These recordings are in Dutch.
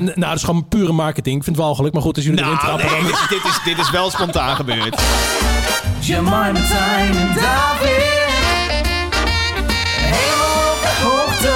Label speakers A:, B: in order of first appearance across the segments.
A: N- nou, dat is gewoon pure marketing. Ik vind het wel geluk, maar goed, als jullie erin
B: Nou,
A: trappen...
B: nee,
A: dan-
B: dit, is- dit, is, dit is wel spontaan gebeurd.
C: Martijn en David. Helemaal op de hoogte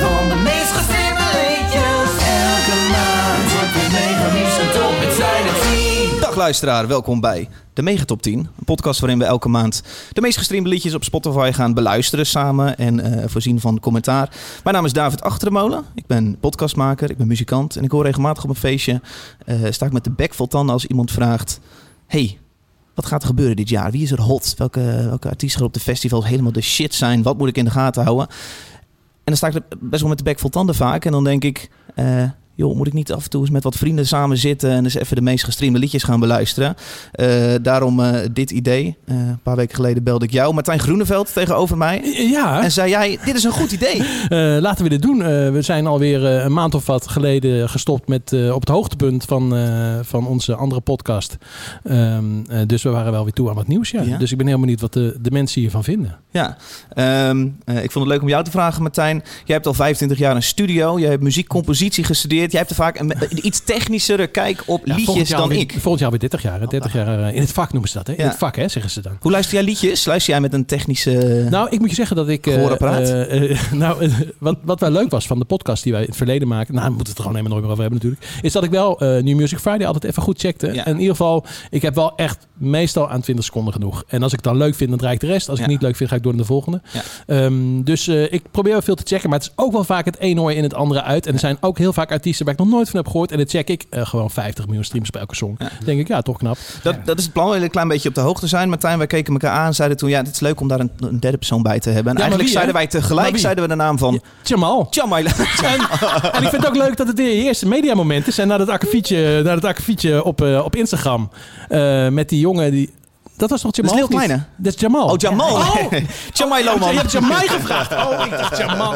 C: van de meest gestemde liedjes. Elke maand wordt het mega nieuws en top. Het zijn er tien.
D: Dag luisteraar, welkom bij de Megatop 10. Een podcast waarin we elke maand de meest gestreamde liedjes op Spotify gaan beluisteren samen en eh, voorzien van commentaar. Mijn naam is David Achtermolen. Ik ben podcastmaker, ik ben muzikant en ik hoor regelmatig op een feestje. eh, sta ik met de bek vol tanden als iemand vraagt: Hey, wat gaat er gebeuren dit jaar? Wie is er hot? Welke, welke artiesten gaan op de festivals helemaal de shit zijn? Wat moet ik in de gaten houden? En dan sta ik er best wel met de bek vol tanden vaak. En dan denk ik, eh, joh, moet ik niet af en toe eens met wat vrienden samen zitten en eens even de meest gestreamde liedjes gaan beluisteren? Eh, daarom eh, dit idee. Eh, een paar weken geleden belde ik jou, Martijn Groeneveld, tegenover mij.
A: Ja,
D: En zei jij, dit is een goed idee.
A: eh, laten we dit doen. Eh, we zijn alweer eh, een maand of wat geleden gestopt met eh, op het hoogtepunt van, eh, van onze andere podcast. Ehm, eh, dus we waren wel weer toe aan wat nieuws, ja.
D: Ja.
A: Dus ik ben heel benieuwd wat de, de mensen hiervan vinden.
D: Ja, ehm, eh, ik vond het leuk om jou te vragen, Martijn. Jij hebt al 25 jaar een studio. Jij hebt muziekcompositie gestudeerd. Jij hebt er vaak een, een iets technischere kijk op
A: Ja, volgend
D: liedjes
A: jaar
D: dan
A: weer-
D: ik.
A: Volgend jaar weer 30 jaar. hè. 30 jaar eh, in het vak noemen ze dat, hè? In
D: Ja.
A: het vak, hè, zeggen ze dan.
D: Hoe luister jij liedjes? Luister jij met een technische...
A: Nou, ik moet je zeggen dat ik... eh,
D: Gehoorapparaat?
A: eh, eh, nou, eh, wat, wat wel leuk was van de podcast die wij in het verleden maakten... Nou, we moeten het er gewoon helemaal nooit meer over hebben natuurlijk... is dat ik wel eh New Music Friday altijd even goed checkte.
D: Ja.
A: En in ieder geval, ik heb wel echt meestal aan 20 seconden genoeg. En als ik het dan leuk vind, dan draai ik de rest. Als ik
D: Ja.
A: niet leuk vind, ga ik door naar de volgende.
D: Ja.
A: Ehm, dus eh, ik probeer wel veel te checken. Maar het is ook wel vaak het een oor in het andere uit. En er zijn ook heel vaak artiesten waar ik nog nooit van heb gehoord. En dan check ik eh, gewoon 50 miljoen streams bij elke song. Dan denk ik, ja, toch knap.
D: Dat, eh, dat is het plan, we willen een klein beetje op de hoogte zijn. Martijn, wij keken elkaar aan en zeiden toen... ja, het is leuk om daar een, een derde persoon bij te hebben. En
A: Ja, maar
D: eigenlijk
A: wie, hè?
D: zeiden wij
A: Maar
D: tegelijk
A: wie?
D: zeiden we de naam van...
A: Jamal.
D: Tjamai.
A: En, en ik vind het ook leuk dat het de eerste mediamomenten zijn naar dat akkefietje, naar dat akkefietje op, eh, op Instagram. Eh, met die jongen die. Dat was toch Jamal?
D: Dat is
A: of niet?
D: Lil Kleine.
A: Dat is Jamal.
D: Oh, Jamal.
A: Oh,
D: Tjamai
A: je
D: Loman.
A: hebt Jamai gevraagd. Oh, ik dacht Jamal.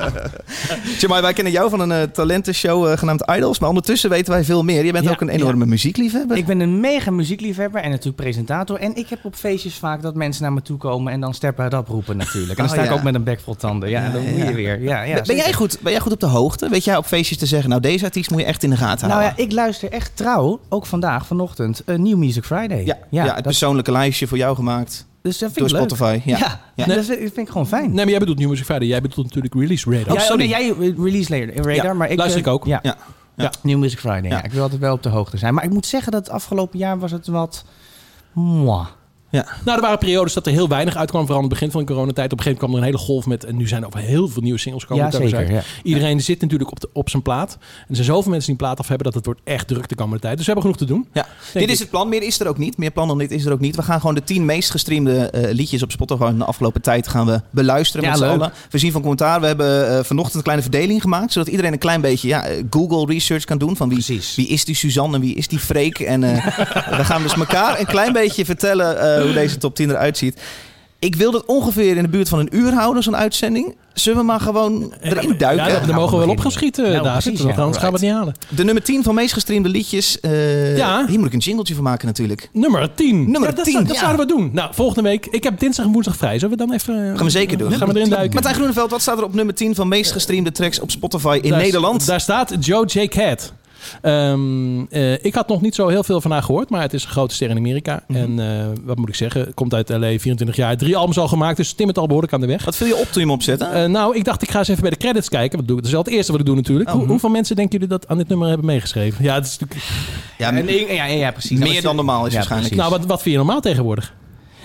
D: Tjamai, wij kennen jou van een eh, talentenshow eh, genaamd Idols. Maar ondertussen weten wij veel meer. Je bent
E: Ja,
D: ook een enorme muziekliefhebber.
E: Ik ben een mega muziekliefhebber en natuurlijk presentator. En ik heb op feestjes vaak dat mensen naar me toe komen en dan sterpa rap roepen natuurlijk. En dan
D: Oh,
E: sta ik
D: ja.
E: ook met een bek vol tanden. Ja, en dan moet
D: ja.
E: je weer. Ja, ja,
D: ben, ben
E: zeker.
D: jij goed, ben jij goed op de hoogte? Weet jij op feestjes te zeggen... nou, deze artiest moet je echt in de gaten
E: Nou ja,
D: houden?
E: ik luister echt trouw, ook vandaag, vanochtend, een New Music Friday.
D: ja, ja, het
E: dat,
D: persoonlijke lijstje voor jou gemaakt
E: dus dat vind
D: door
E: ik leuk.
D: Spotify. Ja.
E: Ja,
D: Ja.
E: ja. dat vind- dat vind ik gewoon fijn.
A: Nee, maar jij bedoelt New Music Friday. Jij bedoelt natuurlijk Release Radar.
E: jij, oh,
D: sorry.
E: nee, jij eh, release later, radar,
D: Ja,
E: maar ik...
A: luister
E: eh,
A: ik ook.
E: Ja,
D: Ja. Ja.
E: New Music Friday. Ja.
D: Ja.
E: ik wil altijd wel op de hoogte zijn. Maar ik moet zeggen dat het afgelopen jaar was het wat... Mwah.
A: Nou, er waren periodes dat er heel weinig uitkwam. Vooral aan het begin van de coronatijd. Op een gegeven moment kwam er een hele golf met... En nu zijn er ook heel veel nieuwe singles komen.
E: Ja,
A: dat hebben we
E: zeker,
A: gezegd. Iedereen zit natuurlijk op, de, op zijn plaat. En er zijn zoveel mensen die een plaat af hebben... dat het wordt echt druk de komende tijd. Dus we hebben genoeg te doen.
D: Dit is
A: ik.
D: het plan, meer is er ook niet. Meer plan dan dit is er ook niet. We gaan gewoon de tien meest gestreamde eh, liedjes op Spotify van de afgelopen tijd gaan we beluisteren
E: Ja,
D: met z'n
E: leuk.
D: allen. We zien van commentaar. We hebben eh, vanochtend een kleine verdeling gemaakt, zodat iedereen een klein beetje ja, eh, Google research kan doen van wie,
E: Precies.
D: wie is die Suzanne en wie is die Freek. En eh, we gaan dus elkaar een klein beetje vertellen eh, hoe deze top 10 eruit ziet. Ik wil dat ongeveer in de buurt van een uur houden, zo'n uitzending. Zullen we maar gewoon erin duiken?
A: Ja, daar- daar
E: we
A: mogen we wel op
E: beginnen.
A: gaan schieten,
E: Nou,
A: David.
E: precies,
A: want
E: ja,
A: anders gaan we het niet halen.
D: De nummer 10 van meest gestreamde liedjes. eh,
A: Ja.
D: Hier moet ik een jingletje van maken natuurlijk.
A: Nummer 10.
D: Nummer
A: ja, dat
D: 10,
A: zou- dat
D: ja.
A: zouden we doen. Nou, volgende week. Ik heb dinsdag en woensdag vrij. Zullen we dan even... eh,
D: Gaan we zeker doen.
A: Gaan we erin duiken.
D: Martijn Groeneveld, wat staat er op nummer 10 van meest gestreamde tracks op Spotify in
A: Daar-
D: Nederland?
A: Daar staat Joe J. Cat. Ehm, eh, ik had nog niet zo heel veel van haar gehoord, maar het is een grote ster in Amerika.
D: Mhm.
A: En eh, wat moet ik zeggen? Komt uit LA, 24 jaar. Drie albums al gemaakt, dus Tim het al behoorlijk aan de weg.
D: Wat viel je op toen je hem opzette?
A: Eh, nou, ik dacht, ik ga eens even bij de credits kijken. Wat doe ik? Dat is wel het eerste wat ik doe natuurlijk.
D: Oh.
A: Hoe- hoeveel mensen denken jullie dat aan dit nummer hebben meegeschreven? Ja, het is natuurlijk-
D: ja,
E: En ik- ja, ja, ja, precies. Nou,
D: meer
E: dat-
D: dan normaal is
E: Ja,
D: waarschijnlijk.
E: precies.
A: nou, wat, wat vind je normaal tegenwoordig?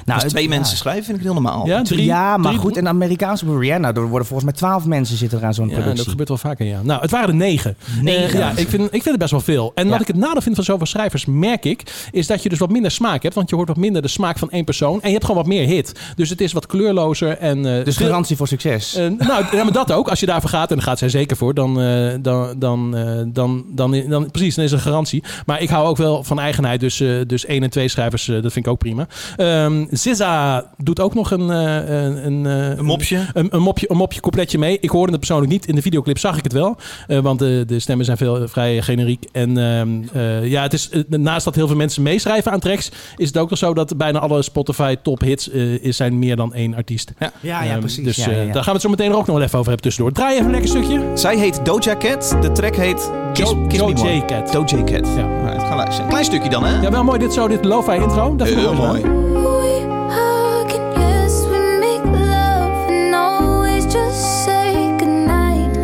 E: Nou,
D: Als
A: Dus
E: het-
D: twee
E: ja.
D: mensen schrijven vind ik heel normaal.
A: Ja, drie,
E: ja, maar
A: drie-
E: goed. En Amerikaans op Rihanna, nou, er worden volgens mij twaalf mensen zitten er aan zo'n
A: Ja,
E: productie.
A: dat gebeurt wel vaker, ja. Nou, het waren er negen.
E: Negen.
A: Eh, ja, ik vind, ik vind het best wel veel. En wat
E: Ja.
A: ik het nadeel vind van zoveel schrijvers, merk ik, is dat je dus wat minder smaak hebt. Want je hoort wat minder de smaak van één persoon. En je hebt gewoon wat meer hit. Dus het is wat kleurlozer. En, eh,
E: Dus
A: veel-
E: garantie voor succes.
A: eh, nou, ja, maar dat ook. Als je daarvoor gaat, en daar gaat zij zeker voor, dan, eh, dan, dan, eh, dan, dan, dan, precies, dan is er garantie. Maar ik hou ook wel van eigenheid. Dus, eh, dus één en twee schrijvers, eh, dat vind ik ook prima. Ehm, Zizza doet ook nog een, eh, een, een, eh,
D: Een mopje.
A: Een, een mopje, een mopje completje mee. Ik hoorde het persoonlijk niet. In de videoclip zag ik het wel. eh, want de, de stemmen zijn veel, vrij generiek. En ehm, eh, ja, het is, eh, naast dat heel veel mensen meeschrijven aan tracks... is het ook nog zo dat bijna alle Spotify top hits eh, is zijn meer dan één artiest.
E: Ja, ja,
A: Ehm,
E: precies.
A: Dus
E: ja, ja,
A: eh,
E: ja.
A: daar gaan we het zo meteen er ook nog wel even over hebben tussendoor. Draai even een lekker stukje.
D: Zij heet Doja Cat. De track heet Kiss,
A: Jo-
D: Kiss Me
A: Doja
D: More.
A: Cat.
D: Doja Cat.
A: Ja.
D: Ja. Right, gaan luisteren. Klein stukje dan, hè?
A: Ja, wel mooi dit zo, dit lo-fi intro. Dat vind ik
D: Heel
A: wel gedaan.
D: mooi.
F: We hug and kiss, we make love and always just say goodnight.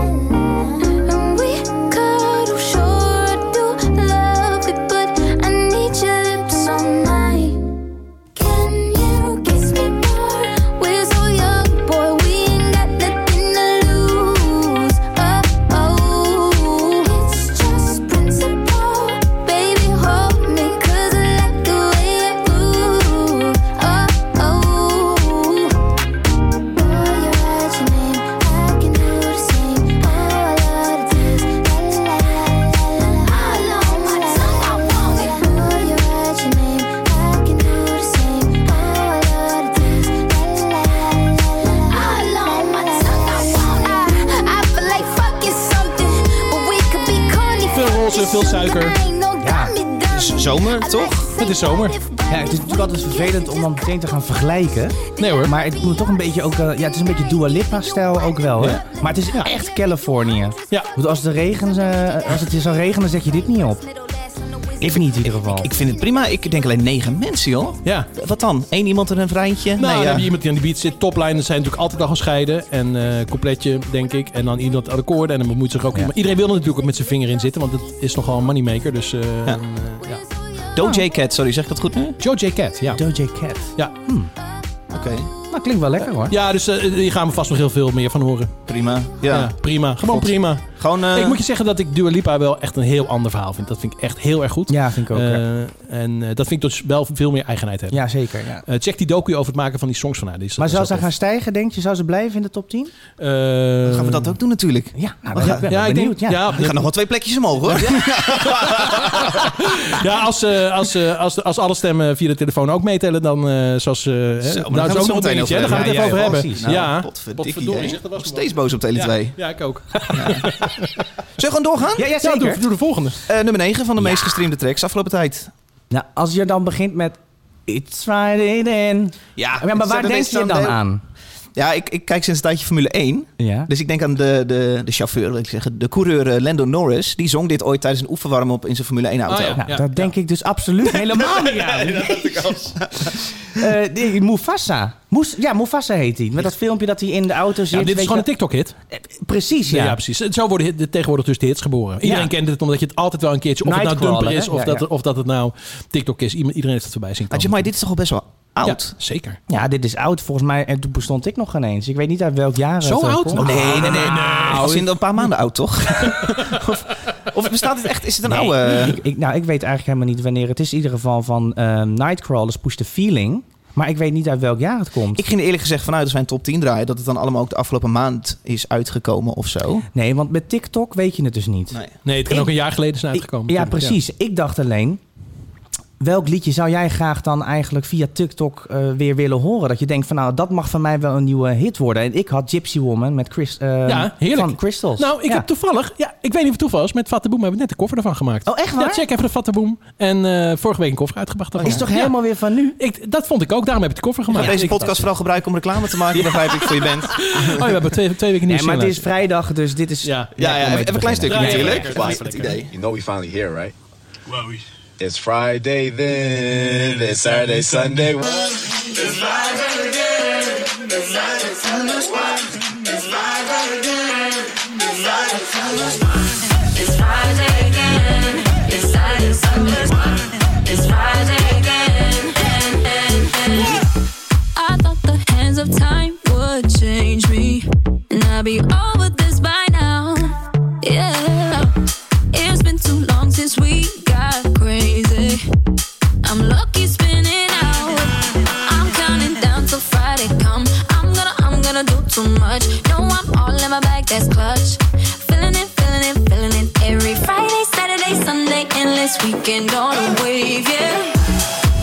F: And we cuddle, sure I do love it, but I need your lips all night. Can you kiss me more? We're so young, boy, we ain't got nothing to lose. Oh, it's just principle, baby, hold me 'cause I like the way you move. Oh, Boy, you write your name, I can do the same. Oh, I love to dance, la la la la. All on my tongue, I want it. Boy, you write your name, I can do the same. Oh, I love to dance, la la la la. All on my tongue, I want it. I feel like fucking something, but we could be corny.
A: Veel roze, veel suiker.
F: Ja,
D: Z- zomer, toch?
A: Het is zomer.
E: Ja, het is natuurlijk altijd vervelend om dan meteen te gaan vergelijken.
A: Nee hoor.
E: Maar het moet toch een beetje ook... eh, ja, het is een beetje Dua Lipa-stijl ook wel, hè?
A: Ja.
E: Maar het is echt Californië.
A: Ja.
E: Want als, de regen, eh, als het zou regenen, dan zet je dit niet op. Ik niet in ieder geval.
D: Ik vind het prima. Ik denk alleen negen mensen, joh.
A: Ja.
D: Wat dan? Eén iemand en een vriendje?
A: Nou, dan
D: nee, eh, ja.
A: heb je iemand die aan de beat zit. Toplijnen zijn natuurlijk altijd al gescheiden. En eh completje, denk ik. En dan iemand aan de koorden. En dan moet zich ook iemand... Iedereen wil er natuurlijk ook met zijn vinger in zitten. Want het is nogal een moneymaker. Dus eh ja.
D: Doja Cat, sorry, zeg ik dat goed nu? Oké.
A: Joe J. Cat, ja.
E: Doja Cat.
A: Ja,
E: Nou, klinkt wel lekker, hoor.
A: ja dus eh, hier gaan we vast nog heel veel meer van horen.
D: Prima. Ja.
A: Ja, prima. Gewoon
D: God.
A: prima.
D: Gewoon... eh,
A: ik moet je zeggen dat ik Dua Lipa wel echt een heel ander verhaal vind. Dat vind ik echt heel erg goed.
E: Ja, vind ik ook. hè.
A: Eh, en eh, dat vind ik dus wel veel meer eigenheid hebben.
E: ja, zeker. Ja.
A: Eh, check die docu over het maken van die songs van haar. Die is-
E: Maar
A: dat dus
E: zou
A: is
E: ze
A: wel
E: gaan stijgen, denk je? Zou ze blijven in de top 10?
A: tof. Eh,
D: Gaan we dat ook doen natuurlijk.
E: Ja, nou,
D: We
E: ben
D: gaan-
E: ik ben
A: Oh, Ja,
E: wel
A: ik
E: benieuwd.
A: denk,
E: ja.
A: ja,
D: Er gaan nog wel twee plekjes omhoog, hoor.
A: Ja, als, eh, als, eh, als, als alle stemmen via de telefoon ook meetellen, dan eh, zoals... eh, hè,
D: Zo, maar daar gaan
A: nou, is
D: we het
A: ook
D: zo
A: nog een
D: meteen
A: dingetje, hè, daar
D: over
A: gaan we het even
E: hebben.
A: over
E: Ja,
A: hebben.
E: ja,
D: Nou,
A: ja,
D: Potverdikkie,
A: Potverdorie,
D: hè.
A: zeg, dat was
D: Steeds boos op Tele 2.
A: ja, ja, ik ook.
D: Zullen we gewoon doorgaan?
E: Ja, ja,
A: Ja,
E: zeker.
A: doe, doe de volgende.
D: Eh, nummer 9 van de meest gestreamde tracks afgelopen tijd.
E: Nou, als je dan begint met... It's Friday then.
D: Ja,
E: Ja, maar waar denk je dan aan?
D: Ja, ik, ik kijk sinds een tijdje Formule 1.
E: Ja.
D: Dus ik denk aan de, de, de chauffeur, wil ik zeggen. De coureur eh, Lando Norris. Die zong dit ooit tijdens een oefenwarm-up in zijn Formule 1-auto.
A: Ah, ja.
E: Nou, dat denk ik dus absoluut helemaal niet aan. Eh, die Mufasa. Moes- ja, Mufasa heet hij. Met dat filmpje dat hij in de auto zit.
A: Ja, dit
E: weet
A: is gewoon
E: je
A: een TikTok-hit.
E: wel. Eh, Precies,
A: Ja.
E: ja.
A: precies. Zo worden hit- de- tegenwoordig dus de hits geboren. Iedereen
E: Ja.
A: kent het, omdat je het altijd wel een keertje... Of het nou
E: Nightcrawler,
A: Dumper is,
E: hè?
A: of,
E: Ja,
A: dat,
E: ja.
A: of dat het nou TikTok is. Iemand- Iedereen heeft het voorbij zien
D: Maar
A: komen.
D: Jamai, dit is toch al best wel oud?
A: Ja, zeker.
E: Ja, dit is oud volgens mij. En toen bestond ik nog geen eens. Ik weet niet uit welk jaar
A: Zo
E: het eh,
A: oud?
E: komt.
A: Oh,
D: Nee, nee, nee. Als in een paar maanden oud, toch? of, of bestaat het echt? Is het een
E: Nee,
A: eh,
D: oude...
E: Ik, ik- nou, ik weet eigenlijk helemaal niet wanneer. Het is in ieder geval van ehm, Nightcrawlers Push the Feeling. Maar ik weet niet uit welk jaar het komt.
D: Ik ging er eerlijk gezegd vanuit als wij een top 10 draaien... dat het dan allemaal ook de afgelopen maand is uitgekomen of zo.
E: Nee, want met TikTok weet je het dus niet.
D: Nee.
A: Nee, het kan
E: Ik-
A: ook een jaar geleden zijn
E: Ik-
A: uitgekomen.
E: ja,
A: natuurlijk.
E: precies. Ik dacht alleen... Welk liedje zou jij graag dan eigenlijk via TikTok eh, weer willen horen? Dat je denkt van nou, dat mag van mij wel een nieuwe hit worden. En ik had Gypsy Woman met Chris, eh,
A: Ja, heerlijk.
E: van Crystals.
A: Nou, ik
E: Ja.
A: heb toevallig, ja, ik weet niet of het toeval is, met Fattaboom hebben we net de koffer ervan gemaakt.
E: Oh, echt waar?
A: Ja, check even de Fattaboom. En eh, vorige week een koffer uitgebracht.
E: Is toch
A: helemaal
E: helemaal weer van nu?
A: Ik, dat vond ik ook. Daarom heb ik de koffer
D: Maar
A: gemaakt.
D: deze
A: Ik-
D: podcast vooral gebruiken om reclame te maken, begrijp ik, voor je bent.
A: Oh, ja, we hebben twee, twee weken nieuws.
E: Nee, maar het is
A: zin
E: vrijdag, dus dit is...
A: laten. Ja.
D: Ja, ja, even, even een klein stukje
A: Ja, ja,
D: natuurlijk.
A: lekker,
D: Wauw,
A: lekker,
D: het
A: lekker.
D: idee.
G: You know we finally here, right? Well, we. It's Friday then. It's Saturday, Sunday.
H: It's Friday again. It's Saturday, Sunday. It's Friday again. And, and, and.
F: I thought the hands of time would change me, and I'd be over this by now. Yeah, it's been too long since we got crazy. I'm lucky spinning out. I'm counting down till Friday come. I'm gonna, I'm gonna do too much. No, I'm all in my bag, that's clutch. Feeling it, feeling it, feeling it. Every Friday, Saturday, Sunday, endless weekend on a wave, yeah.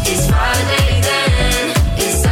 H: It's Friday again.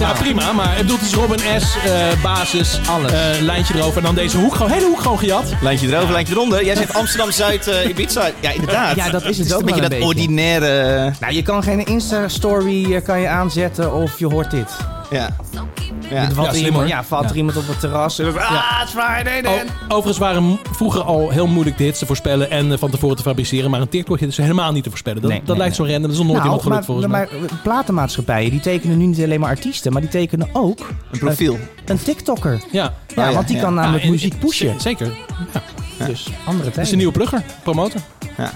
A: Ja, prima. Maar ik bedoel, het is Robin S, eh, basis,
E: Alles.
A: eh, lijntje erover. En dan deze hoek, gewoon, hele hoek gewoon gejat.
D: Lijntje erover, lijntje eronder. Jij zegt Amsterdam-Zuid, eh, Ibiza. Ja, inderdaad.
E: Ja, dat is het
D: is
E: ook
D: een beetje
E: wel
D: dat
E: een beetje.
D: ordinaire... eh,
E: Nou, je kan geen Insta-story eh, kan je aanzetten of je hoort dit.
D: Ja. Ja.
E: Er
A: Ja, Oh,
E: valt
A: slim,
E: iemand,
A: hoor.
E: ja, valt er iemand op het terras. eh, Ah, it's Friday then.
A: O- overigens waren m- vroeger al heel moeilijk de hits te voorspellen en eh, van tevoren te fabriceren. Maar een TikTok-hit is helemaal niet te voorspellen. Dat,
E: Nee,
A: dat
E: nee,
A: lijkt zo random. Dat is nog nooit
E: Nou,
A: iemand gelukt volgens mij.
E: maar, maar platenmaatschappijen die tekenen nu niet alleen maar artiesten, maar die tekenen ook eh,
D: Een profiel.
E: een TikToker.
A: Ja.
E: Oh Ja,
D: ja,
E: want die
D: ja.
E: kan
A: Ja,
E: namelijk
A: en-
E: muziek pushen.
A: z- Zeker.
E: Dus andere
A: Het is
E: tijden.
A: een nieuwe plugger, promotor.
D: Ja,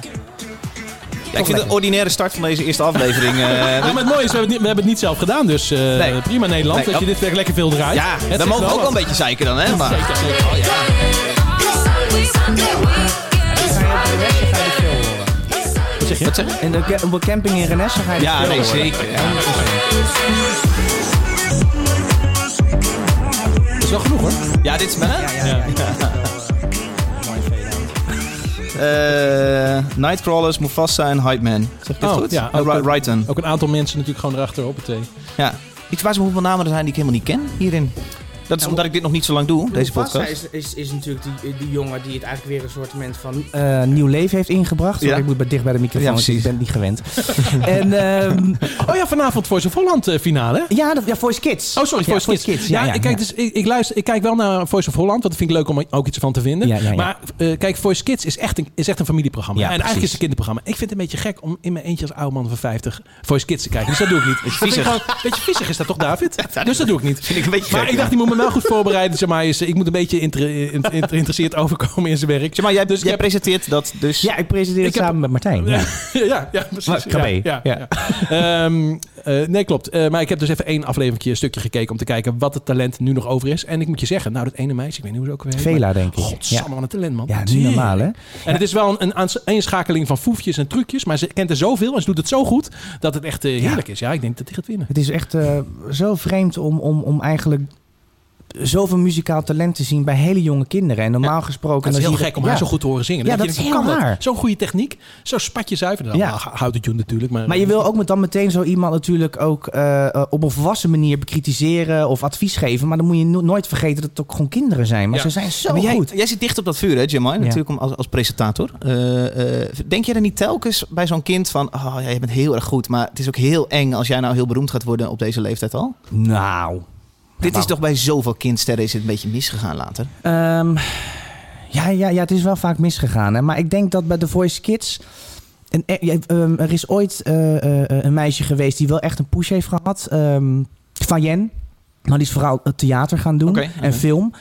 D: ik vind het een ordinaire start van deze eerste aflevering. eh,
A: Ja, maar het mooie is, we hebben het niet, we hebben het niet zelf gedaan. Dus eh,
D: Nee.
A: prima Nederland,
D: Nee,
A: dat je
D: dat-
A: dit werk lekker veel draait.
D: ja,
A: Het
D: dan
A: zegt
D: mogen we ook wel een
A: wat.
D: beetje zeiken dan, hè? Maar,
A: Zeker, zeker.
D: wat zeg je?
E: En de ca- op een camping in Renesse ga je
D: Ja,
E: dit veel
D: nee,
E: horen.
D: zeker. Ja.
A: Dat is wel genoeg hoor.
D: Ja, dit is mijn...
A: Ja.
D: Eh, Nightcrawlers, Mufasa en Hype Man. Zeg ik dit
A: Oh,
D: goed?
A: ja,
D: Eh,
A: ook-
D: Ry- Raiden.
A: Ook een aantal mensen natuurlijk gewoon erachter op het thee.
D: Ja. Ik verbaas me hoeveel namen er zijn die ik helemaal niet ken hierin. Dat is omdat ik dit nog niet zo lang doe, deze
E: Mufasa
D: podcast.
E: Is, is, is natuurlijk die, die jongen die het eigenlijk weer een soort moment van eh, nieuw leven heeft ingebracht. Sorry,
D: Ja.
E: ik moet maar dicht bij de microfoon,
D: Ja,
E: want ik
D: precies.
E: ben het niet gewend. en ehm,
A: Oh ja, vanavond Voice of Holland eh, finale. hè?
E: ja, dat, ja, Voice Kids.
A: Oh, sorry,
E: Ja,
A: Voice Kids. Ja, ik, kijk, Dus, ik, ik, luister, ik kijk wel naar Voice of Holland, want dat vind ik leuk om ook iets van te vinden.
E: Ja, ja, ja.
A: Maar eh, kijk, Voice Kids is echt een, is echt een familieprogramma.
E: Ja,
A: en eigenlijk is
E: precies.
A: het een kinderprogramma. Ik vind het een beetje gek om in mijn eindje als oude man van 50 Voice Kids te kijken. Dus dat doe ik niet. Dat vind ik gewoon- Een beetje viezig is dat toch, David? dus dat doe ik niet.
D: Vind ik een beetje
A: Maar
D: gek,
A: ik dacht,
D: ja.
A: die moet me wel goed voorbereiden. Zeg maar, is, ik moet een beetje inter- in- in- geïnteresseerd overkomen in zijn werk.
D: Zeg maar, jij,
A: dus
D: jij
A: ik heb-
D: presenteert dat dus...
E: Ja, ik presenteer het
A: Ik heb-
E: samen met Martijn. Ja.
A: ja, ja, precies.
E: Maar, Krabbe,
A: ja, ja,
E: ja.
A: ja. Ehm, eh, nee, klopt. Eh, maar ik heb dus even één afleveringje, een stukje gekeken om te kijken wat het talent nu nog over is. En ik moet je zeggen, nou dat ene meisje, ik weet niet hoe ze ook weer heet.
E: Vela,
A: maar-
E: denk ik.
A: Godsamme,
E: Ja.
A: wat een talent, man.
E: Ja, niet normaal, hè?
A: En het is wel een, een aans- eenschakeling van foefjes en trucjes, maar ze kent er zoveel en ze doet het zo goed dat het echt eh, heerlijk is. Ja, ik denk dat hij gaat winnen.
E: Het is echt eh, zo vreemd om, om, om eigenlijk zoveel muzikaal talent te zien bij hele jonge kinderen. En normaal gesproken...
A: Het is
E: dan
A: heel
E: zie je
A: gek om
E: ja.
A: haar zo goed te horen zingen. Dan
E: Ja,
A: denk
E: dat
A: je,
E: is
A: hoe
E: heel
A: kan dat?
E: raar.
A: Zo'n goede techniek, zo spatje zuiver. Dan
E: Ja.
A: ja. houdt het tune natuurlijk.
D: Eh,
A: Maar,
E: Maar je wil ook met dan meteen zo iemand natuurlijk ook eh, eh, op een volwassen manier bekritiseren of advies geven. Maar dan moet je no- nooit vergeten dat het ook gewoon kinderen zijn. Maar
A: Ja.
E: ze zijn zo
D: Maar jij,
E: goed.
D: jij zit dicht op dat vuur, hè, Jamai? Natuurlijk om, als, als presentator. Eh, eh, denk jij er niet telkens bij zo'n kind van... Oh, ja, je bent heel erg goed, maar het is ook heel eng... als jij nou heel beroemd gaat worden op deze leeftijd al?
E: Nou.
D: Dit
E: Nou.
D: is toch bij zoveel kindsterren is het een beetje misgegaan later?
E: Ehm, ja, ja, ja, het is wel vaak misgegaan. Hè? Maar ik denk dat bij The Voice Kids... En, eh, ja, ehm, er is ooit eh, eh, eh, een meisje geweest die wel echt een push heeft gehad. ehm van Jen. Maar die is vooral het theater gaan doen
D: Oké,
E: en
D: oké.
E: film.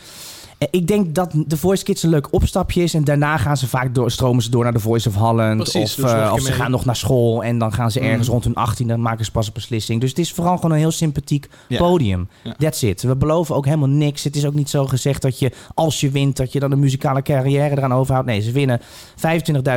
E: Eh, Ik denk dat The Voice Kids een leuk opstapje is. En daarna gaan ze vaak door, stromen ze door naar The Voice of Holland.
A: Precies,
E: of
A: dus nog
E: eh,
A: een
E: of
A: keer
E: ze
A: mee. Mhm.
E: gaan nog naar school. En dan gaan ze ergens rond hun 18e maken ze pas een beslissing. Dus het is vooral gewoon een heel sympathiek
D: Ja.
E: podium.
D: Ja.
E: That's it. We beloven ook helemaal niks. Het is ook niet zo gezegd dat je, als je wint, dat je dan een muzikale carrière eraan overhoudt. Nee, ze winnen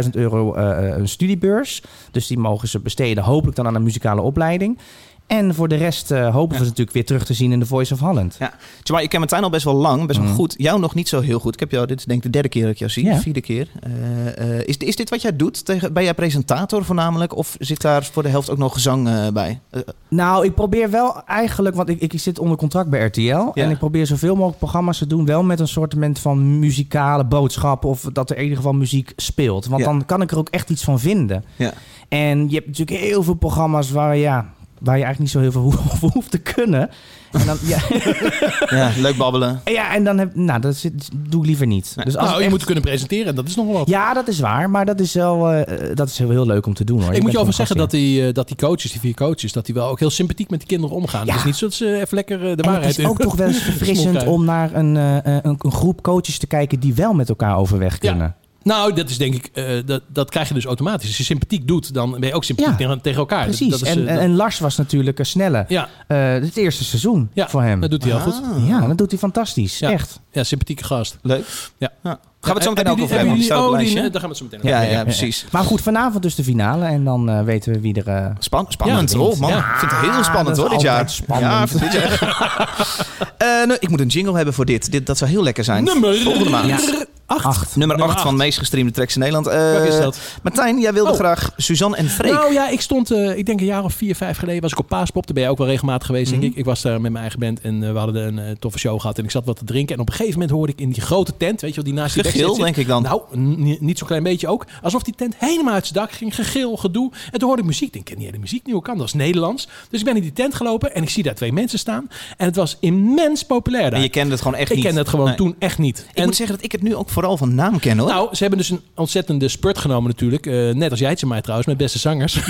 E: 25.000 euro eh, eh, een studiebeurs. Dus die mogen ze besteden, hopelijk dan aan een muzikale opleiding. En voor de rest eh, hopen we ze natuurlijk weer terug te zien in The Voice of Holland.
D: Ja. Jamai, ik ken Martijn al best wel lang, best wel goed. Jou nog niet zo heel goed. Ik heb jou, dit is denk ik de derde keer dat ik jou zie,
E: Ja.
D: de vierde keer. Eh, eh, is, is dit wat jij doet? Tegen, ben jij presentator voornamelijk? Of zit daar voor de helft ook nog gezang eh, bij? Eh,
E: Nou, ik probeer wel eigenlijk, want ik, ik zit onder contract bij RTL. En ik probeer zoveel mogelijk programma's te doen, wel met een soort van muzikale boodschap. Of dat er in ieder geval muziek speelt. Want
D: Ja.
E: dan kan ik er ook echt iets van vinden.
D: ja.
E: En je hebt natuurlijk heel veel programma's waar, ja, waar je eigenlijk niet zo heel veel hoe- voor hoeft te kunnen. En dan, ja,
D: ja, leuk babbelen.
E: ja, en dan heb, nou, dat zit- doe ik liever niet. Dus als
A: nou, je
E: het echt-
A: moet kunnen presenteren, dat is nog wel wat.
E: Ja, dat is waar, maar dat is wel eh, eh, dat is heel, heel leuk om te doen. Hoor.
A: Ik moet je
E: bent
A: over
E: zo'n
A: zeggen
E: gast,
A: dat die, eh, dat die coaches, die vier coaches, dat die wel ook heel sympathiek met die kinderen omgaan.
E: Ja.
A: Het is niet zo dat ze even lekker eh, de
E: En het
A: waarheid
E: is ook toch wel eens verfrissend om naar een, eh, eh, een, een groep coaches te kijken die wel met elkaar overweg
A: Ja.
E: kunnen.
A: Nou, dat is denk ik, eh, dat, dat krijg je dus automatisch. Als je sympathiek doet, dan ben je ook
E: Ja,
A: sympathiek tegen, tegen elkaar.
E: Precies.
A: Dat, dat is,
E: en,
A: eh, dat-
E: en Lars was natuurlijk een snelle.
A: ja,
E: Eh, het eerste seizoen
A: ja,
E: voor hem.
A: dat doet hij heel goed.
E: Ja, dat doet hij fantastisch.
A: Ja.
E: Echt.
A: Ja, sympathieke gast.
D: Leuk.
A: Ja.
D: Ah. Gaan we het zo meteen
A: Hebben
D: ook
A: jullie-
D: over hebben? Die
A: hebben
D: staat op het
A: jullie- oh, die-
D: lijstje.
A: Daar gaan we het zo meteen over
D: Ja,
A: hebben.
D: ja, precies.
E: Maar goed, vanavond dus de finale. En dan eh, weten we wie er... eh,
D: Span- spannend,
A: Ja,
D: hoor, man.
A: ja.
D: Ik vind het heel spannend, hoor,
E: dat is
D: dit jaar.
E: altijd spannend.
D: Ja, ik vind dit jaar. echt- Eh, nou, ik moet een jingle hebben voor dit. dit dat zou heel lekker zijn.
A: Nummer
D: Volgende maand.
A: acht. Acht.
D: Nummer 8 van
A: acht.
D: de meest gestreamde tracks in Nederland. Eh,
A: Welke is dat?
D: Martijn, jij wilde
A: Oh.
D: graag Suzanne en Freek.
A: Nou ja, ik stond, eh, ik denk een jaar of vier, vijf geleden, was ik op Paaspop. Daar ben jij ook wel regelmatig geweest,
D: Mhm.
A: denk ik. Ik was daar met mijn eigen band en eh, we hadden een eh, toffe show gehad. En ik zat wat te drinken. En op een gegeven moment hoorde ik in die grote tent, weet je wel, die naast die
D: Gegil,
A: backstage zit.
D: denk ik dan.
A: Nou, n- niet zo'n klein beetje ook. Alsof die tent helemaal uit zijn dak ging. Gegil, gedoe. En toen hoorde ik muziek. Ik denk, ik ken die hele muziek niet. Hoe kan dat? Dat is Nederlands. Dus ik ben in die tent gelopen en ik zie daar twee mensen staan. En het was immens populair daar.
D: En je kende het gewoon echt
A: ik
D: niet.
A: ken het gewoon
D: Nee.
A: toen echt niet.
D: Ik moet zeggen dat ik het nu ook vooral van naam ken hoor.
A: Nou, ze hebben dus een ontzettende spurt genomen natuurlijk. Eh, net als jij het ze mij trouwens, met beste zangers. oh,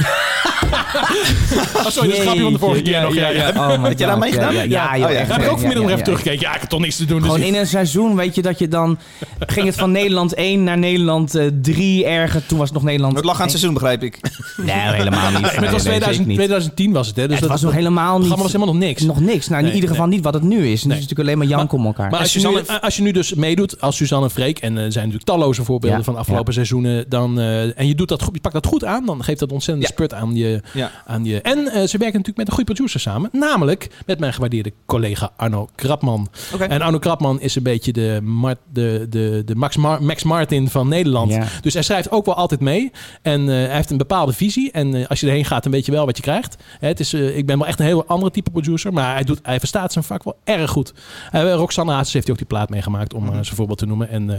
A: sorry, dat is een grapje van de vorige keer nog. Ja, ja.
E: Oh
D: Had jij daar mee gedaan?
E: Ja, ja,
A: Ja,
E: joh,
D: oh ja.
E: echt,
A: Daar heb
E: ja,
A: ik ook vanmiddag nog
E: ja,
A: even
E: ja.
A: teruggekeken. Ja, ik had toch niks te doen. Dus
E: Gewoon
A: ik-
E: in een seizoen, weet je, dat je dan... ging het van Nederland 1 naar Nederland eh, 3 erger. Toen was het nog Nederland...
D: het lag aan het seizoen, begrijp ik.
E: Nee, helemaal niet.
A: Maar het was
E: Nee, nee,
A: 2000
E: zeker niet.
A: 2010 was het, hè? Dus
E: Het was nog helemaal
A: Het
E: niet...
A: programma was dus helemaal nog niks.
E: Nog niks. Nou, in
A: Nee,
E: ieder geval niet wat het nu is. Het is natuurlijk alleen maar janken om elkaar.
A: Maar
E: En
A: als je,
E: Suzanne-
A: nu, als je nu dus meedoet als Suzanne en Freek, en eh, er zijn natuurlijk talloze voorbeelden
E: Ja,
A: van afgelopen seizoenen, dan, eh, en je, doet dat, goed- je pakt dat goed aan, dan geeft dat ontzettend
D: Ja.
A: spurt aan je,
D: Ja.
A: aan je. En eh, ze werken natuurlijk met een goede producer samen, namelijk met mijn gewaardeerde collega Arno Krapman.
D: Oké.
A: En Arno Krapman is een beetje de, Mar- de, de, de Max, Mar- Max Martin van Nederland.
E: Ja.
A: Dus hij schrijft ook wel altijd mee. En eh, hij heeft een bepaalde visie. En eh, als je erheen gaat, dan weet je wel wat je krijgt. Hè, het is, eh, ik ben wel echt een heel andere type producer. Maar hij, doet, hij verstaat zijn vak wel erg goed. Eh Roxanne Haatsens heeft hij ook die plaat meegemaakt, om eh,
E: Mhm.
A: zijn voorbeeld te noemen. En eh,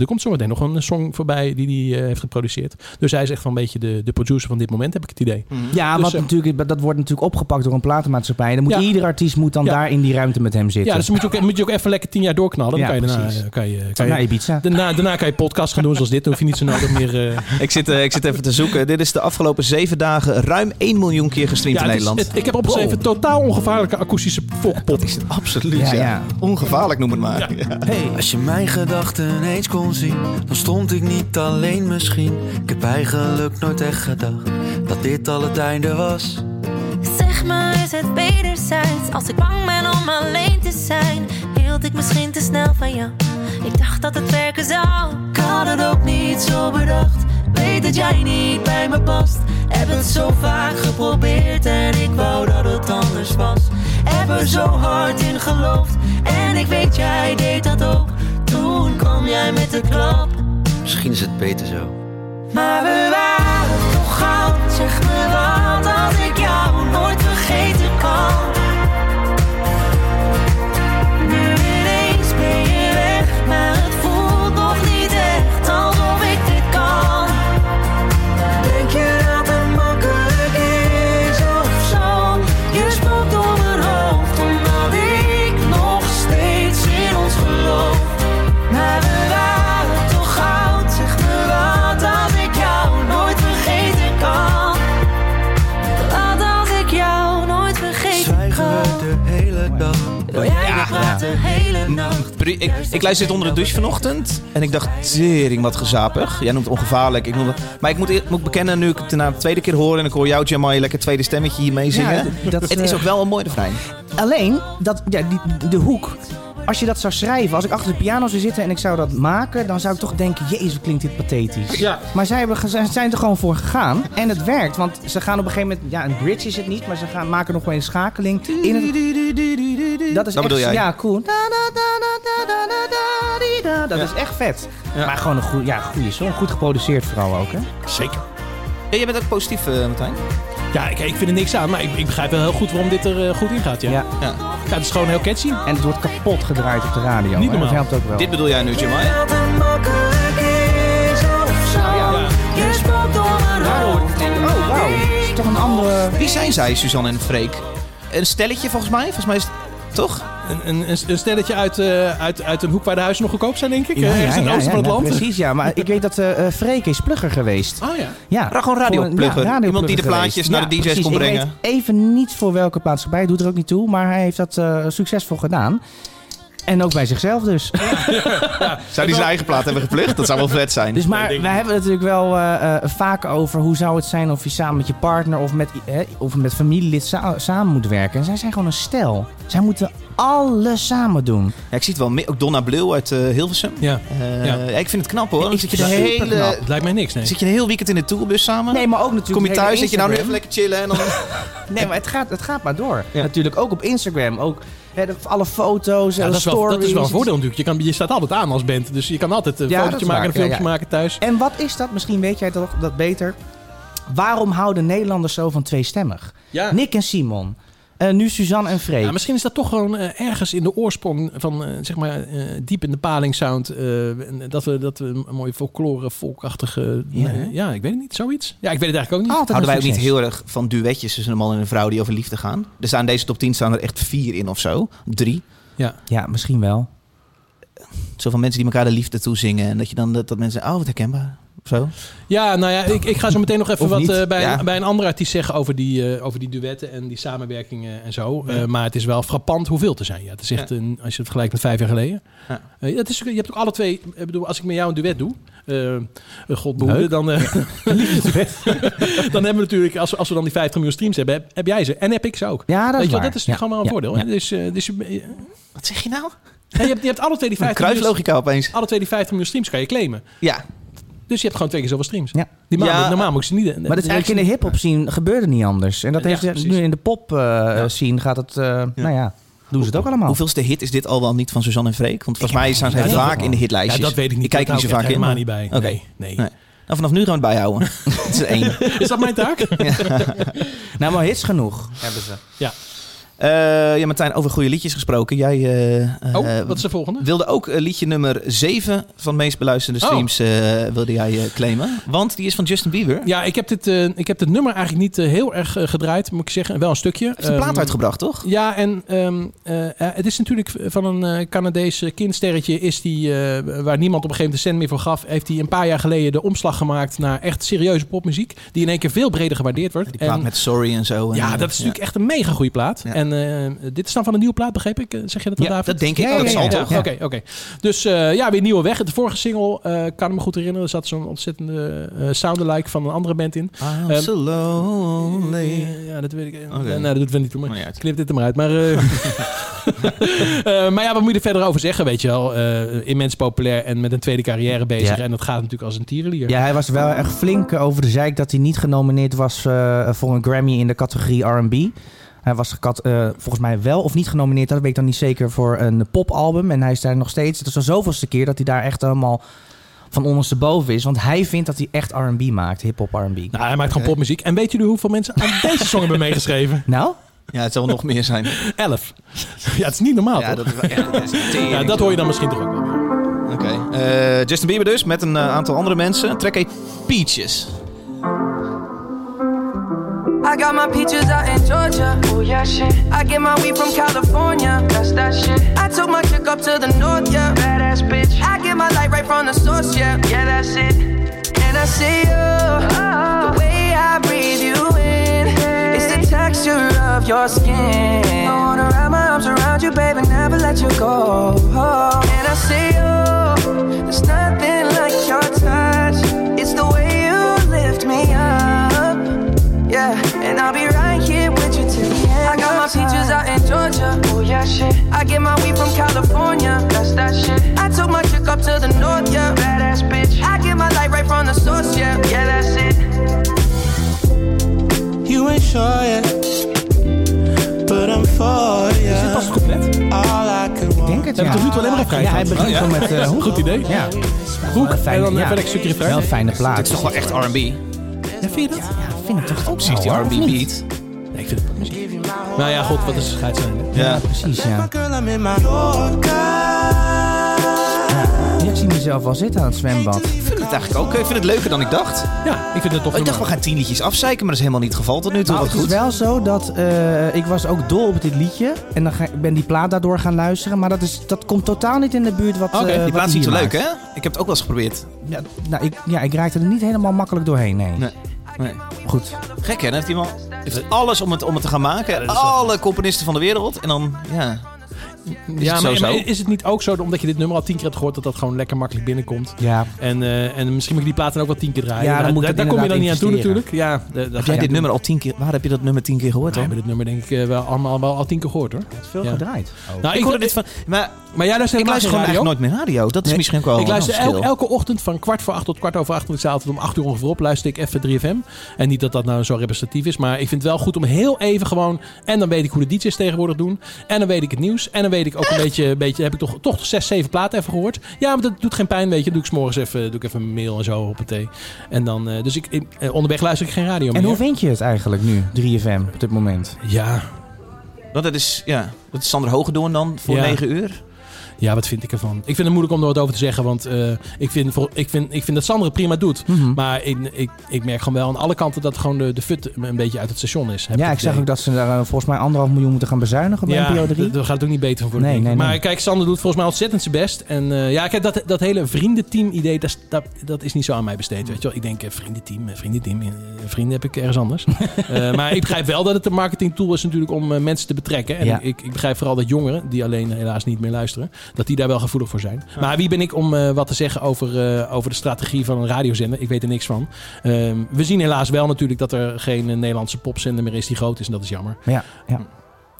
A: er komt zometeen nog een song voorbij die hij eh, heeft geproduceerd. Dus hij is echt wel een beetje de, de producer van dit moment, heb ik het idee.
E: Ja,
A: Dus,
E: want
A: eh,
E: natuurlijk, dat wordt natuurlijk opgepakt door een platenmaatschappij. Dan moet
A: Ja.
E: Ieder artiest moet dan
A: Ja.
E: daar in die ruimte met hem zitten.
A: Ja, dus dan moet je ook, moet je ook even lekker tien jaar doorknallen. Dan
E: Ja,
A: kan je daarna,
E: precies.
A: eh, kan je, kan je,
E: naar Ibiza.
A: daarna, daarna kan je podcast gaan doen zoals dit. Dan hoef je niet zo nodig meer... eh,
D: ik, zit, eh, ik zit even te zoeken. Dit is de afgelopen zeven dagen ruim 1 miljoen keer gestreamd in
A: het is-
D: Nederland.
A: het- ik heb opgeschreven totaal ongevaarlijke akoestische
D: Dat
A: volkpop.
D: is het absoluut,
E: Ja,
D: ja.
E: ja.
D: Ongevaarlijk noem het maar. Ja.
F: Als je mijn gedachten eens kon zien, dan stond ik niet alleen misschien. Ik heb eigenlijk nooit echt gedacht dat dit al het einde was.
H: Zeg maar, is het wederzijds? Als ik bang ben om alleen te zijn, hield ik misschien te snel van jou. Ik dacht dat het werken zou.
F: Ik had het ook niet zo bedacht. Weet dat jij niet bij me past. Heb het zo vaak geprobeerd en ik wou dat het anders was. Heb er zo hard in geloofd en ik weet jij deed dat ook. Toen kwam jij met de klap.
I: Misschien is het beter zo.
F: Maar we waren toch goud. Zeg me wat als ik jou nooit vergeten kan. Nu ineens ben je weg, maar het voelt nog niet echt alsof ik dit kan. Denk je dat het makkelijk is of zo? Je spookt door mijn hoofd omdat ik nog steeds in ons geloof. Maar we waren toch goud, zeg me wat als ik jou nooit vergeten kan.
H: Wat als ik jou nooit vergeten
F: Zwijgen
H: kan?
F: we de hele dag. Jij praat de hele nacht.
D: oh Pri- Ik, ik luisterde dit onder de douche vanochtend. En ik dacht, tering wat gezapig. Jij noemt het ongevaarlijk. Ik noem het, maar ik moet, eer- moet bekennen, nu ik het na de tweede keer hoor... en ik hoor jou, Jamai, lekker tweede stemmetje hier mee zingen.
E: d- dat,
D: het
E: eh,
D: is ook wel een mooi refrein.
E: Alleen, dat, ja, die, de hoek. Als je dat zou schrijven, als ik achter de piano zou zitten en ik zou dat maken, dan zou ik toch denken, jezus, wat klinkt dit pathetisch.
A: Ja.
E: Maar zij hebben, ge- zij zijn er gewoon voor gegaan en het werkt. Want ze gaan op een gegeven moment, ja, een bridge is het niet, maar ze gaan, maken nog wel een schakeling. In het, dat is
D: Dat
E: echt,
D: bedoel jij?
E: Ja, cool. Da, da, da, da, da, da, da, da, di, da. Dat is echt vet. Maar gewoon een goede, ja, goede song. Goed geproduceerd vooral ook, hè?
A: Zeker.
D: Ja, jij bent ook positief, eh, Martijn.
A: Ja, ik, ik vind er niks aan, maar ik, ik begrijp wel heel goed waarom dit er eh, goed in gaat. Ja. Ja.
E: Ja.
A: het is gewoon heel catchy.
E: En het wordt kapot gedraaid op de radio.
A: Niet
E: hè? Dat
A: normaal.
E: helpt ook wel.
D: Dit bedoel jij nu, Jamai?
F: Dat het makkelijk is of zo. Je spookt door mijn hoofd.
E: Oh, wauw. Dat is toch een andere...
D: Wie zijn zij, Suzanne en Freek? Een stelletje volgens mij? Volgens mij is het... Toch?
A: Een, een, een- een stelletje uit, eh, uit, uit een hoek waar de huizen nog goedkoop zijn, denk ik.
E: Ja,
A: Eh,
E: ja,
A: Ergens in het
E: ja,
A: oosten
E: ja,
A: van het
E: ja,
A: land.
E: Precies, ja. Maar ik weet dat eh eh, Freek is plugger geweest.
A: Oh ja.
E: Ja,
D: Ra- gewoon radioplugger. Iemand die de plaatjes naar de DJ's
E: precies.
D: kon brengen.
E: Ik weet even niet voor welke maatschappij, doet er ook niet toe. Maar hij heeft dat eh, succesvol gedaan. En ook bij zichzelf dus.
D: Zou die zijn eigen plaat hebben geplukt? Dat zou wel vet zijn.
E: Dus maar wij hebben het natuurlijk wel eh, eh, vaak over hoe zou het zijn of je samen met je partner of met, eh, of met familielid sa- samen moet werken. En zij zijn gewoon een stel. Zij moeten alles samen doen.
D: Ja, ik zie het wel. meer. Ook Donna Bleu uit eh, Hilversum.
A: Ja.
D: Eh,
A: Ja.
D: ja, Ik vind het knap hoor. Dan
E: Ik
D: zit je de
E: vind het
D: hele...
E: superknap.
A: Het lijkt mij niks, nee.
D: Zit je een heel weekend in de tourbus samen?
E: Nee, maar ook natuurlijk.
D: Kom je
E: het hele
D: thuis, zit je nou nu even
E: Instagram.
D: lekker chillen en dan...
E: Nee, maar het gaat, het gaat maar door.
D: Ja.
E: Natuurlijk ook op Instagram. Ook hè, de- alle foto's en
A: Ja,
E: de
A: dat, is wel,
E: stories.
A: dat is wel een voordeel natuurlijk. Je, kan, je staat altijd aan als band. Dus je kan altijd een
E: Ja, dat
A: fotootje
E: is
A: maken en een
E: waar. Ja,
A: filmpje
E: ja.
A: maken thuis.
E: En wat is dat? Misschien weet jij dat, dat beter. Waarom houden Nederlanders zo van tweestemmig?
A: Ja.
E: Nick en Simon. Eh, nu Suzanne en Freek.
A: Ja, misschien is dat toch gewoon eh, ergens in de oorsprong van, eh, zeg maar, eh, diep in de paling sound. eh, en dat, we, dat we een mooie folklore, volkachtige...
E: Ja,
A: Ja,
E: hè?
A: ja, ik weet het niet, zoiets. Ja, ik weet het eigenlijk ook niet.
E: Altijd
D: Houden wij
E: een
D: ook niet
E: succes.
D: heel erg van duetjes tussen een man en een vrouw die over liefde gaan? Er staan deze top 10 staan er echt vier in of zo. Drie.
A: Ja.
E: Ja, misschien wel.
D: Zoveel mensen die elkaar de liefde toezingen. En dat je dan dat, dat mensen, oh wat herkenbaar. Of Zo.
A: Ja, nou ja, ik, ik ga zo meteen nog even
D: Of
A: wat
D: niet,
A: eh, bij,
D: ja.
A: bij een andere artiest zeggen over die, eh, over die duetten en die samenwerkingen en zo. Eh, maar het is wel frappant hoeveel te zijn. Ja, het is echt
D: Ja.
A: een, als je het vergelijkt met vijf jaar geleden.
D: Ja.
A: Eh, dat is, je hebt ook alle twee, ik bedoel, als ik met jou een duet doe, eh eh, God behoede, dan, eh, dan hebben we natuurlijk, als, we- als we dan die 50 miljoen streams hebben, heb, heb jij ze en heb ik ze ook.
E: Ja, dat
A: Weet
E: is
A: je wel,
E: waar.
A: dat is
E: Ja,
A: gewoon wel een
E: ja,
A: voordeel.
E: ja.
A: hè? Dus, eh, dus, je- eh,
D: Wat zeg je nou?
A: ja, je, hebt, je hebt alle twee die 50 miljoen,
D: Kruislogica opeens.
A: alle twee die 50 miljoen streams kan je claimen.
D: Ja.
A: Dus je hebt gewoon twee keer zoveel streams.
E: Ja.
A: Die maanden,
D: Ja. eh,
A: normaal moet ik ze niet...
E: Maar dat is eigenlijk in de hip-hop scene gebeurde niet anders. En dat
A: Ja,
E: heeft
A: precies.
E: nu in de pop eh, scene gaat het. eh, Nou ja, doen ze het ook allemaal.
D: Hoeveelste hit is dit al wel niet van Suzanne en Freek? Want volgens mij staan zij
A: Oh. Ja, dat-
D: vaak in de hitlijstjes.
A: Ja, dat weet ik niet.
D: Ik kijk
A: Daar
D: niet zo
A: hou
D: vaak
A: ik echt
D: in. maar-
A: helemaal niet bij.
D: Oké.
A: Nee, nee.
D: Nee. Nou, vanaf nu gaan we het bijhouden. Het is één.
A: Is dat mijn taak?
E: Nou, maar hits genoeg hebben ze.
D: Eh, ja, Martijn, over goede liedjes gesproken. Jij eh,
A: Oh,
D: eh,
A: wat is de volgende?
D: wilde ook eh, liedje nummer 7 van de meest beluisterde
A: Oh.
D: streams eh, wilde jij eh, claimen. Want die is van Justin Bieber. Hij
A: Ja, ik heb dit, eh, ik heb dit nummer eigenlijk niet eh, heel erg eh, gedraaid, moet ik zeggen. Wel een stukje.
D: heeft een plaat
A: Ehm,
D: uitgebracht, toch?
A: Ja, en ehm, eh, eh, het is natuurlijk van een eh, Canadese kindsterretje... Is die, eh, waar niemand op een gegeven moment de cent meer voor gaf... heeft hij een paar jaar geleden de omslag gemaakt... naar echt serieuze popmuziek... die in één keer veel breder gewaardeerd wordt.
D: Die plaat
A: En-
D: met Sorry en zo. En,
A: ja,
D: eh,
A: dat is natuurlijk echt een mega goede plaat.
D: Ja.
A: En eh, dit is dan van een nieuwe plaat, begreep ik? Eh, Zeg je dat dan,
D: Ja,
A: David?
D: dat denk ik.
E: Ja, ja,
D: dat
E: ja,
D: zal
E: ja.
D: toch?
A: Oké, oké. Dus eh, ja, weer nieuwe weg. De vorige single, eh, kan ik me goed herinneren, er zat zo'n ontzettende eh soundalike van een andere band in.
D: I'm
A: Ehm,
D: so lonely.
A: Eh, ja, dat weet ik. eh,
D: Oké.
A: nou, dat doet we niet toe, maar
D: Maar niet uit.
A: knip dit er maar uit. Maar, eh, eh, maar ja, wat moet je er verder over zeggen, weet je wel? Eh, immens populair en met een tweede carrière bezig.
E: Ja.
A: En dat gaat natuurlijk als een tierenlier.
E: Ja, hij was wel echt flink eh, over de zeik dat hij niet genomineerd was eh, voor een Grammy in de categorie RB. Hij was gekat- eh, volgens mij wel of niet genomineerd, dat weet ik dan niet zeker, voor een popalbum. En hij is daar nog steeds, het is al zoveelste keer dat hij daar echt helemaal van ondersteboven is. Want hij vindt dat hij echt RB maakt, hip-hop RB. Nou?
A: Nou, hij maakt gewoon popmuziek. En weet jullie hoeveel mensen aan deze song hebben meegeschreven?
E: Nou,
D: Ja, het zal nog meer zijn.
A: Elf. ja, het is niet normaal,
D: Ja,
A: toch?
D: dat is wel echt dat is tering.
A: Ja, dat hoor je dan misschien toch ook wel weer.
D: Oké. Eh, Justin Bieber dus, met een eh, aantal andere mensen. Track heet Peaches.
J: I got my peaches out in Georgia. Oh yeah, shit. I get my weed from California. That's that shit. I took my chick up to the north, yeah. Badass bitch. I get my light right from the source, yeah. Yeah, that's it. Ah. And I see you. The way I breathe you in is the texture of your skin. I wanna wrap my arms around you, baby, never let you go. And I see you. There's nothing like your touch. It's the way you lift me up. Yeah, and I'll be right here with you till the end. I got my peaches out in Georgia. Oh yeah, shit. I get my weed from California. That's that shit. I took my chick up to the north, yeah. Badass bitch. I get my light right from the source, yeah. Yeah, that's it.
K: You ain't sure yet, but I'm for
A: Is dit pas het compleet? We
K: all I could
E: Ik
K: want.
E: denk het, ja.
A: hebben tot nu toe alleen maar refrein
E: Ja, hij
A: gehad.
E: begint zo met... eh hoek.
A: Goed idee.
E: Ja,
A: Hoek, en
D: eh,
A: dan
E: ja.
A: even een stukje refrein.
E: Wel een fijne plaat.
D: Het is toch wel echt R&B.
A: Ja, vind je dat?
E: Ja, vind ik toch ook
D: Precies, die R&B beat.
A: Nee, ik vind het popmuziek. Nou ja, god, wat is het scheidsrechter?
D: Ja.
E: Precies, ja.
K: My girl, I'm in my Yorker.
E: Ik zie mezelf al zitten aan het zwembad.
D: Ik vind het eigenlijk ook. eh, Ik vind het leuker dan ik dacht.
A: Ja, ik vind het toch
D: Oh, ik dacht, we gaan tien liedjes afzeiken, maar dat is helemaal niet het geval tot nu toe.
E: Nou,
D: Wat
E: het is
D: Oh, goed.
E: wel zo dat eh, ik was ook dol op dit liedje. En dan ga, ik ben die plaat daardoor gaan luisteren. Maar dat, is, dat komt totaal niet in de buurt wat.
A: Oké,
E: eh,
A: die
E: wat
D: Die plaat is niet zo
E: hij hier
D: leuk, hè?
E: maakt.
D: Ik heb het ook wel eens geprobeerd.
E: Ja, nou, ik, ja, ik raakte er niet helemaal makkelijk doorheen. Nee.
D: Nee. Nee.
E: Goed.
D: Gek, hè? Dan heeft iemand heeft alles om het, om het te gaan maken. Alle componisten van de wereld. En dan, ja. Is
A: ja,
D: het
A: maar,
D: zo
A: maar
D: zo?
A: is het niet ook zo, omdat je dit nummer al tien keer hebt gehoord, dat dat gewoon lekker makkelijk binnenkomt?
E: Ja.
A: En, eh, en misschien moet je die plaat dan ook wel tien keer draaien.
E: Ja, dan
A: Daar-
E: moet ik
A: daar,
E: dat
A: daar kom je dan niet aan
E: inderdaad
A: toe natuurlijk.
E: investeren.
A: Ja, eh, daar ga
D: Heb
A: je
D: jij
A: aan
D: dit
A: toe.
D: nummer al tien keer... Waar heb je dat nummer tien keer gehoord dan?
A: We hebben dit nummer denk ik eh, wel allemaal wel al tien keer gehoord hoor. Het is
E: veel gedraaid.
A: Nou,
D: Oh. ik,
A: ik,
D: hoorde
A: ik,
D: dit van... Maar
A: maar jij luistert
D: ik
A: helemaal
D: luister
A: geen
D: gewoon
A: radio?
D: echt nooit meer radio. Dat is
A: Nee.
D: misschien ook wel
A: Ik
D: een
A: luister
D: verschil.
A: elke, elke ochtend van kwart voor acht tot kwart over acht. Want ik sta altijd om acht uur ongeveer op. Luister ik even 3FM. En niet dat dat nou zo representatief is. Maar ik vind het wel goed om heel even gewoon. En dan weet ik hoe de DJ's tegenwoordig doen. En dan weet ik het nieuws. En dan weet ik ook een beetje. Een beetje heb ik toch, toch zes, zeven platen even gehoord. Ja, maar dat doet geen pijn. Weet je. Dan doe ik 's morgens even, doe ik even een mail en zo op een thee. En dan. eh, dus ik, ik- eh, onderweg luister ik geen radio meer.
E: En hoe vind je het eigenlijk nu, 3FM, op dit moment?
A: Ja.
D: Want dat is, ja, dat is Sander Hogedoorn dan voor
A: Ja.
D: negen uur.
A: Ja, wat vind ik ervan? Ik vind het moeilijk om er wat over te zeggen. Want eh, ik, vind, voor- ik, vind, ik vind dat Sander het prima doet.
E: Mhm.
A: Maar ik, ik, ik merk gewoon wel aan alle kanten dat gewoon de, de fut een beetje uit het station is. heb
E: Ja, ik
A: het idee.
E: zag ook dat ze daar eh, volgens mij anderhalf miljoen moeten gaan bezuinigen bij
A: Ja,
E: NPO 3.
A: dat, dat gaat ook niet beter van voor de
E: Nee,
A: denk ik.
E: nee, nee.
A: Maar kijk, Sander doet volgens mij ontzettend zijn best. En eh, ja, kijk, dat, dat hele vriendenteam-idee, dat, is- dat, dat is niet zo aan mij besteed. Weet je wel? Ik denk, eh, vriendenteam, eh, vriendenteam, eh, vrienden heb ik ergens anders. Eh, maar ik begrijp wel dat het een marketingtool is natuurlijk om eh, mensen te betrekken. En
E: Ja.
A: ik, ik begrijp vooral dat jongeren, die alleen eh, helaas niet meer luisteren, dat die daar wel gevoelig voor zijn. Maar wie ben ik om eh, wat te zeggen over, eh, over de strategie van een radiozender? Ik weet er niks van. Ehm, we zien helaas wel natuurlijk dat er geen eh, Nederlandse popzender meer is die groot is. En dat is jammer. Hm.
E: Ja, ja.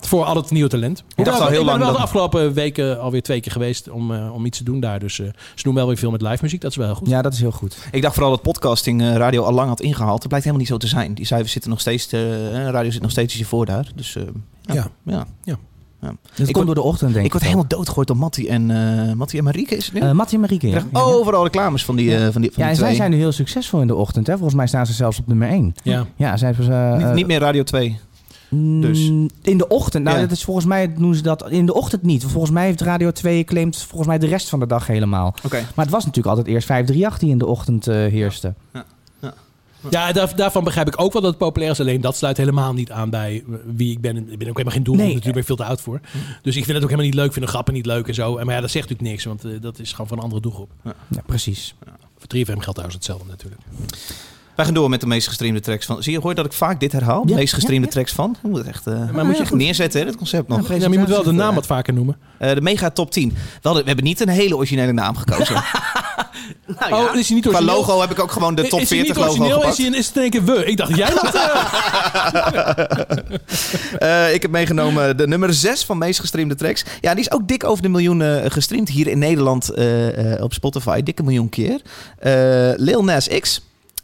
A: Voor al het nieuwe talent. Ik,
D: dacht al heel
A: ik
D: lang
A: ben wel
D: dat-
A: de afgelopen weken alweer twee keer geweest om, eh, om iets te doen daar. Dus eh, ze doen wel weer veel met live muziek. Dat is wel heel goed.
E: ja, dat is heel goed.
D: Ik dacht vooral dat podcasting eh, radio al lang had ingehaald. Dat blijkt helemaal niet zo te zijn. Die cijfers zitten nog steeds, te- eh, radio zit nog steeds ietsje voor daar. Dus eh, ja.
A: Ja.
D: ja.
A: Ja.
D: Ja.
E: Dat
D: Ik
E: Dus komt
D: word-
E: door de ochtend, denk ik.
D: Ik word helemaal doodgegooid door Mattie en, eh Mattie en Marieke is het nu.
E: Eh, Mattie en Marieke,
D: Ik
E: ja.
D: krijg overal reclames van die, eh, van die, van
E: Ja, en
D: die
E: zij
D: twee.
E: zijn nu heel succesvol in de ochtend. Hè? Volgens mij staan ze zelfs op nummer 1.
A: Ja.
E: Ja, zij hebben ze...
D: niet,
E: eh,
D: niet meer Radio 2. Dus.
E: Mm, In de ochtend. Nou,
D: Ja.
E: dat is volgens mij doen ze dat in de ochtend niet. Volgens mij heeft Radio 2 claimt volgens mij de rest van de dag helemaal.
D: Oké.
E: Maar het was natuurlijk altijd eerst 538 die in de ochtend eh, heerste.
A: Ja, daar- daarvan begrijp ik ook wel dat het populair is. Alleen dat sluit helemaal niet aan bij wie ik ben. Ik ben ook helemaal geen doel.
E: Nee. Hm.
A: Natuurlijk ben ik veel te oud voor. Dus ik vind het ook helemaal niet leuk. Ik vind de grappen niet leuk en zo. En, maar ja, dat zegt natuurlijk niks. Want eh, dat is gewoon van een andere doelgroep.
E: Ja, precies.
A: Voor 3FM geldt trouwens hetzelfde natuurlijk.
D: Wij gaan door met de meest gestreamde tracks van. Zie je, hoor je dat ik vaak dit herhaal? De
E: Ja,
D: meest gestreamde
E: ja, ja.
D: tracks van. Je moet het echt, eh,
A: maar
D: moet
A: heel
D: je echt
A: goed.
D: neerzetten, hè, dit concept nog.
A: Ja, maar je moet wel de naam wat vaker noemen.
D: Eh, de mega top 10. We, hadden- we hebben niet een hele originele naam gekozen.
E: Nou
A: Oh, is hij niet
D: Qua
A: origineel?
D: logo heb ik ook gewoon de top
A: is hij
D: 40
A: niet
D: logo
A: origineel?
D: gepakt.
A: Is, hij, een- is het in één keer we? Ik dacht, jij dat... eh,
D: Eh, ik heb meegenomen de nummer 6 van meest gestreamde tracks. Ja, die is ook dik over de miljoen eh, gestreamd hier in Nederland eh, eh, op Spotify. Dikke miljoen keer. Eh, Lil Nas X.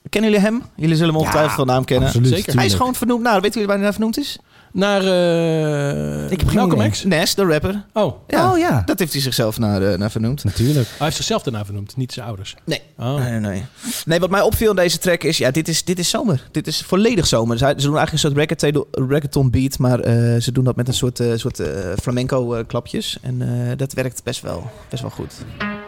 D: Kennen jullie hem? Jullie zullen hem ongetwijfeld van naam kennen.
E: absoluut,
A: zeker.
D: Hij is
E: tuurlijk.
D: gewoon vernoemd. Nou, weet jullie waar hij naar vernoemd is?
A: Naar... eh
E: Ik heb geen
A: Malcolm
E: idee.
A: X?
D: Nas, de rapper.
A: Oh,
D: Ja,
E: Oh ja.
D: Dat heeft hij zichzelf naar, eh, naar vernoemd.
E: Natuurlijk.
A: hij heeft zichzelf daarna vernoemd. Niet zijn ouders.
D: Nee.
A: Oh.
D: Nee, nee, nee. Nee, wat mij opviel in deze track is, ja, dit is, dit is zomer. Dit is volledig zomer. Ze, ze doen eigenlijk een soort reggaeton- reggaeton beat, maar eh, ze doen dat met een soort, eh, soort eh, flamenco eh, klapjes. En eh, dat werkt best wel, best wel goed.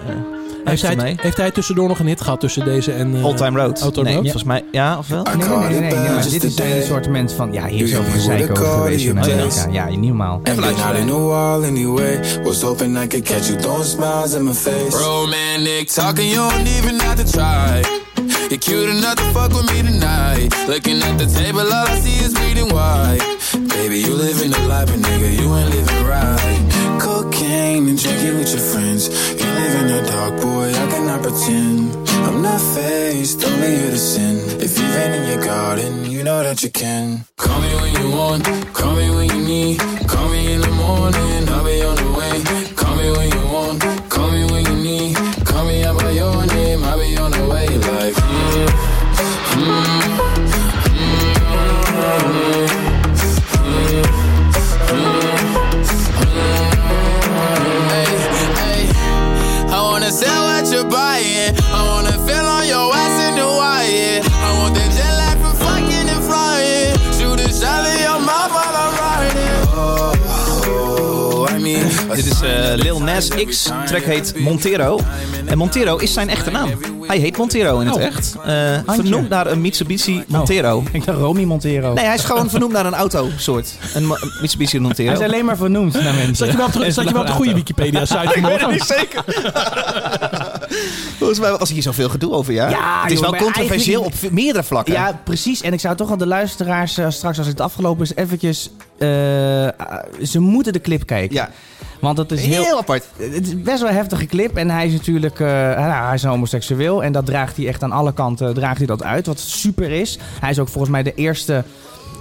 A: Heeft,
D: Heeft
A: hij,
D: ermee.
A: heeft hij tussendoor nog een hit gehad tussen deze en... eh,
D: All Time Road.
A: All Time
D: nee,
A: Road?
D: volgens mij, ja, of wel?
E: Nee, nee, nee. nee, nee, nee, maar dit is een assortiment van... Ja, hier is over gezeik over geweest in Amerika. Ja, niet normaal.
G: I've been out in a while anyway. Was hoping I could catch you throwing smiles in my face. Romantic talking, you don't even have to try. You're cute enough to fuck with me tonight. Looking at the table, all I see is bleeding white. Baby, you living the life, but nigga, you ain't living right. Cocaine and drinking with your friends. You live in the dark, boy, I cannot pretend. I'm not faced, only here to sin. If you've been in your garden, you know that you can. Call me when you want, call me when you need. Call me in the morning, I'll be on the way. Call me when you want, call me when you need. Call me out by your name, I'll be on the way. Like, mm, mm, mm, mm. Ay, ay. I wanna sell what you're buying. I wanna feel on your ass in Hawaii. I want that jet lag from fucking and flying. Shoot a shot in your mouth while I'm riding. Oh, oh, I mean,
D: Dit is eh, Lil Nas X. De track heet Montero. En Montero is zijn echte naam. Hij heet Montero in het
A: Oh.
D: echt. Eh, vernoemd naar een Mitsubishi Montero.
E: Ik dacht Romy Montero.
D: Nee, hij is gewoon vernoemd naar een autosoort. Een Ma- Mitsubishi Montero.
E: Hij is alleen maar vernoemd naar mensen.
A: Zat je wel op de, zat je wel op de goede Wikipedia-site vanmorgen?
D: zeker. Volgens mij was hier zoveel gedoe over, ja?
E: Ja,
D: het is
E: joh,
D: wel
E: maar
D: controversieel
E: eigenlijk-
D: op meerdere vlakken.
E: Ja, precies. En ik zou toch wel de luisteraars eh, straks, als het afgelopen is, eventjes... eh, ah, ze moeten eh, de clip kijken.
D: Ja.
E: Want dat is heel,
L: Heel apart.
E: Het is best wel een heftige clip. En hij is natuurlijk eh, nou, hij is homoseksueel. En dat draagt hij echt aan alle kanten eh, draagt hij dat uit. Wat super is. Hij is ook volgens mij de eerste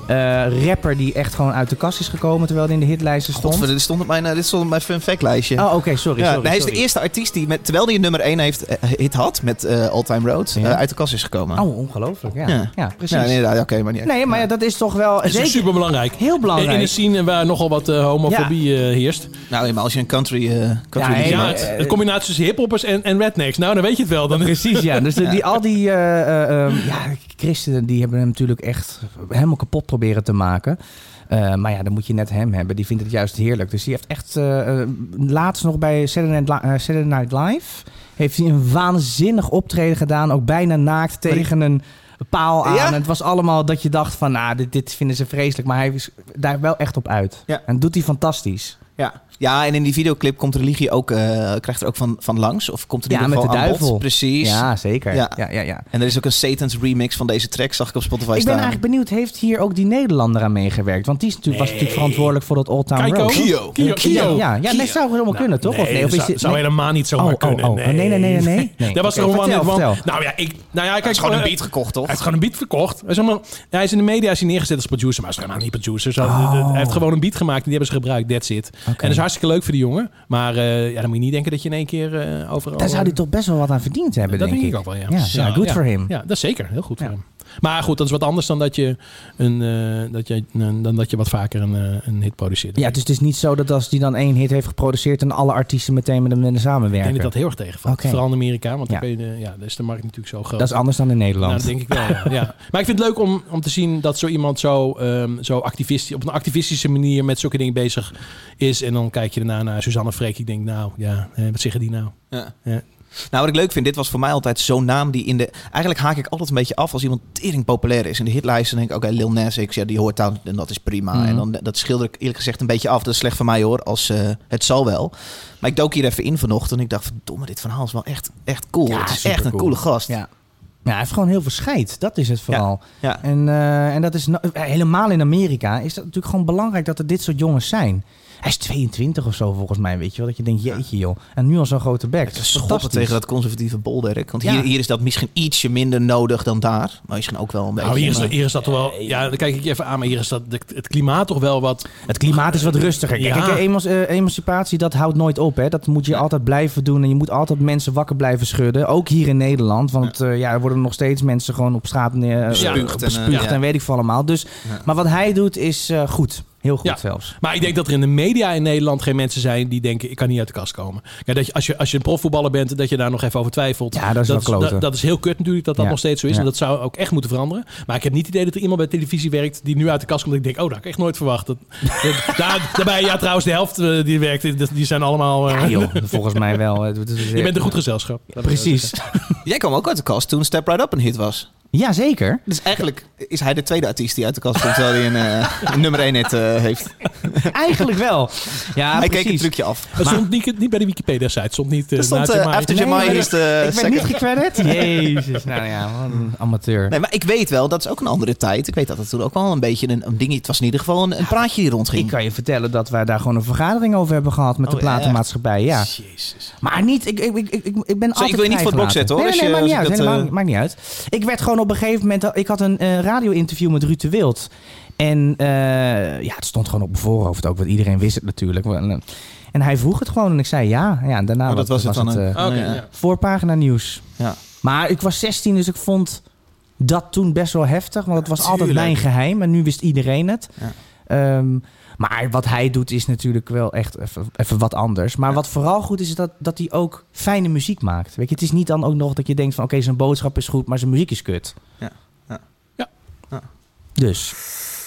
E: eh, rapper die echt gewoon uit de kast is gekomen. Terwijl hij in de hitlijsten stond.
D: Godver, dit stond op mijn, eh, dit stond op mijn fun fact lijstje.
E: Oh, oké, sorry.
D: Ja,
E: sorry,
D: hij is
E: sorry.
D: de eerste artiest die, met, terwijl hij een nummer 1 heeft, eh, hit had met eh, All Time Road, eh, uit de kast is gekomen.
E: Oh, ongelooflijk. Ja, ja. precies.
D: Ja, inderdaad, oké, maar niet uit.
E: Nee, maar ja, dat is toch wel...
A: is
E: zeker-
A: super belangrijk.
E: Heel belangrijk.
A: In, in een scene waar nogal wat eh, homofobie eh, heerst.
D: Nou, maar als je een country, country
A: ja,
D: liedje
A: ja,
D: maakt.
A: het- de combinatie tussen hiphoppers en, en rednecks. Nou, dan weet je het wel. Dan...
E: Precies, ja. Dus de- die, al die eh, eh, ehm, ja, christenen die hebben hem natuurlijk echt helemaal kapot proberen te maken. Eh, maar ja, dan moet je net hem hebben. Die vindt het juist heerlijk. Dus die heeft echt eh, eh, laatst nog bij Saturday Night, Li- eh, Saturday Night Live... heeft hij een waanzinnig optreden gedaan. Ook bijna naakt tegen een paal aan.
D: Ja?
E: En het was allemaal dat je dacht van... Nou, dit, dit vinden ze vreselijk. Maar hij is daar wel echt op uit.
D: Ja.
E: En doet hij fantastisch.
D: Ja. ja, en in die videoclip komt religie ook, eh, krijgt er ook van, van langs. Of komt er in
E: Ja,
D: ieder
E: met
D: geval
E: de
D: aan bod.
E: duivel.
D: Precies.
E: Ja, zeker.
D: Ja.
E: Ja, ja, ja.
D: En er is ook een Satan's remix van deze track, zag ik op Spotify
E: Ik ben
D: staan.
E: eigenlijk benieuwd, heeft hier ook die Nederlander aan meegewerkt? Want die is natuurlijk, was natuurlijk verantwoordelijk voor dat Old Town
A: Keiko?
E: Road.
A: Kio. Kio.
E: Ja, ja, ja
A: Kio. Nou,
E: nee, zou helemaal kunnen, toch? of
A: Nee,
E: nee, of
A: dat zou,
E: dit-
A: zou
E: nee?
A: helemaal niet zomaar
E: Oh, oh,
A: kunnen.
E: oh. Oh, nee, nee, nee, nee, nee. Nee.
A: Daar was er
E: Oké,
A: gewoon
E: vertel,
A: niet van.
E: vertel.
A: Nou ja, ik, nou ja, kijk,
D: is gewoon een
A: eh,
D: beat gekocht, toch?
A: Hij heeft gewoon een beat verkocht. Hij is, helemaal, hij is in de media is hij neergezet als producer, maar hij is helemaal niet producer. Zo,
E: Oh.
A: de- de- Hij heeft gewoon een beat gemaakt en die hebben ze gebruikt. That's it. En dat is hartstikke leuk voor die jongen. Maar eh, ja, dan moet je niet denken dat je in één keer eh, overal...
E: Daar zou hij toch best wel wat aan verdiend hebben,
A: dat
E: denk
A: denk
E: ik.
A: ik ook wel, ja.
E: Ja, ja, good for him.
A: Ja, dat is zeker. Heel goed voor hem. Maar goed, dat is wat anders dan dat je, een, eh, dat je, een- dan dat je wat vaker een, eh, een hit produceert.
E: Ja, dus het is niet zo dat als die dan één hit heeft geproduceerd... en alle artiesten meteen met hem willen
A: Ik
E: samenwerken.
A: denk dat dat heel erg tegenvalt.
E: Oké.
A: Vooral in Amerika, want
E: Ja.
A: dan, kun je de- ja, dan is de markt natuurlijk zo groot.
E: Dat is anders dan in
A: Nou,
E: Nederland.
A: dat denk ik wel, ja. ja. Maar ik vind het leuk om, om te zien dat zo iemand zo, ehm, zo activistisch, op een activistische manier met zulke dingen bezig is. En dan kijk je daarna naar Suzanne Freek. Ik denk, nou ja, eh, wat zeggen die nou?
D: Ja.
A: Ja.
D: Nou, wat ik leuk vind, dit was voor mij altijd zo'n naam die in de... Eigenlijk haak ik altijd een beetje af als iemand tering populair is. In de hitlijsten denk ik, oké, Lil Nas X, ja, die hoort daar en dat is prima.
E: Mhm.
D: En dan, dat schilder ik eerlijk gezegd een beetje af. Dat is slecht voor mij hoor, als eh, het zal wel. Maar ik dook hier even in vanochtend en ik dacht, verdomme, dit verhaal is wel echt, echt cool.
E: Ja,
D: het is echt een
E: supercool.
D: coole gast.
E: Ja. Ja, hij heeft gewoon heel veel scheid. Dat is het vooral.
D: Ja.
E: En, eh, en dat is no- helemaal in Amerika is dat natuurlijk gewoon belangrijk dat er dit soort jongens zijn. Hij is 22 of zo volgens mij, weet je wel. Dat je denkt, jeetje joh. En nu al zo'n grote bek. Dat is
D: Schoppen
E: fantastisch.
D: tegen dat conservatieve bolwerk. Want
E: Ja.
D: hier, hier is dat misschien ietsje minder nodig dan daar. Maar misschien ook wel een eh, beetje.
A: Nou, hier is,
D: maar-
A: hier is dat toch wel. Ja, dan kijk ik je even aan, maar hier is dat, de- het klimaat toch wel wat.
E: Het klimaat is wat rustiger. Kijk,
A: Ja.
E: kijk, eman- eh, emancipatie, dat houdt nooit op. Hè. Dat moet je altijd blijven doen. En je moet altijd mensen wakker blijven schudden. Ook hier in Nederland. Want eh, ja, er worden nog steeds mensen gewoon op straat neer,
D: Bespuugd
E: bespuugd,
D: en,
E: bespuugd
D: eh, ja.
E: en weet ik veel allemaal. Dus, Maar wat hij doet is eh, goed. Heel goed
A: Ja.
E: zelfs.
A: Maar ik denk dat er in de media in Nederland geen mensen zijn die denken: ik kan niet uit de kast komen. Kijk, dat je, als, je, als je een profvoetballer bent, dat je daar nog even over twijfelt.
E: Ja, dat is wel kloten.
A: dat, dat is heel kut natuurlijk dat dat
E: Ja.
A: nog steeds zo is.
E: Ja.
A: En dat zou ook echt moeten veranderen. Maar ik heb niet het idee dat er iemand bij televisie werkt die nu uit de kast komt. Ik denk: oh, dat had ik echt nooit verwacht. Dat, dat- daar, daarbij, ja, trouwens, de helft eh, die werkt, die, die zijn allemaal. eh,
E: Ja, Ah, joh, volgens mij wel. Het is- eh,
A: je bent een goed gezelschap.
E: Precies.
D: Jij kwam ook uit de kast toen Step Right Up een hit was.
E: Ja, zeker.
D: Dus eigenlijk is hij de tweede artiest die uit de kast komt, terwijl hij een, eh, een nummer 1 hit eh, heeft.
E: Eigenlijk wel. Ja,
D: hij keek een
E: precies.
D: trucje af.
A: Het stond niet, niet bij de Wikipedia-site. Het stond niet. eh,
D: Er stond
A: Nacho
D: eh,
A: Mai.
D: After
E: Nee,
D: Jamai
E: maar
D: is de
E: ik ben
D: second.
E: niet gecredit. Jezus, nou ja, wat een amateur.
D: Nee, maar ik weet wel, dat is ook een andere tijd. Ik weet dat het toen ook wel een beetje een, een dingetje... Het was in ieder geval een, een praatje hier rondging.
E: Ik kan je vertellen dat wij daar gewoon een vergadering over hebben gehad met
D: Oh,
E: de platenmaatschappij. Ja.
A: Jezus.
E: Maar niet, ik, ik, ik, ik, ik ben altijd
D: ik wil je niet voor het blok
E: vrijgelaten.
D: zetten, hoor,
E: Nee,
D: als je-
E: nee, maakt niet
D: als
E: uit.
D: ik dat,
E: helemaal
D: eh,
E: maakt niet uit. Ik werd gewoon op een gegeven moment, ik had een eh, radio-interview met Ruud de Wild. En eh, ja, het stond gewoon op mijn voorhoofd ook, want iedereen wist het natuurlijk. En, en hij vroeg het gewoon en ik zei ja. ja en daarna
D: Oh, dat was het dan, hè?
E: eh,
A: Oké,
D: Ja.
A: ja.
E: voorpagina nieuws.
D: Ja.
E: Maar ik was 16, dus ik vond dat toen best wel heftig. Want het was altijd
D: Tuurlijk.
E: mijn geheim. En nu wist iedereen het.
D: Ja.
E: Ehm, maar wat hij doet is natuurlijk wel echt even- even wat anders. Maar wat vooral goed is, is dat, dat hij ook fijne muziek maakt. Weet je, het is niet dan ook nog dat je denkt van... oké, zijn boodschap is goed, maar zijn muziek is kut.
D: Ja, ja.
A: Ja.
D: Ja.
E: Dus,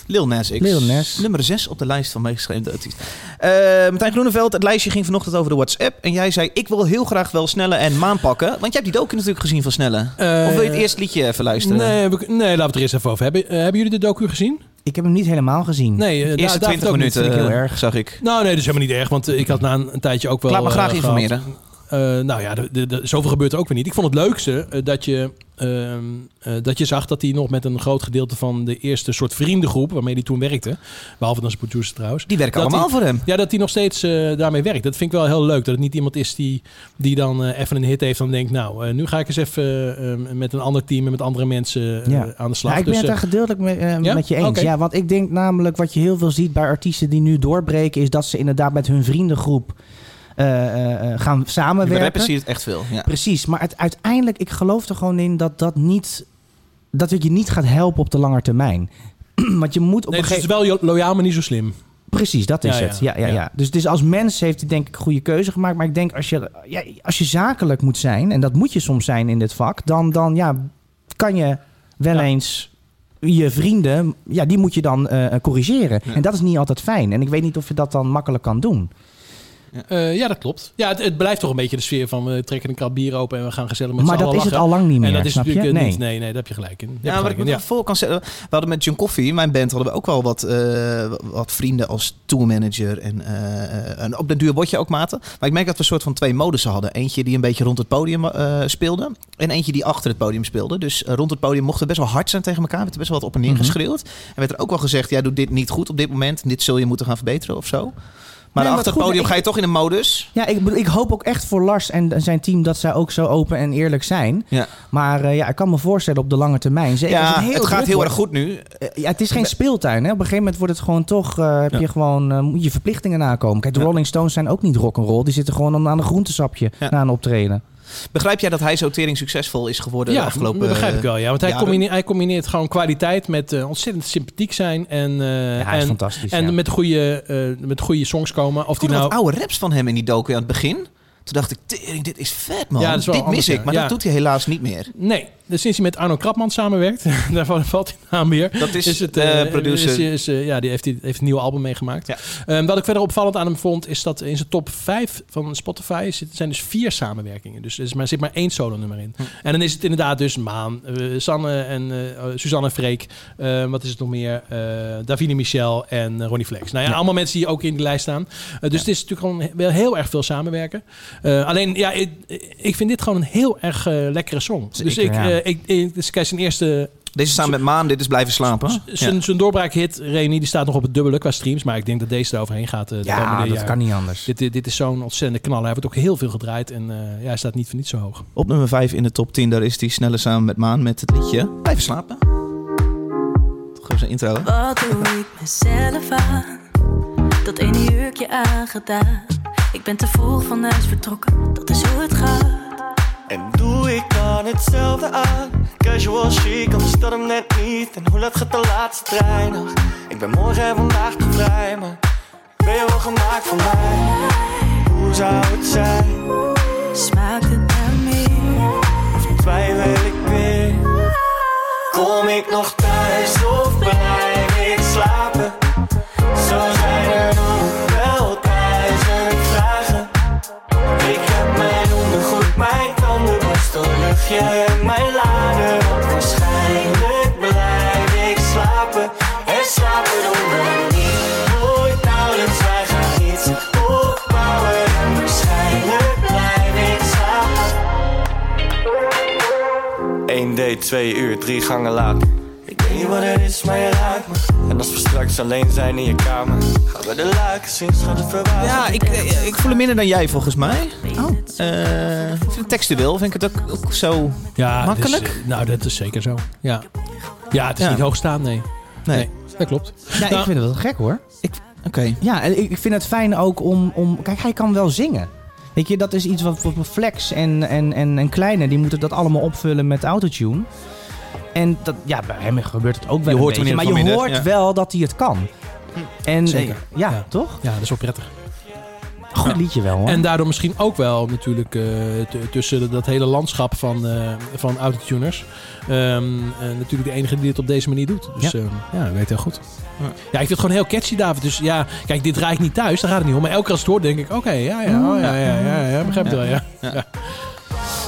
D: Lil Nas X.
E: Lil Nas.
D: Nummer 6 op de lijst van meegeschreven artiest. Eh Martijn Groeneveld, het lijstje ging vanochtend over de WhatsApp. En jij zei, ik wil heel graag wel Snelle en Maan pakken. Want jij hebt die docu natuurlijk gezien van Snelle.
A: Eh,
D: of wil je het eerst liedje even luisteren?
A: Nee, we- nee, laten we het er eerst even over hebben. Eh, hebben jullie de docu gezien?
E: ik heb hem niet helemaal gezien.
A: Nee, eh,
E: nou,
D: Eerste
A: David ook
D: 20
A: niet.
D: minuten
A: Vind ik heel erg.
D: eh, zag ik.
A: Nou, nee, dat is helemaal niet erg. Want eh, ik had na een, een tijdje ook wel...
D: Laat me
A: eh,
D: graag
A: gehad.
D: informeren.
A: Eh, nou ja, de, de, de- zoveel gebeurt er ook weer niet. Ik vond het leukste eh, dat je... eh, ehm, eh, dat je zag dat hij nog met een groot gedeelte van de eerste soort vriendengroep waarmee hij toen werkte, behalve dan zijn producer trouwens.
D: Die werken
A: dat
D: allemaal
A: hij-
D: voor hem.
A: Ja, dat hij nog steeds eh, daarmee werkt. Dat vind ik wel heel leuk. Dat het niet iemand is die, die dan eh, even een hit heeft en denkt, nou, eh, nu ga ik eens even eh, met een ander team en met andere mensen eh,
E: Ja.
A: aan de slag.
E: Ja, ik ben
A: Dus,
E: het
A: eh,
E: daar gedeeltelijk mee, eh,
A: ja?
E: met je eens.
A: Oké.
E: Ja, want ik denk namelijk wat je heel veel ziet bij artiesten die nu doorbreken, is dat ze inderdaad met hun vriendengroep eh, eh, eh, gaan
D: Bij rappers
E: samenwerken.
D: zie je het echt veel. Ja.
E: Precies, maar het, uiteindelijk, ik geloof er gewoon in dat dat niet, dat het je niet gaat helpen op de lange termijn. Want je moet op
A: nee,
E: een
A: dus het
E: gegeven
A: is wel jo- loyaal, maar niet zo slim.
E: Precies, dat is
A: Ja, ja,
E: het. Ja, ja, ja.
A: ja.
E: Dus, dus als mens heeft hij denk ik goede keuze gemaakt. Maar ik denk als je, ja, als je zakelijk moet zijn, en dat moet je soms zijn in dit vak, dan, dan ja, kan je wel eens je vrienden, ja, die moet je dan eh, corrigeren. En dat is niet altijd fijn. En ik weet niet of je dat dan makkelijk kan doen.
A: Eh, ja, dat klopt. Ja, het, het blijft toch een beetje de sfeer van we trekken een krat bier open en we gaan gezellig met
E: Maar
A: z'n
E: dat
A: allen
E: is het
A: lachen.
E: al lang niet meer,
A: En dat is
E: snap je?
A: natuurlijk eh,
E: Nee.
A: niet. Nee, nee, daar heb je gelijk in. Daar heb je
D: Ja, wat
A: gelijk
D: ik
A: in,
D: me nog voor kan stellen. We hadden met John Coffee, mijn band, hadden we ook wel wat, eh, wat vrienden als tourmanager. En, eh, en op den duur word je ook maten. Maar ik merk dat we een soort van twee modussen hadden. Eentje die een beetje rond het podium eh, speelde. En eentje die achter het podium speelde. Dus eh, rond het podium mochten we best wel hard zijn tegen elkaar. Werd er best wel wat op en neer
E: Mhm.
D: geschreeuwd. En werd er ook wel gezegd, jij doet dit niet goed op dit moment. Dit zul je moeten gaan verbeteren of zo. Maar
E: maar
D: achter het
E: goed,
D: podium
E: ik-
D: ga je toch in een modus.
E: Ja, ik, bedoel, ik hoop ook echt voor Lars en zijn team dat zij ook zo open en eerlijk zijn.
D: Ja.
E: Maar eh, ja, ik kan me voorstellen op de lange termijn. Zeker als
D: Ja,
E: heel
D: het gaat
E: druk
D: heel
E: wordt.
D: erg goed nu.
E: Eh, Ja, het is geen speeltuin. Hè? Op een gegeven moment wordt het gewoon toch. eh, heb
D: Ja.
E: je gewoon. eh, moet je verplichtingen nakomen. Kijk, de Rolling Stones zijn ook niet rock'n'roll. Die zitten gewoon om- aan een groentesapje
D: Ja.
E: na een optreden.
D: Begrijp jij dat hij zo tering succesvol is geworden de afgelopen
A: dat begrijp
D: eh,
A: ik wel. Ja, want hij,
D: jaren?
A: combine- hij combineert gewoon kwaliteit met eh, ontzettend sympathiek zijn. En, eh,
E: Ja, hij is
A: en,
E: fantastisch.
A: en
E: ja.
A: met, goede, eh, met goede songs komen. Of
D: Ik
A: die
D: hoorde
A: nou...
D: wat oude raps van hem in die docu aan het begin. Toen dacht ik, tering, dit is vet man.
A: Ja, dat is wel
D: dit mis
A: anders, ja.
D: ik, maar
A: Ja.
D: dat doet hij helaas niet meer.
A: Nee, dus sinds hij met Arno Krapman samenwerkt, daarvan valt hij naam weer.
D: Dat is,
A: eh,
D: eh, producer.
A: is- is, eh, ja, die heeft, die heeft een nieuw album meegemaakt.
D: Ja.
A: Ehm, wat ik verder opvallend aan hem vond, is dat in zijn top 5 van Spotify zit, zijn dus vier samenwerkingen. Dus er is maar, zit maar één solo nummer in. En dan is het inderdaad dus Maan, eh, Sanne en eh, Suzanne Freek. eh, wat is het nog meer? Eh, Davine Michel en eh, Ronnie Flex. Nou ja, allemaal mensen die ook in de lijst staan. Eh, dus het is natuurlijk gewoon wel heel erg veel samenwerken. Eh, alleen, ja, ik, ik vind dit gewoon een heel erg eh, lekkere song. dus
E: Zeker,
A: ik,
E: ja.
A: eh, ik, ik, dus kijk, zijn eerste
D: Deze is samen met Maan, dit is blijven slapen.
A: zijn,
D: Ja.
A: zijn doorbraakhit, Remy, die staat nog op het dubbele qua streams. Maar ik denk dat deze eroverheen gaat. eh, de
E: ja,
A: komende
E: dat
A: jaren.
E: kan niet anders.
A: Dit, dit, dit is zo'n ontzettende knal. Hij wordt ook heel veel gedraaid. En eh, ja, hij staat niet voor niet zo hoog.
D: Op nummer 5 in de top 10, daar is hij sneller samen met Maan met het liedje Blijven slapen. Toch even zijn intro. hè?
H: Wat doe ik mezelf aan? Dat ene jurkje aangedaan. Ik ben te vroeg van huis vertrokken, dat is hoe het gaat.
K: En doe ik dan hetzelfde aan? Casual chic, anders dat hem net niet. En hoe laat gaat de laatste trein nog? Ik ben morgen en vandaag te vrij, maar ben je wel gemaakt voor mij? Hoe zou het zijn?
H: Smaakt het naar meer?
K: Twijfel ik weer? Kom ik nog thuis of blijf ik slapen? Zo zijn er nog wel duizend vragen. Ik heb mijn ondergoed, mijn tandenborstel, luchtje en mijn lader. Want waarschijnlijk blijf ik slapen. En slapen doen we niet, nooit nauwelijks. Wij gaan iets opbouwen. En waarschijnlijk blijf ik slapen. 1 date, 2 uur, drie gangen later. Ik weet niet wat het is, maar je raakt me. En als we straks alleen zijn in je kamer, gaan we de luiken zien, gaat het verwazen.
D: Ja, ik, eh, ik voel hem minder dan jij volgens mij. Eh, ik vind het textueel, vind ik het ook, ook zo...
A: Ja,
D: het is, Makkelijk?
A: nou, dat is zeker zo. Ja, ja het is
D: Ja.
A: niet hoogstaand, nee.
D: Nee,
A: Nee. Dat klopt.
E: Ja,
A: Nou,
E: ik vind het wel gek hoor.
D: oké.
E: Ja, en ik ik vind het fijn ook om, om. Kijk, hij kan wel zingen. Weet je, dat is iets wat voor Flex en, en, en, en Kleine, die moeten dat allemaal opvullen met autotune. En dat, ja, bij hem gebeurt het ook wel
D: Je
E: een
D: hoort
E: beetje,
D: wanneer
E: maar
D: het
E: je
D: van
E: hoort
D: minder, ja.
E: wel dat hij het kan. En,
A: Hm. Zeker.
E: Ja,
A: Ja.
E: toch?
A: Ja, dat is wel prettig.
E: Goed liedje wel hoor.
A: En daardoor misschien ook wel natuurlijk eh, t- tussen dat hele landschap van, eh van autotuners. Ehm, eh, natuurlijk de enige die dit op deze manier doet. Dus
E: Ja.
A: ja, ja ik weet heel goed.
D: Ja.
A: Ja. ik vind het gewoon heel catchy, David. Dus ja, kijk, dit draai ik niet thuis, daar gaat het niet om. Maar elke keer als het hoort, denk ik, oké, ja, ja, oh, ja, ja, ja, ja, begrijp het wel, ja.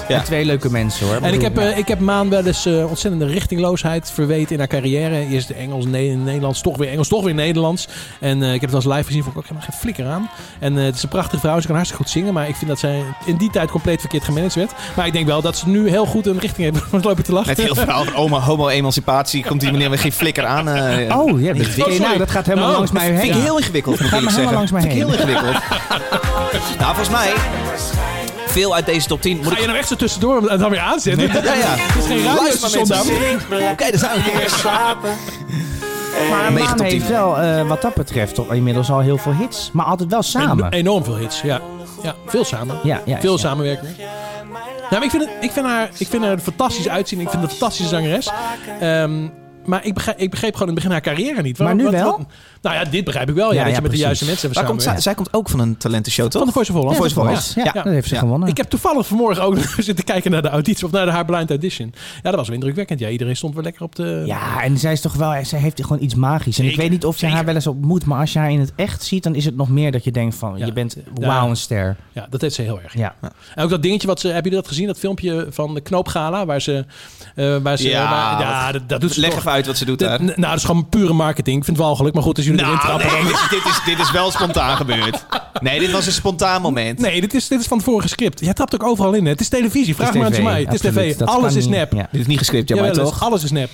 E: Die Twee leuke mensen hoor.
A: En ik
E: bedoel,
A: heb, eh, ik heb Maan wel eens eh, ontzettende richtingloosheid verweten in haar carrière. Eerst Engels, ne Nederlands, toch weer Engels, toch weer Nederlands. En eh, ik heb het wel eens live gezien, vond ik ook helemaal geen flikker aan. En eh, het is een prachtige vrouw, ze kan hartstikke goed zingen. Maar ik vind dat zij in die tijd compleet verkeerd gemanaged werd. Maar ik denk wel dat ze nu heel goed een richting heeft. Want lopen te lachen.
D: Het heel verhaal van homo- homo-emancipatie komt die meneer weer geen flikker aan. eh.
E: Oh, ja, dat-
D: sorry.
E: nou, dat gaat helemaal langs mij
D: dat
E: heen.
D: Vind ik heel ingewikkeld, moet
E: Gaat
D: ik
E: me
D: eerlijk zeggen.
E: helemaal langs mij
D: Vind ik heel ingewikkeld. nou, volgens mij, veel uit deze top 10 moet
A: Ga
D: ik...
A: je nou echt zo tussendoor en dan weer aanzetten?
D: Ja, ja.
A: Het is geen radiostation,
D: Luister maar,
A: dame.
D: mensen. Oké, daar zijn we weer.
E: Maar
D: Negen
E: Maan
D: tot
E: heeft
D: tien.
E: wel, eh, wat dat betreft, toch inmiddels al heel veel hits. Maar altijd wel samen.
A: En- enorm veel hits, ja. ja veel samen.
E: Ja, ja,
A: veel
E: ja.
A: samenwerking. Nou, maar ik, vind het, ik, vind haar, ik vind haar er fantastisch uitzien. Ik vind haar een fantastische zangeres. Ehm, maar ik begreep, ik begreep gewoon in het begin haar carrière niet.
E: Maar nu wel?
A: nou ja, dit begrijp ik wel. Ja,
E: Ja,
A: dat
E: ja,
A: je met de
E: precies.
A: juiste mensen
D: Waar
A: hebt
D: komt zij,
A: samenwerkt.
D: zij komt ook van een talentenshow, toch?
A: Van de Voice of Holland.
D: Ja, Voice of Holland.
E: Ja,
D: Ja.
E: dat heeft ze
D: Ja.
E: gewonnen.
A: Ik heb toevallig vanmorgen ook zitten kijken naar de auditie of naar de haar blind audition. Ja, dat was wel indrukwekkend. Ja, iedereen stond weer lekker op de.
E: Ja, en zij is toch wel, zij heeft gewoon iets magisch. En ik
A: Zeker,
E: weet niet of je haar wel eens ontmoet, maar als je haar in het echt ziet, dan is het nog meer dat je denkt van,
A: Ja.
E: je bent
A: Ja.
E: wauw een ster.
A: Ja, dat heeft ze heel erg.
E: Ja.
A: En ook dat dingetje wat ze, heb je dat gezien? Dat filmpje van de Knoopgala waar ze, eh, waar ze,
D: Ja,
A: waar- ja dat, dat doet ze
D: Leg
A: toch.
D: even uit wat ze doet daar.
A: Dat- nou, dat is gewoon pure marketing. Ik vind het wel geluk, maar goed, als jullie erin
B: Nou,
A: trappen...
B: nee,
A: dan-
B: dit is, dit, is, dit is wel spontaan gebeurd.
D: Nee, dit was een spontaan moment.
A: Nee, dit is, dit is van het vorige script. Jij trapt ook overal in. Hè? Het is televisie. Vraag
E: Het is
A: maar eens
E: TV,
A: mij. Het is
E: absoluut.
A: tv.
E: Dat
A: Alles
E: kan
A: is
E: niet.
A: nap.
E: Ja.
D: Dit is niet gescript, ja, maar
A: Jawel,
D: toch?
A: Alles is nep.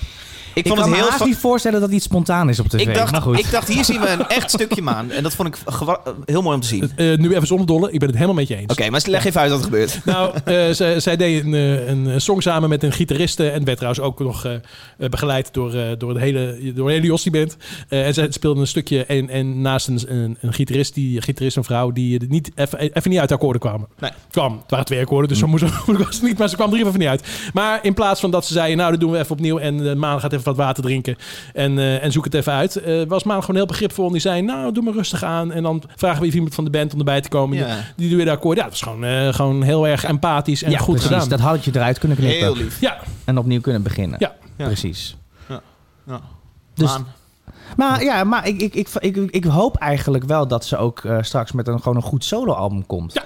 D: Ik
E: Ik
D: vond
E: kan
D: het
E: me
D: heel...
E: haast
D: fa-
E: niet voorstellen dat iets spontaan is op tv.
D: Ik
E: dus- maar
D: dacht,
E: goed.
D: ik dacht, hier zien we een echt stukje maan. En dat vond ik gewa- heel mooi om te zien. Oké,
A: Eh, nu even zonder dolle. Ik ben het helemaal met je eens.
D: maar leg even uit wat er gebeurt.
A: Nou, eh, zij, zij deed een, eh, een song samen met een gitariste. En werd trouwens ook nog eh, eh, begeleid door, eh, door, de hele, door de hele Jossie Band. Eh, en zij speelde een stukje en, en naast een, een, een gitarist, die gitarist een vrouw, die er niet, even, even niet uit de akkoorden kwamen.
D: Nee.
A: Kwam. Het waren twee akkoorden, dus zo moest moeilijk was het niet. Maar ze kwam er even niet uit. Maar in plaats van dat ze zeiden, nou, dat doen we even opnieuw. En eh, Maan gaat even wat water drinken. En, eh, en zoek het even uit. eh, was Maan gewoon heel begripvol. En die zei, nou, doe maar rustig aan. En dan vragen we even iemand van de band om erbij te komen.
D: Ja.
A: Die doe je de akkoorden. Ja, dat is gewoon, eh, gewoon heel erg empathisch en
E: ja,
A: goed
E: precies.
A: gedaan.
E: Dat had je eruit kunnen knippen.
D: Heel lief.
A: Ja,
E: En opnieuw kunnen beginnen.
A: Ja.
D: Ja.
E: Precies.
D: Ja.
E: Dus-
D: Maan.
E: Maar ja, maar ik, ik, ik, ik, ik hoop eigenlijk wel dat ze ook eh, straks met een, gewoon een goed soloalbum komt.
A: Ja.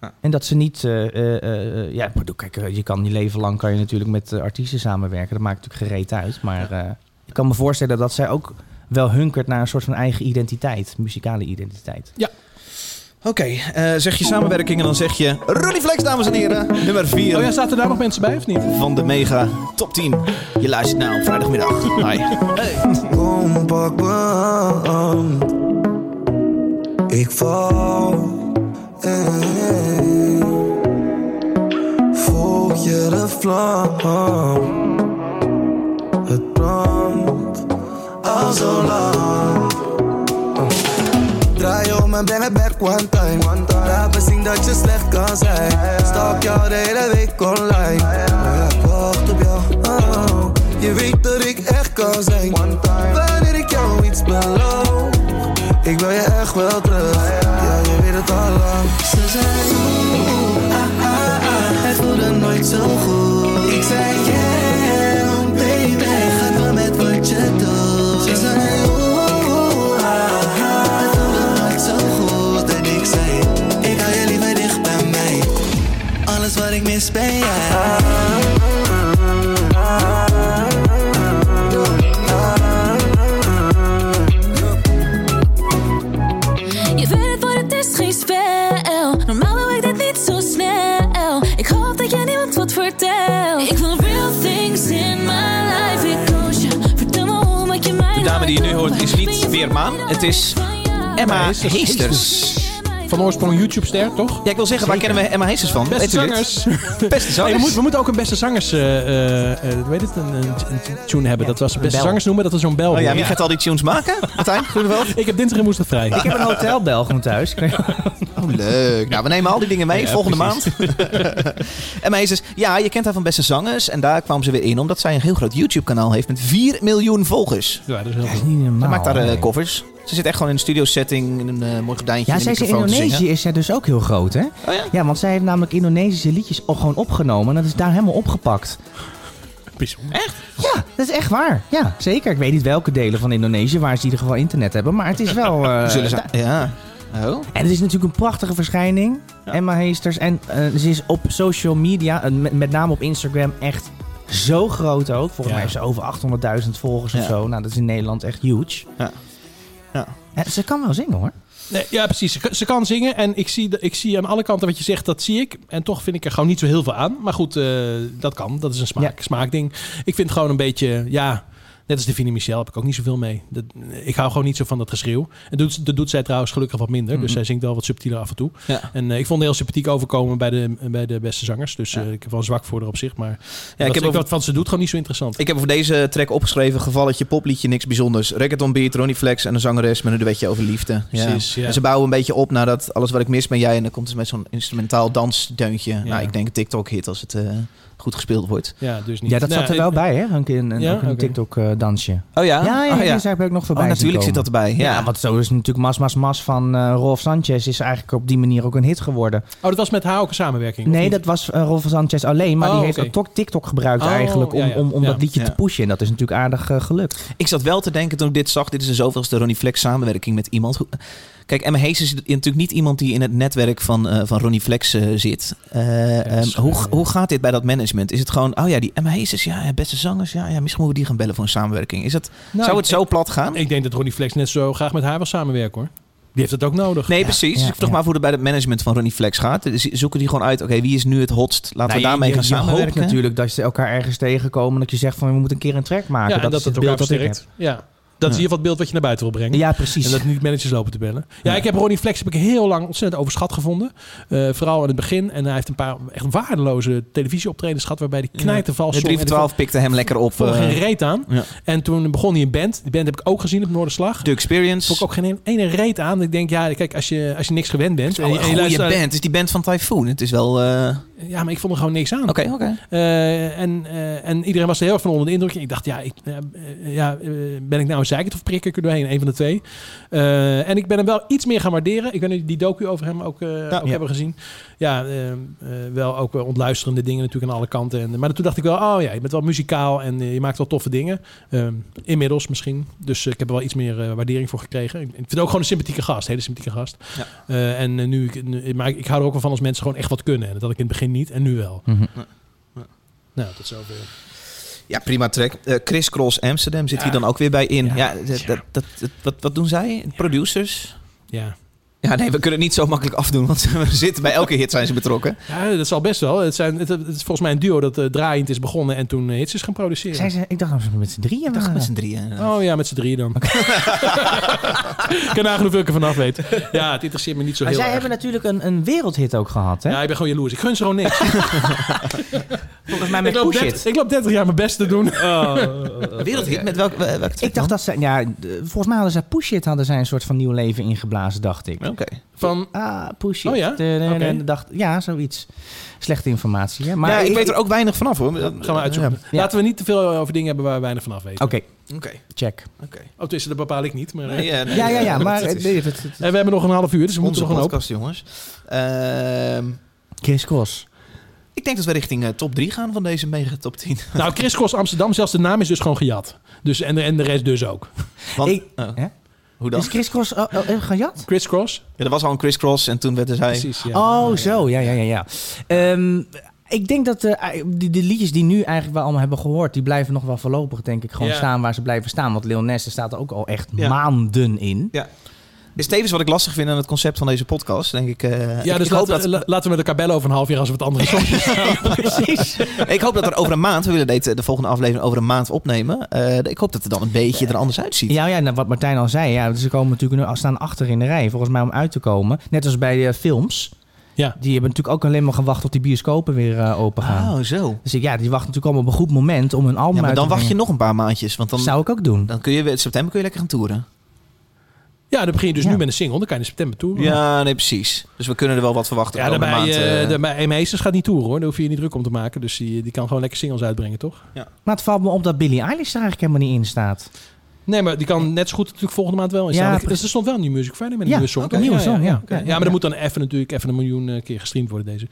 D: Ja.
E: En dat ze niet... eh, eh, eh, ja, ik bedoel, kijk, eh, je kan je leven lang kan je natuurlijk met eh, artiesten samenwerken. Dat maakt natuurlijk gereed uit. Maar eh, ik kan me voorstellen dat zij ook wel hunkert naar een soort van eigen identiteit. Muzikale identiteit.
D: Oké, eh, zeg je samenwerking en dan zeg je... Ronnie Flex, dames en heren. Nummer 4
A: oh ja, zaten daar nog mensen bij of niet?
D: van de mega top 10. Je luistert nou op vrijdagmiddag. Hi.
G: Kom, pak me aan. Ik val. eh. Volg je de vlam. Het brandt al zo lang. Draai om en ben het back one time. Laat me zien dat je slecht kan zijn. Stalk jou de hele week online. Maar ik wacht op jou. oh. Je weet dat ik echt kan zijn. Wanneer ik jou iets beloof. Ik wil je echt wel terug. Ja, je weet het al lang. Ze zei, oeh, ah, ah, ah. Het voelde nooit zo goed. Ik zei, yeah, baby. Ga door met wat je doet. Ze zei, oeh, ah, ah. Het voelde nooit zo goed. En ik zei, ik hou je liever dicht bij mij. Alles wat ik mis ben jij.
F: Je weet het, voor het is geen spel. Normaal doe ik dit niet zo snel. Ik hoop dat jij niemand wat vertelt. Ik wil real things in my life. Ik koos je. Vertel me hoe maak je mij
D: De dame die je nu hoort is
F: Ben je
D: niet weer Maan. Het is Emma
A: Heesters.
D: Heesters.
A: Van oorsprong YouTube-ster, toch?
D: Ja, ik wil zeggen, waar kennen we Emma Heesters van?
A: Beste
D: Weet u dit?
A: zangers.
D: Beste
A: Hey, we,
D: zangers.
A: moeten, we moeten ook een beste zangers, eh, eh, eh, weet het, een, een, een tune hebben. Dat was de beste
E: bel.
A: zangers noemen, dat was zo'n bel.
D: Oh ja,
A: worden.
D: wie gaat al die tunes maken? Martijn, Groeneveld?
A: Ik heb dinsdag en woensdag vrij.
E: Ik heb een hotelbel gewoon thuis.
D: Oh, leuk. Nou, we nemen al die dingen mee volgende maand. Emma Heesters, ja, je kent haar van Beste Zangers. En daar kwam ze weer in, omdat zij een heel groot YouTube-kanaal heeft met 4 miljoen volgers.
A: Ja, dat is heel goed.
E: Niet normaal.
D: Ze maakt daar eh,
E: Nou, nee.
D: covers. Ze zit echt gewoon in een studio-setting, in een eh, mooi gordijntje,
E: Ja,
D: in
E: zij
D: een
E: is in
D: microfoon te
E: Indonesië
D: zingen.
E: is zij dus ook heel groot, hè?
D: Oh ja?
E: Ja, want zij heeft namelijk Indonesische liedjes al gewoon opgenomen. En dat is daar helemaal opgepakt.
A: Bijzonder.
E: Ja, dat is echt waar. Ja, zeker. Ik weet niet welke delen van Indonesië waar ze in ieder geval internet hebben. Maar het is wel... eh,
D: Zullen ze...
E: da-
D: Ja.
E: En het is natuurlijk een prachtige verschijning, Emma Heesters. En eh, ze is op social media, en met, met name op Instagram, echt zo groot ook. Volgens mij heeft ze over 800.000 volgers of
A: Ja.
E: zo. Nou, dat is in Nederland echt huge.
D: Ja.
E: En ze kan wel zingen hoor.
A: Nee, ja, precies. Ze, ze kan zingen en ik zie, de- ik zie aan alle kanten wat je zegt, dat zie ik. En toch vind ik er gewoon niet zo heel veel aan. Maar goed, eh, dat kan. Dat is een smaak, smaakding. Ik vind gewoon een beetje, ja... Net als Davine Michel heb ik ook niet zoveel mee. Dat, ik hou gewoon niet zo van dat geschreeuw. En doet, dat doet zij trouwens gelukkig wat minder. Dus
D: Mhm.
A: zij zingt wel wat subtieler af en toe.
D: Ja.
A: En eh, ik vond het heel sympathiek overkomen bij de, bij de beste zangers. Dus eh, ik heb wel een zwak voor haar op zich. Maar ja, ik
D: heb
A: heb
D: over-
A: wat van ze doet gewoon niet zo interessant.
D: Ik heb voor deze track opgeschreven: gevalletje, popliedje, niks bijzonders. Reggaeton beat, Ronnie Flex en een zangeres met een duetje over liefde.
A: Precies, ja.
D: En ze bouwen een beetje op naar dat alles wat ik mis ben jij. En dan komt ze met zo'n instrumentaal dansdeuntje. Nou, ik denk een TikTok-hit als het eh, goed gespeeld wordt.
A: Ja, dus niet.
E: Ja, dat zat er wel bij, hè? Een, een, een,
A: Ja?
E: ook een
A: Oké.
E: TikTok-dansje.
D: Oh ja?
E: Ja, ja,
D: Oh,
E: die is eigenlijk ook nog voorbij
D: Oh,
E: zien
D: natuurlijk zit
E: komen.
D: dat erbij. Ja.
E: Ja, want zo is natuurlijk Mas Mas Mas van eh, Rolf Sanchez is eigenlijk op die manier ook een hit geworden.
A: Oh, dat was met haar ook een samenwerking? of
E: Nee,
A: niet?
E: dat was eh, Rolf Sanchez alleen, maar
A: Oh,
E: die heeft
A: oké.
E: ook tok- TikTok gebruikt
A: Oh,
E: eigenlijk om,
A: ja, ja.
E: om, om
A: Ja.
E: dat liedje
D: Ja.
E: te pushen. En dat is natuurlijk aardig eh, gelukt.
D: Ik zat wel te denken toen ik dit zag. Dit is de zoveelste Ronnie Flex samenwerking met iemand. Hoe- Kijk, Emma Hayes is natuurlijk niet iemand die in het netwerk van, eh, van Ronnie Flex eh, zit. Eh, ehm,
A: is-
D: hoe, hoe gaat dit bij dat management? Is het gewoon, oh ja, die Emma Hayes is, ja, ja, beste zangers. Ja, ja, misschien moeten we die gaan bellen voor een samenwerking. Is dat,
A: Nou,
D: zou het
A: ik-
D: zo plat gaan?
A: Ik denk dat Ronnie Flex net zo graag met haar wil samenwerken hoor. Die heeft het ook nodig.
D: Nee, precies.
E: ja,
D: ik vroeg
E: ja.
D: maar voor het bij het management van Ronnie Flex gaat. Dus Zoeken die gewoon uit, oké, wie is nu het hotst? Laten we
E: Nou,
D: daarmee
E: je,
D: gaan
E: je
D: samenwerken.
E: hoopt natuurlijk dat ze elkaar ergens tegenkomen. Dat je zegt van we moeten een keer een track
A: ja,
E: maken.
A: en dat,
E: is
A: het
E: het beeld
A: elkaar
E: dat ik heb.
A: versterkt. Ja. Dat is in ieder geval het beeld wat je naar buiten wil brengen.
E: Ja, precies.
A: En dat niet managers lopen te bellen. Ja, ik heb Ronnie Flex heb ik heel lang ontzettend overschat gevonden. Eh, vooral aan het begin. En hij heeft een paar echt waardeloze televisieoptredens gehad... waarbij die knijten vals
D: de 3 voor 12 pikte hem lekker op.
A: Voor geen
D: eh
A: reet aan.
D: ja. Dus-
A: En toen begon hij een band. Die band heb ik ook gezien op Noorderslag.
D: The Experience. Oh,
A: Vond ik ook geen ene reet aan. Ik denk, ja, kijk, als je, als je niks gewend bent...
D: Oh,
A: en je,
D: een
A: en je
D: goede
A: luistert-
D: band. Het is die band van Typhoon. Het is wel...
E: Nou,
D: eh,
A: Ja, maar ik vond er gewoon niks aan.
D: Oké, oké.
A: Eh, en, eh, en iedereen was er heel erg van onder de indruk. Ik dacht, ja, ik, ja, eh, ja eh, ben ik nou een zeikert of prikker er doorheen? Een van de twee. Eh, en ik ben hem wel iets meer gaan waarderen. Ik ben nu die docu over hem ook, eh, ook
E: ja.
A: hebben gezien. Ja, eh, eh, wel ook wel ontluisterende dingen natuurlijk aan alle kanten. En, maar toen dacht ik wel, oh ja, je bent wel muzikaal en eh, je maakt wel toffe dingen. Eh, inmiddels misschien. Dus eh, ik heb er wel iets meer eh, waardering voor gekregen. Ik, ik vind het ook gewoon een sympathieke gast. Hele sympathieke gast.
D: Ja.
A: Eh, en eh, nu, ik- nu, maar ik, ik hou er ook wel van als mensen gewoon echt wat kunnen. En dat had ik in het begin niet en nu wel. Nou, tot zover.
D: Ja, prima track. Eh, Chris Cross Amsterdam zit hier dan ook weer bij in. Ja, dat, dat, dat, dat- wat, wat doen zij? Producers?
A: Ja.
D: Ja, nee, we kunnen het niet zo makkelijk afdoen, want we zitten bij elke hit zijn ze betrokken.
A: ja, dat zal best wel. Het, zijn, het, het is volgens mij een duo dat eh, draaiend is begonnen en toen eh, hits is gaan produceren.
E: Zijn ze, nou? ik dacht dat ze met z'n drieën
D: Ik dacht
E: waren.
D: met z'n drieën.
A: Oh ja, met z'n drieën dan. ik kan nagaan hoeveel ik ervan af weet. Ja, het interesseert me niet zo
E: Maar
A: heel
E: zij
A: erg.
E: hebben natuurlijk een, een wereldhit ook gehad. Hè?
A: Ja, ik ben gewoon jaloers. Ik gun ze gewoon niks.
E: Volgens mij
A: ik,
E: met
A: loop
E: Push
A: 30,
E: It.
A: ik loop 30 jaar mijn best te doen.
D: Wereldhit met welk, wel- welke track
E: Ik
D: dan?
E: dacht dat ze, ja, d- volgens mij hadden zij Push It hadden zij een soort van nieuw leven ingeblazen, dacht ik.
D: Oké.
A: Van,
E: Ah, push it.
A: Oh ja?
E: De- de- de-
A: Oké.
E: dacht, ja, zoiets. Slechte informatie. Hè? Maar
D: Maar ja, ik, weet er ook weinig vanaf hoor.
A: gaan we uitzoeken.
E: Ja.
A: Laten we niet te veel over dingen hebben waar we weinig van af weten.
E: Oké,
D: Oké.
E: check.
D: oké.
A: Oh, tussen dat bepaal ik niet. Maar, eh.
D: Nee, eh, nee,
E: Ja, ja, ja.
D: eh,
E: Maar
D: dat is
E: eh, nee, dat- dat-
A: En we hebben nog een half uur, dus we
D: onze
A: moeten er gewoon op.
D: podcast, jongens. Ehm,
E: Chris Cross.
D: ik denk dat we richting eh, top 3 gaan van deze mega top 10.
A: Nou, Chris Cross Amsterdam, zelfs de naam is dus gewoon gejat. Dus, en, de- en de rest dus ook.
D: Want,
E: Ik-
D: oh,
E: Hè?
D: hoe dan?
E: Is Chris Cross oh, oh, eh, gejat?
A: Chris Cross?
D: Ja, er was al een crisscross en toen werd er zij...
A: Precies, ja.
E: Oh, zo. Ja, ja, ja. ja. Ehm, ik denk dat eh, die- de liedjes die nu eigenlijk we allemaal hebben gehoord... die blijven nog wel voorlopig, denk ik, gewoon
A: Ja.
E: staan waar ze blijven staan. Want Lil Ness er staat er ook al echt
D: Ja.
E: maanden in.
D: Ja. Is tevens wat ik lastig vind aan het concept van deze podcast, denk ik. eh, ik-
A: Ja, dus
D: ik, hoop
A: laten,
D: dat,
A: la- laten we met elkaar bellen over een half jaar als we wat andere songs
E: Precies.
D: ik hoop dat er over een maand, we willen deze, de volgende aflevering over een maand opnemen. eh, ik hoop dat het dan een beetje er anders uitziet.
E: Ja, ja nou, wat Martijn al zei. Ja, ze komen natuurlijk nu, staan achter in de rij, volgens mij, om uit te komen. Net als bij de films.
A: Ja.
E: Die hebben natuurlijk ook alleen maar gewacht tot die bioscopen weer eh, open gaan.
D: Oh, zo.
E: Dus ik- ja, die wachten natuurlijk allemaal op een goed moment om hun album
D: Ja, maar
E: uit
D: dan
E: te
D: wacht je
E: brengen.
D: nog een paar maandjes, want dan,
E: Zou ik ook doen.
D: dan kun je in september kun je lekker gaan toeren.
A: Ja, dan begin je dus
E: Ja.
A: nu met een single. Dan kan je in september toe.
D: Ja, nee, precies. Dus we kunnen er wel wat verwachten.
A: Ja,
D: de komende
A: daarbij,
D: maand, eh.
A: eh, daarbij Meesters gaat niet toeren hoor. Daar hoef je je niet druk om te maken. Dus die, die kan gewoon lekker singles uitbrengen, toch?
E: Maar het valt me op dat Billie Eilish er eigenlijk helemaal niet in staat.
A: Nee, maar die kan net zo goed natuurlijk volgende maand wel in
E: Ja,
A: staan. Ik-
E: precies.
A: dus er stond wel een New Music Friday met een
E: Ja,
A: nieuwe song.
E: oké,
A: toch?
E: nieuwe song, ja.
A: oké.
E: Ja,
A: ja,
E: ja,
A: maar
E: ja.
A: dan moet dan even natuurlijk even een miljoen eh, keer gestreamd worden deze.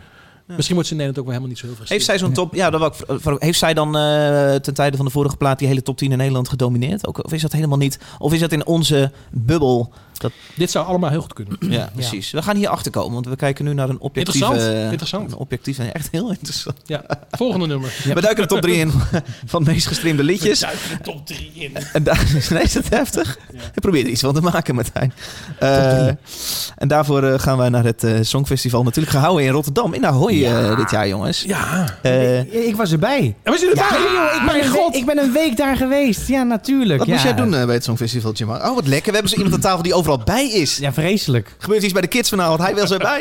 A: Misschien wordt ze in Nederland ook wel helemaal niet zo heel veel
D: Heeft zij zo'n top? Ja, dat wou ik vro- vro- heeft zij dan eh, ten tijde van de vorige plaat die hele top 10 in Nederland gedomineerd? Ook, of is dat helemaal niet? Of is dat in onze bubbel
A: Dit zou allemaal heel goed kunnen.
D: Ja, precies. We gaan hier achter komen, want we kijken nu naar een objectieve...
A: Interessant, interessant.
D: Een objectief en echt heel interessant.
A: Ja, volgende nummer.
D: We duiken de top 3 in van de meest gestreamde liedjes.
A: We duiken de top 3 in.
D: En daar, nee, is dat heftig? Ik probeer er iets van te maken, Martijn. Eh, en daarvoor eh, gaan wij naar het eh, Songfestival. Natuurlijk gehouden in Rotterdam, in Ahoy
E: Ja.
D: eh, dit jaar, jongens.
A: Ja.
D: Eh, Ah,
E: Ik, ik was erbij.
A: En we zitten
E: Ja,
A: erbij.
E: joh, ik, ben
A: Mijn
E: een
A: god.
E: week- ik ben een week daar geweest. Ja, natuurlijk.
D: wat
E: ja.
D: moest jij doen eh, bij het Songfestival, Jim? Oh, wat lekker. We hebben zo iemand aan tafel die overal bij is.
E: Ja, vreselijk.
D: Gebeurt iets bij de kids vanavond, hij wil zo bij.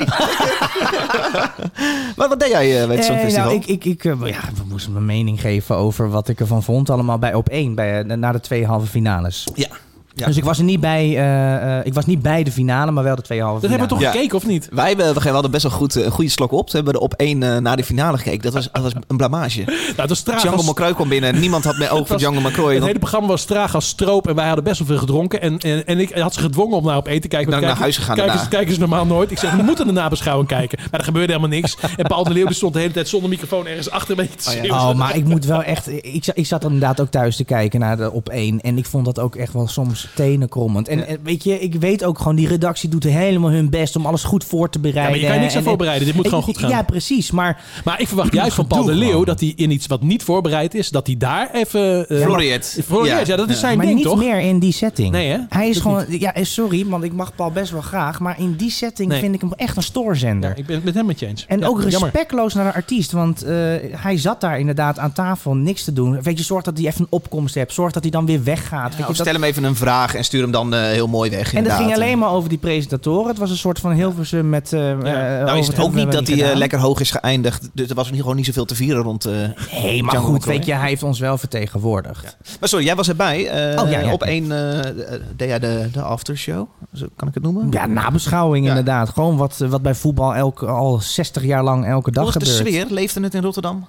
D: maar wat deed jij eh, bij het
E: Eh,
D: Songfestival?
E: nou, ik, ik, ik eh, ja, we moesten mijn mening geven over wat ik ervan vond. Allemaal bij op één, bij, eh, na de twee halve finales.
D: Ja. Ja.
E: Dus ik was er niet bij, eh, eh, ik was niet bij de finale, maar wel de twee halve
A: Dat hebben
E: finale.
A: we toch
D: Ja.
A: gekeken, of niet?
D: Wij, hebben, we hadden best wel goed, eh, een goede slok op. We hebben er op één eh, na de finale gekeken. Dat was, dat was een blamage.
A: Nou, dat was traag
D: Django
A: als-
D: McCroy kwam binnen. Niemand had meer oog voor
A: was-
D: Django McCroy.
A: Het
D: Dan
A: hele programma was traag als stroop en wij hadden best wel veel gedronken. En, en, en ik had ze gedwongen om naar op eten te kijken.
D: Ik ben
A: want
D: ook naar huis
A: kijkers-
D: gegaan
A: Kijkers,
D: daarna.
A: kijkers normaal nooit. Ik zeg, we moeten de nabeschouwing kijken. Maar er gebeurde helemaal niks. En Paul de Leeuw die stond de hele tijd zonder microfoon ergens achter me te schreeuwen.
E: Oh, maar ik moet wel echt. Ik, za- ik zat inderdaad ook thuis te kijken naar de op één. En ik vond dat ook echt wel soms tenenkrommend. En, en weet je, ik weet ook gewoon, die redactie doet helemaal hun best om alles goed voor te
A: Ja, maar
E: bereiden.
A: je kan je niks aan
E: En-
A: voorbereiden. Dit moet
E: en-
A: gewoon goed gaan.
E: Ja, precies. Maar
A: Maar ik verwacht juist van Paul
E: Gedoe
A: de Leeuw
E: gewoon.
A: dat hij in iets wat niet voorbereid is, dat hij daar even... eh,
D: Floriet. Nou,
A: Floriet, ja, dat is zijn
E: maar
A: ding,
E: niet
A: toch?
E: meer in die setting.
A: Nee, hè?
E: Hij is
A: Dat
E: gewoon. Ja, eh, sorry, want ik mag Paul best wel graag. Maar in die setting
A: Nee.
E: vind ik hem echt een stoorzender.
A: Ja, ik ben het met hem met je eens.
E: En
A: Ja,
E: ook
A: jammer.
E: respectloos naar de artiest. Want eh, hij zat daar inderdaad aan tafel niks te doen. Weet je, zorg dat hij even een opkomst hebt. Zorg dat hij dan weer weggaat. Weet
D: Ja,
E: je,
D: of
E: dat-
D: stel hem even een vraag en stuur hem dan eh, heel mooi weg.
E: en dat
D: inderdaad.
E: ging alleen maar over die presentatoren. Het was een soort van Hilversum met... eh, eh, over
D: Nou is
E: het
D: het ook
E: hebben
D: niet
E: we
D: dat hij eh,
E: gedaan.
D: lekker hoog is geëindigd. Dus er was nu gewoon niet zoveel te vieren rond... eh,
E: Nee, maar
D: Django
E: goed,
D: McCoy.
E: weet je, hij heeft ons wel vertegenwoordigd.
D: Maar sorry, jij was erbij. eh,
E: Oh, ja, ja.
D: Op één eh, deed jij de, de aftershow. Zo kan ik het noemen?
E: Ja, nabeschouwing
D: Ja.
E: inderdaad. Gewoon wat, eh, wat bij voetbal elke, al 60 jaar lang elke dag
D: Hoe was de
E: gebeurt.
D: sfeer? Leefde het in Rotterdam?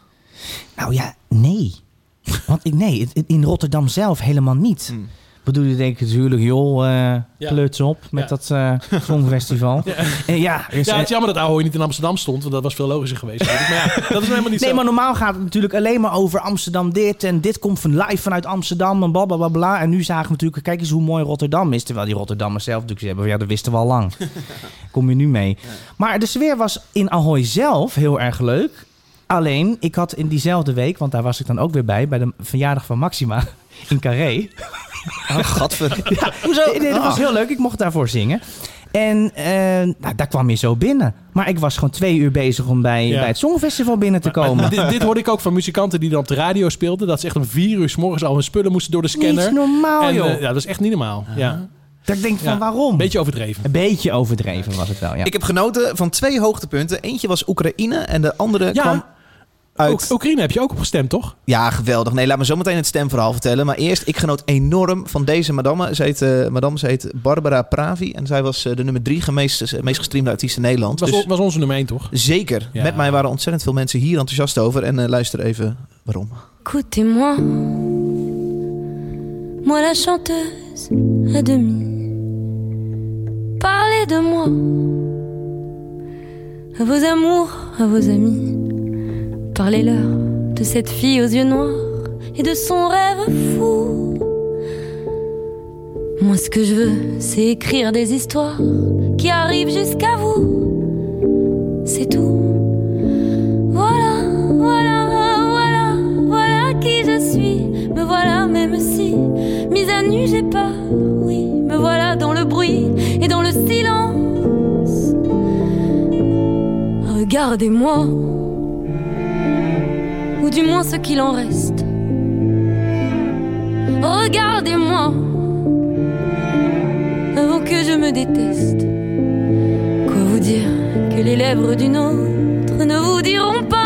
E: Nou ja, nee. Want ik, nee, het- in Rotterdam zelf helemaal niet.
D: Hmm.
E: Bedoel, je denkt natuurlijk, joh, eh
A: Ja.
E: kluts op met
A: Ja.
E: dat eh songfestival. ja, ja, dus,
A: Ja,
E: eh,
A: het is jammer dat Ahoy niet in Amsterdam stond, want dat was veel logischer geweest. weet ik. Maar ja, dat is helemaal niet
E: Nee,
A: zo.
E: maar normaal gaat het natuurlijk alleen maar over Amsterdam dit. En dit komt van live vanuit Amsterdam en bla bla bla bla. En nu zagen we natuurlijk, kijk eens hoe mooi Rotterdam is. Terwijl die Rotterdammers zelf natuurlijk hebben, ja, dat wisten we al lang. Kom je nu mee. Maar de sfeer was in Ahoy zelf heel erg leuk. Alleen, ik had in diezelfde week, want daar was ik dan ook weer bij, bij de verjaardag van Maxima in Carré.
D: Oh, gadver.
E: Hoezo? Nee, nee, dat
A: Ah.
E: was heel leuk. Ik mocht daarvoor zingen. En eh, nou, daar kwam je zo binnen. Maar ik was gewoon twee uur bezig om bij,
A: Ja.
E: bij het Songfestival binnen te
A: Maar-
E: komen.
A: maar dit, dit hoorde ik ook van muzikanten die dan op de radio speelden. Dat ze echt om vier uur s morgens al hun spullen moesten door de scanner.
E: Niet normaal,
A: en, eh,
E: joh.
A: ja, dat is echt niet normaal. Ja.
E: dat ik denk van
A: Ja.
E: waarom?
A: Beetje overdreven.
E: Een beetje overdreven was het wel, ja.
D: Ik heb genoten van twee hoogtepunten. Eentje was Oekraïne en de andere
A: Ja,
D: kwam uit...
A: Oek- Oekraïne heb je ook op gestemd, toch?
D: Ja, geweldig. Nee, laat me zo meteen het stemverhaal vertellen. Maar eerst, ik genoot enorm van deze madame. Ze heet, eh, madame, ze heet Barbara Pravi. En zij was eh, de nummer drie gemeest, meest gestreamde artiest in Nederland.
A: Het was,
D: Dus
A: on- was onze nummer één, toch?
D: zeker.
A: Ja.
D: Met mij waren ontzettend veel mensen hier enthousiast over. En eh, luister even waarom.
F: Écoutez-moi, moi la chanteuse à demi. Parlez de moi, à vos amours, à vos amis. Parlez-leur de cette fille aux yeux noirs et de son rêve fou. Moi, ce que je veux, c'est écrire des histoires qui arrivent jusqu'à vous. C'est tout. Voilà, voilà, voilà, voilà qui je suis. Me voilà, même si mise à nu j'ai pas, oui, me voilà dans le bruit et dans le silence. Regardez-moi, ou du moins ce qu'il en reste. Regardez-moi, avant que je me déteste. Quoi vous dire que les lèvres d'une autre ne vous diront pas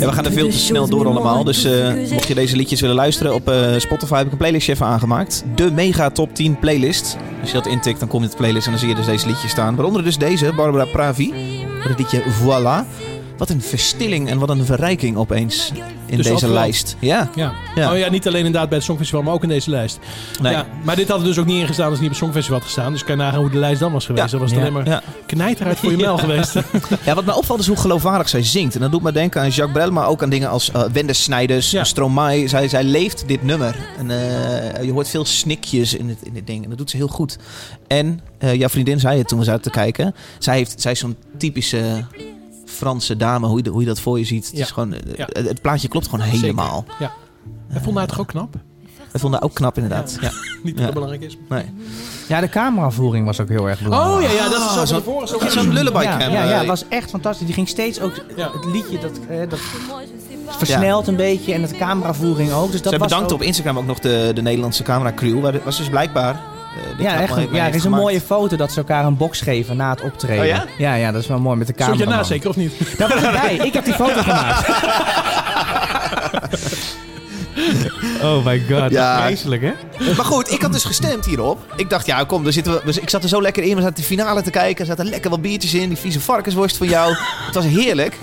D: Ja, we gaan er veel te snel door allemaal. Dus eh, mocht je deze liedjes willen luisteren, op eh, Spotify heb ik een playlistje even aangemaakt. De Mega Top 10 Playlist. Als je dat intikt, dan kom je in de playlist en dan zie je dus deze liedjes staan. Waaronder dus deze, Barbara Pravi. Met het liedje Voilà. Wat een verstilling en wat een verrijking opeens in
A: Dus
D: deze
A: overal.
D: lijst. Ja.
A: Ja. Oh ja, niet alleen inderdaad bij het Songfestival, maar ook in deze lijst.
D: Nee.
A: Ja, maar dit had er dus ook niet in gestaan als het niet op het Songfestival had gestaan. Dus kan je nagaan hoe de lijst dan was geweest. Dan was het alleen maar
D: Ja.
A: knijterheid voor je mel geweest.
D: Ja, wat mij opvalt is hoe geloofwaardig zij zingt. En dat doet me denken aan Jacques Brel, maar ook aan dingen als eh Wende Snijders, Stromae. Zij, zij leeft dit nummer. En, eh, je hoort veel snikjes in het, in dit ding. En dat doet ze heel goed. En eh, jouw vriendin zei het toen we zaten te kijken. Zij, heeft, zij is zo'n typische Franse dame, hoe je, hoe je dat voor je ziet. Het,
A: Ja.
D: is gewoon, eh,
A: Ja.
D: het, het plaatje klopt gewoon
A: Zeker.
D: helemaal.
A: Ja. Hij vond haar toch ook knap?
D: We vonden haar ook knap inderdaad. Ja.
A: Niet
D: Ja.
A: dat belangrijk is.
D: Nee.
E: Ja, de cameravoering was ook heel erg belangrijk.
A: Oh ja, ja dat is zo
D: Ah,
A: van
D: zo'n-
A: tevoren.
D: dat is zo'n lullaby
E: Oh, Ja,
D: cam,
E: ja, ja,
D: eh.
E: het was echt fantastisch. Die ging steeds ook het liedje dat, eh, dat versnelt een beetje en de cameravoering ook. Dus dat
D: Zij
E: was
D: bedankt
E: ook-
D: op Instagram ook nog de, de Nederlandse cameracrew. Waar dit- was dus blijkbaar... eh, dit
E: Ja,
D: allemaal
E: echt,
D: mee
E: ja, er
D: heeft
E: is een
D: gemaakt.
E: mooie foto dat ze elkaar een box geven na het optreden.
D: Oh ja?
E: ja? Ja, dat is wel mooi met de
A: Zat je
E: camera.
A: na zeker of niet?
E: Daar was ik bij. Ik heb die foto gemaakt. Oh my god,
D: Ja.
E: vreselijk hè?
D: Maar goed, ik had dus gestemd hierop. Ik dacht, ja, kom, daar zitten we, dus ik zat er zo lekker in. We zaten de finale te kijken. Er zaten lekker wat biertjes in. Die vieze varkensworst van jou. Het was heerlijk.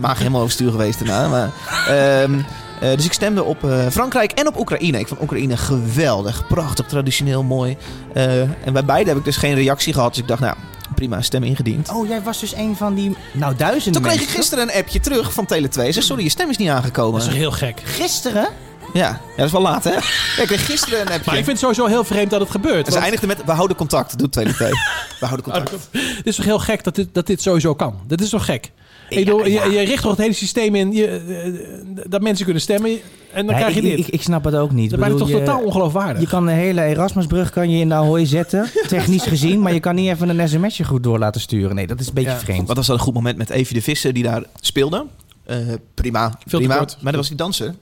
D: Maag helemaal overstuur geweest daarna. Maar, ehm, eh, dus ik stemde op eh, Frankrijk en op Oekraïne. Ik vond Oekraïne geweldig, prachtig, traditioneel, mooi. Eh, en bij beide heb ik dus geen reactie gehad. Dus ik dacht, nou, prima, stem ingediend.
E: Oh, jij was dus een van die, nou duizenden
D: Toen kreeg ik
E: mensen.
D: gisteren een appje terug van Tele2. Zeg, sorry, je stem is niet aangekomen.
A: Dat is heel gek.
E: Gisteren?
D: Ja, ja dat is wel laat, hè? Ja, ik kreeg gisteren een appje.
A: Maar ik vind het sowieso heel vreemd dat het Ah, gebeurt.
D: En ze
A: want-
D: eindigde met, we houden contact, doet Tele2. We houden contact.
A: Het is toch heel gek dat dit, dat dit sowieso kan? Dat is toch gek? Ik bedoel, Je, je richt toch het hele systeem in je, eh, dat mensen kunnen stemmen en dan
E: Nee,
A: krijg je
E: ik,
A: dit.
E: Ik, ik snap het ook niet.
A: dat ben je
E: Bedoel,
A: toch
E: je-
A: totaal ongeloofwaardig?
E: Je kan de hele Erasmusbrug kan je in de hooi zetten, technisch gezien, maar je kan niet even een sms'je goed door laten sturen. Nee, dat is een beetje
A: Ja.
E: vreemd.
D: Wat was dat een goed moment met Evie de Visser die daar speelde? Eh, prima,
A: Veel te
D: prima.
A: kort.
D: Maar dat was die danser.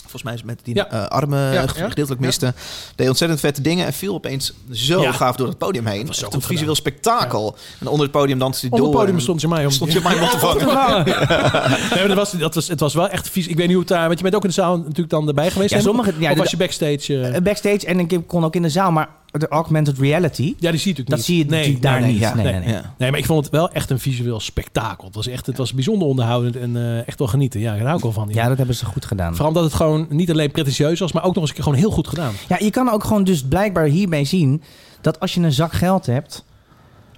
D: Volgens mij is met die
A: Ja.
D: eh, armen
A: Ja,
D: ge-
A: ja.
D: gedeeltelijk miste. Deed ontzettend vette dingen en viel opeens zo
A: Ja.
D: gaaf door het podium heen. Het
A: was zo
D: was een
A: goed
D: visueel spektakel. En onder het podium danste hij
A: Op
D: door.
A: het podium
D: en
A: stond je mij om.
D: stond je mij wat te vangen.
A: Nee, maar dat was, dat was, het was wel echt vies. Ik weet niet hoe het daar... Want je bent ook in de zaal natuurlijk dan erbij geweest.
E: Ja,
A: hè?
E: sommige- ja,
A: of
E: de-
A: was je backstage... eh,
E: Eh, Backstage en ik kon ook in de zaal, maar de augmented reality,
A: ja, die zie je natuurlijk niet.
E: dat zie je natuurlijk daar
A: nee,
E: niet.
A: ja,
E: nee, nee, nee.
D: Ja.
A: Nee, maar ik vond het wel echt een visueel spektakel. Het was, echt, het was bijzonder onderhoudend en eh, echt wel genieten. Ja, daar hou ik wel van.
E: Ja, dat hebben ze goed gedaan.
A: Vooral omdat het gewoon niet alleen pretentieus was, maar ook nog eens een keer gewoon heel goed gedaan.
E: Ja, je kan ook gewoon dus blijkbaar hierbij zien dat als je een zak geld hebt,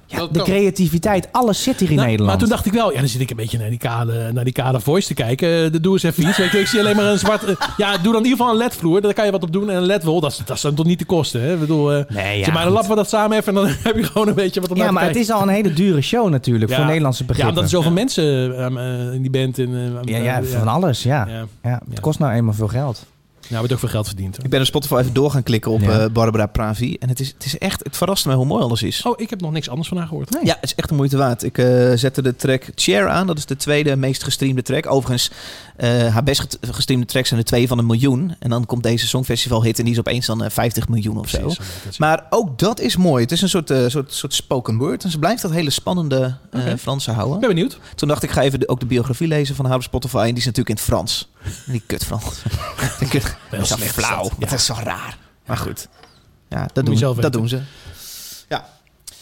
E: ja,
B: Dat
E: de
B: kan.
E: creativiteit, alles zit hier in
A: Nou,
E: Nederland.
A: Maar toen dacht ik wel, ja, dan zit ik een beetje naar die kale, naar die kale voice te kijken. Eh, doe eens even iets. Weet je, ik zie alleen maar een zwart. eh, ja, doe dan in ieder geval een ledvloer. Daar kan je wat op doen. En een ledwol, dat, is- dat zijn toch niet de kosten. Hè? Ik bedoel, eh
E: Nee, ja,
A: zet maar een
E: goed.
A: lap wat dat samen even en dan heb je gewoon een beetje wat om
E: ja, maar het is al een hele dure show natuurlijk voor Nederlandse begrippen.
A: Ja, omdat er zoveel mensen eh, eh, in die band. En, eh,
E: ja,
A: eh,
E: ja, van alles, ja.
A: Ja.
E: ja. het
A: Ja.
E: kost nou eenmaal veel geld.
A: Nou, wordt ook veel geld verdiend. hoor.
D: Ik ben op Spotify even door gaan klikken op
E: Ja.
D: eh, Barbara Pravi. En het is, het is echt, het verraste mij hoe mooi alles is.
A: Oh, ik heb nog niks anders van haar gehoord.
D: Ja, het is echt de moeite waard. Ik eh, zette de track Chair aan. Dat is de tweede meest gestreamde track. Overigens, eh, haar best get- gestreamde tracks zijn er twee van een miljoen. En dan komt deze Songfestival hit en die is opeens dan eh, 50 miljoen of zo. Maar ook dat is mooi. Het is een soort, eh, soort, soort spoken word. En ze blijft dat hele spannende eh
A: Oké.
D: Franse
A: Ik
D: houden.
A: ben benieuwd.
D: Toen dacht ik, ga even de- ook de biografie lezen van haar op Spotify. En die is natuurlijk in het Frans. En die kut Frans. Die kut- dat is dan echt
A: slecht
D: flauw.
A: is dat.
D: Dat is zo raar. Maar goed. Ja,
A: je
D: dat, doen,
A: zelf
D: dat
A: weten.
D: doen ze.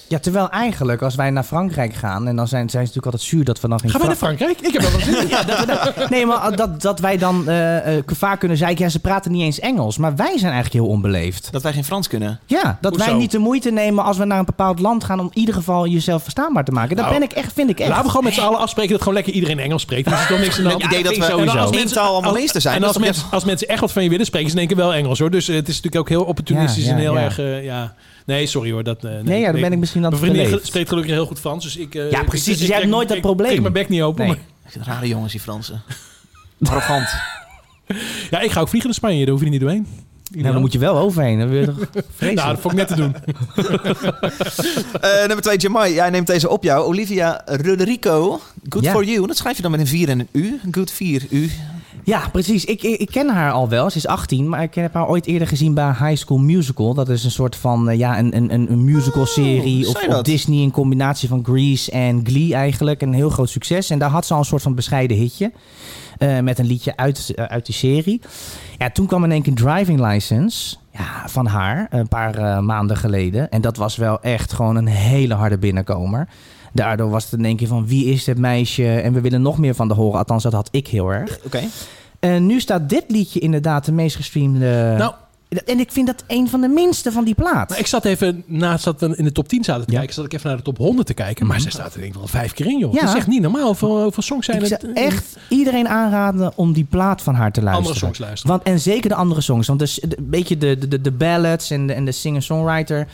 E: Ja, terwijl eigenlijk als wij naar Frankrijk gaan en dan zijn, zijn ze natuurlijk altijd zuur dat we dan geen
A: Gaan wij naar Frankrijk? Ik heb wel wat zin. in.
E: Frank- Nee, maar dat, dat wij dan eh, eh, vaak kunnen zeggen, ja, ze praten niet eens Engels, maar wij zijn eigenlijk heel onbeleefd.
D: Dat wij geen Frans kunnen.
E: Ja, dat wij
A: Hoezo?
E: niet de moeite nemen als we naar een bepaald land gaan om in ieder geval jezelf verstaanbaar te maken. Dat
A: Nou,
E: ben ik echt, vind ik echt.
A: Laten we gewoon met z'n allen afspreken dat gewoon lekker iedereen Engels spreekt. Dan is er toch niks aan de hand.
D: Het idee dat we
A: En dan
D: als mensen taal allemaal
A: als-
D: meester zijn.
A: En
D: dat
A: als,
D: is toch
A: mensen, als mensen echt wat van je willen, spreken ze in één keer wel Engels hoor. Dus eh, het is natuurlijk ook heel opportunistisch
E: Ja, ja,
A: en heel
E: ja.
A: erg. eh, ja. Nee, sorry hoor. Dat, eh, nee,
E: ja, dan ben ik misschien aan
A: Mijn
E: het
A: vriendin
E: beleefd.
A: spreekt gelukkig heel goed Frans. Dus ik, eh,
E: Ja,
A: ik-
E: precies,
A: ik-
E: dus
A: ik
E: jij hebt
A: trek-
E: nooit dat
A: ik-
E: probleem.
A: Ik trek mijn bek niet open.
E: Nee.
A: maar-
D: Rare jongens, die Fransen. Arrogant.
A: ja, ik ga ook vliegen naar Spanje. Daar hoef je niet doorheen.
E: Nou, dan moet je wel overheen. Dan wil je toch vreselijk.
A: nou, dat vond ik net te doen.
D: Eh, nummer 2, Jamai. Jij neemt deze op jou. Olivia Rodrigo. Good
E: Ja.
D: for you. Dat schrijf je dan met een 4 en een U. Good 4 U.
E: Ja, precies. Ik, ik, ik ken haar al wel. Ze is 18, maar ik heb haar ooit eerder gezien bij High School Musical. Dat is een soort van eh, ja, een, een, een- een musical-serie
D: Oh,
E: op,
D: zei
E: op
D: dat.
E: Disney. Een combinatie van Grease en Glee eigenlijk. Een heel groot succes. En daar had ze al een soort van bescheiden hitje. eh, met een liedje uit, eh, uit die serie. Ja, toen kwam in één keer Driving License ja, van haar. Een paar eh, maanden geleden. En dat was wel echt gewoon een hele harde binnenkomer. Daardoor was het in één keer van wie is dit meisje? En we willen nog meer van de horen. Althans, dat had ik heel erg.
D: Oké.
E: Eh, En nu staat dit liedje inderdaad de meest gestreamde...
A: Nou.
E: En ik vind dat een van de minste van die plaat.
A: Maar ik zat even naast dat we in de top 10 zaten te kijken, zat ik even naar de top 100 te kijken. Maar zij staat er denk ik wel vijf keer in, joh.
E: Mhm. Ja.
A: Dat is echt niet normaal. Hoeveel, hoeveel songs zijn
E: Ik
A: het?
E: zou echt iedereen aanraden om die plaat van haar te luisteren.
A: songs luisteren.
E: Want, en zeker de andere songs. Want dus, de, een beetje de, de, de ballads en de, en de singer-songwriter.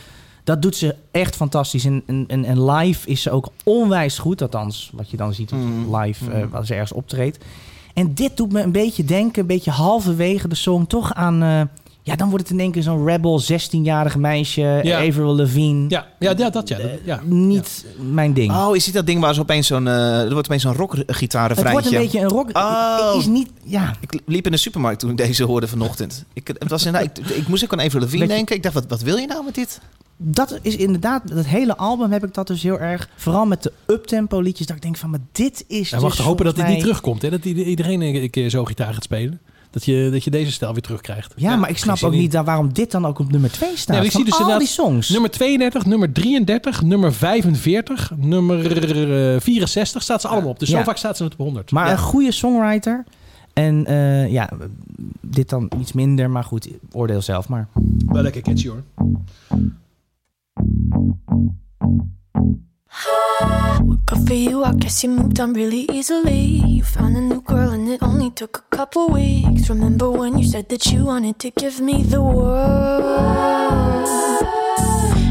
E: Dat doet ze echt fantastisch. En, en, en- en live is ze ook onwijs goed. Althans, wat je dan ziet op
A: Mm-hmm.
E: live eh, als ze ergens optreedt. En dit doet me een beetje denken, een beetje halverwege de song, toch aan... eh, ja, dan wordt het in één keer zo'n rebel, 16-jarig meisje,
A: Ja.
E: Avril Lavigne.
A: Ja, ja, ja, dat ja. dat- ja.
E: Niet mijn ding.
D: Oh, is dit dat ding waar ze opeens zo'n... eh, er wordt opeens zo'n rockgitarenvrijtje.
E: het wordt een beetje een rock...
D: Oh.
E: Het is niet... Ja.
D: Ik liep in de supermarkt toen ik deze hoorde vanochtend. Ik, het was inderdaad, ik, ik moest ook aan Avril Lavigne
E: Dat je-
D: denken. Ik dacht, wat, wat wil je nou met dit?
E: dat is inderdaad, dat hele album heb ik dat dus heel erg. Vooral met de uptempo liedjes, dat ik denk van, maar dit is.
A: En wacht,
E: dus
A: hopen dat dit
E: volgens
A: niet
E: mij-
A: terugkomt. Hè? Dat i- iedereen een keer zo gitaar gaat spelen. Dat je, dat je deze stijl weer terugkrijgt.
E: Ja, maar ik snap
A: geen
E: ook
A: zin
E: niet dan waarom dit dan ook op nummer 2 staat.
A: Nee, maar ik
E: van
A: zie dus
E: al die
A: inderdaad
E: songs.
A: Nummer 32, nummer 33, nummer 45, nummer eh, 64 staat ze allemaal op. Dus zo
E: Ja.
A: vaak staat ze in de top 100.
E: maar
A: Ja.
E: een goede songwriter. En eh, ja, dit dan iets minder, maar goed, oordeel zelf maar.
A: wel lekker catchy hoor.
L: But for you, I guess you moved on really easily. You found a new girl, and it only took a couple weeks. Remember when you said that you wanted to give me the world?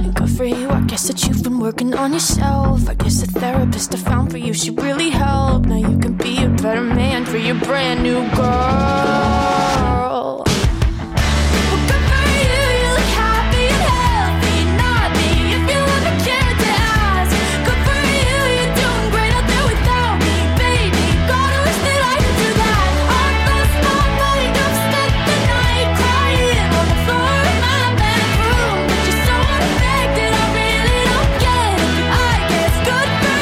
L: And good for you, I guess that you've been working on yourself. I guess the therapist I found for you, she really helped. Now you can be a better man for your brand new girl. Well, good for you, you look happy and healthy, naughty. If you ever cared to ask, good for you, you're doing great out there without me, baby. God, I wish that I could do that. I lost my mind, I've spent the night crying on the floor of my bedroom. But you're so unaffected, I really don't get it. I guess good for you.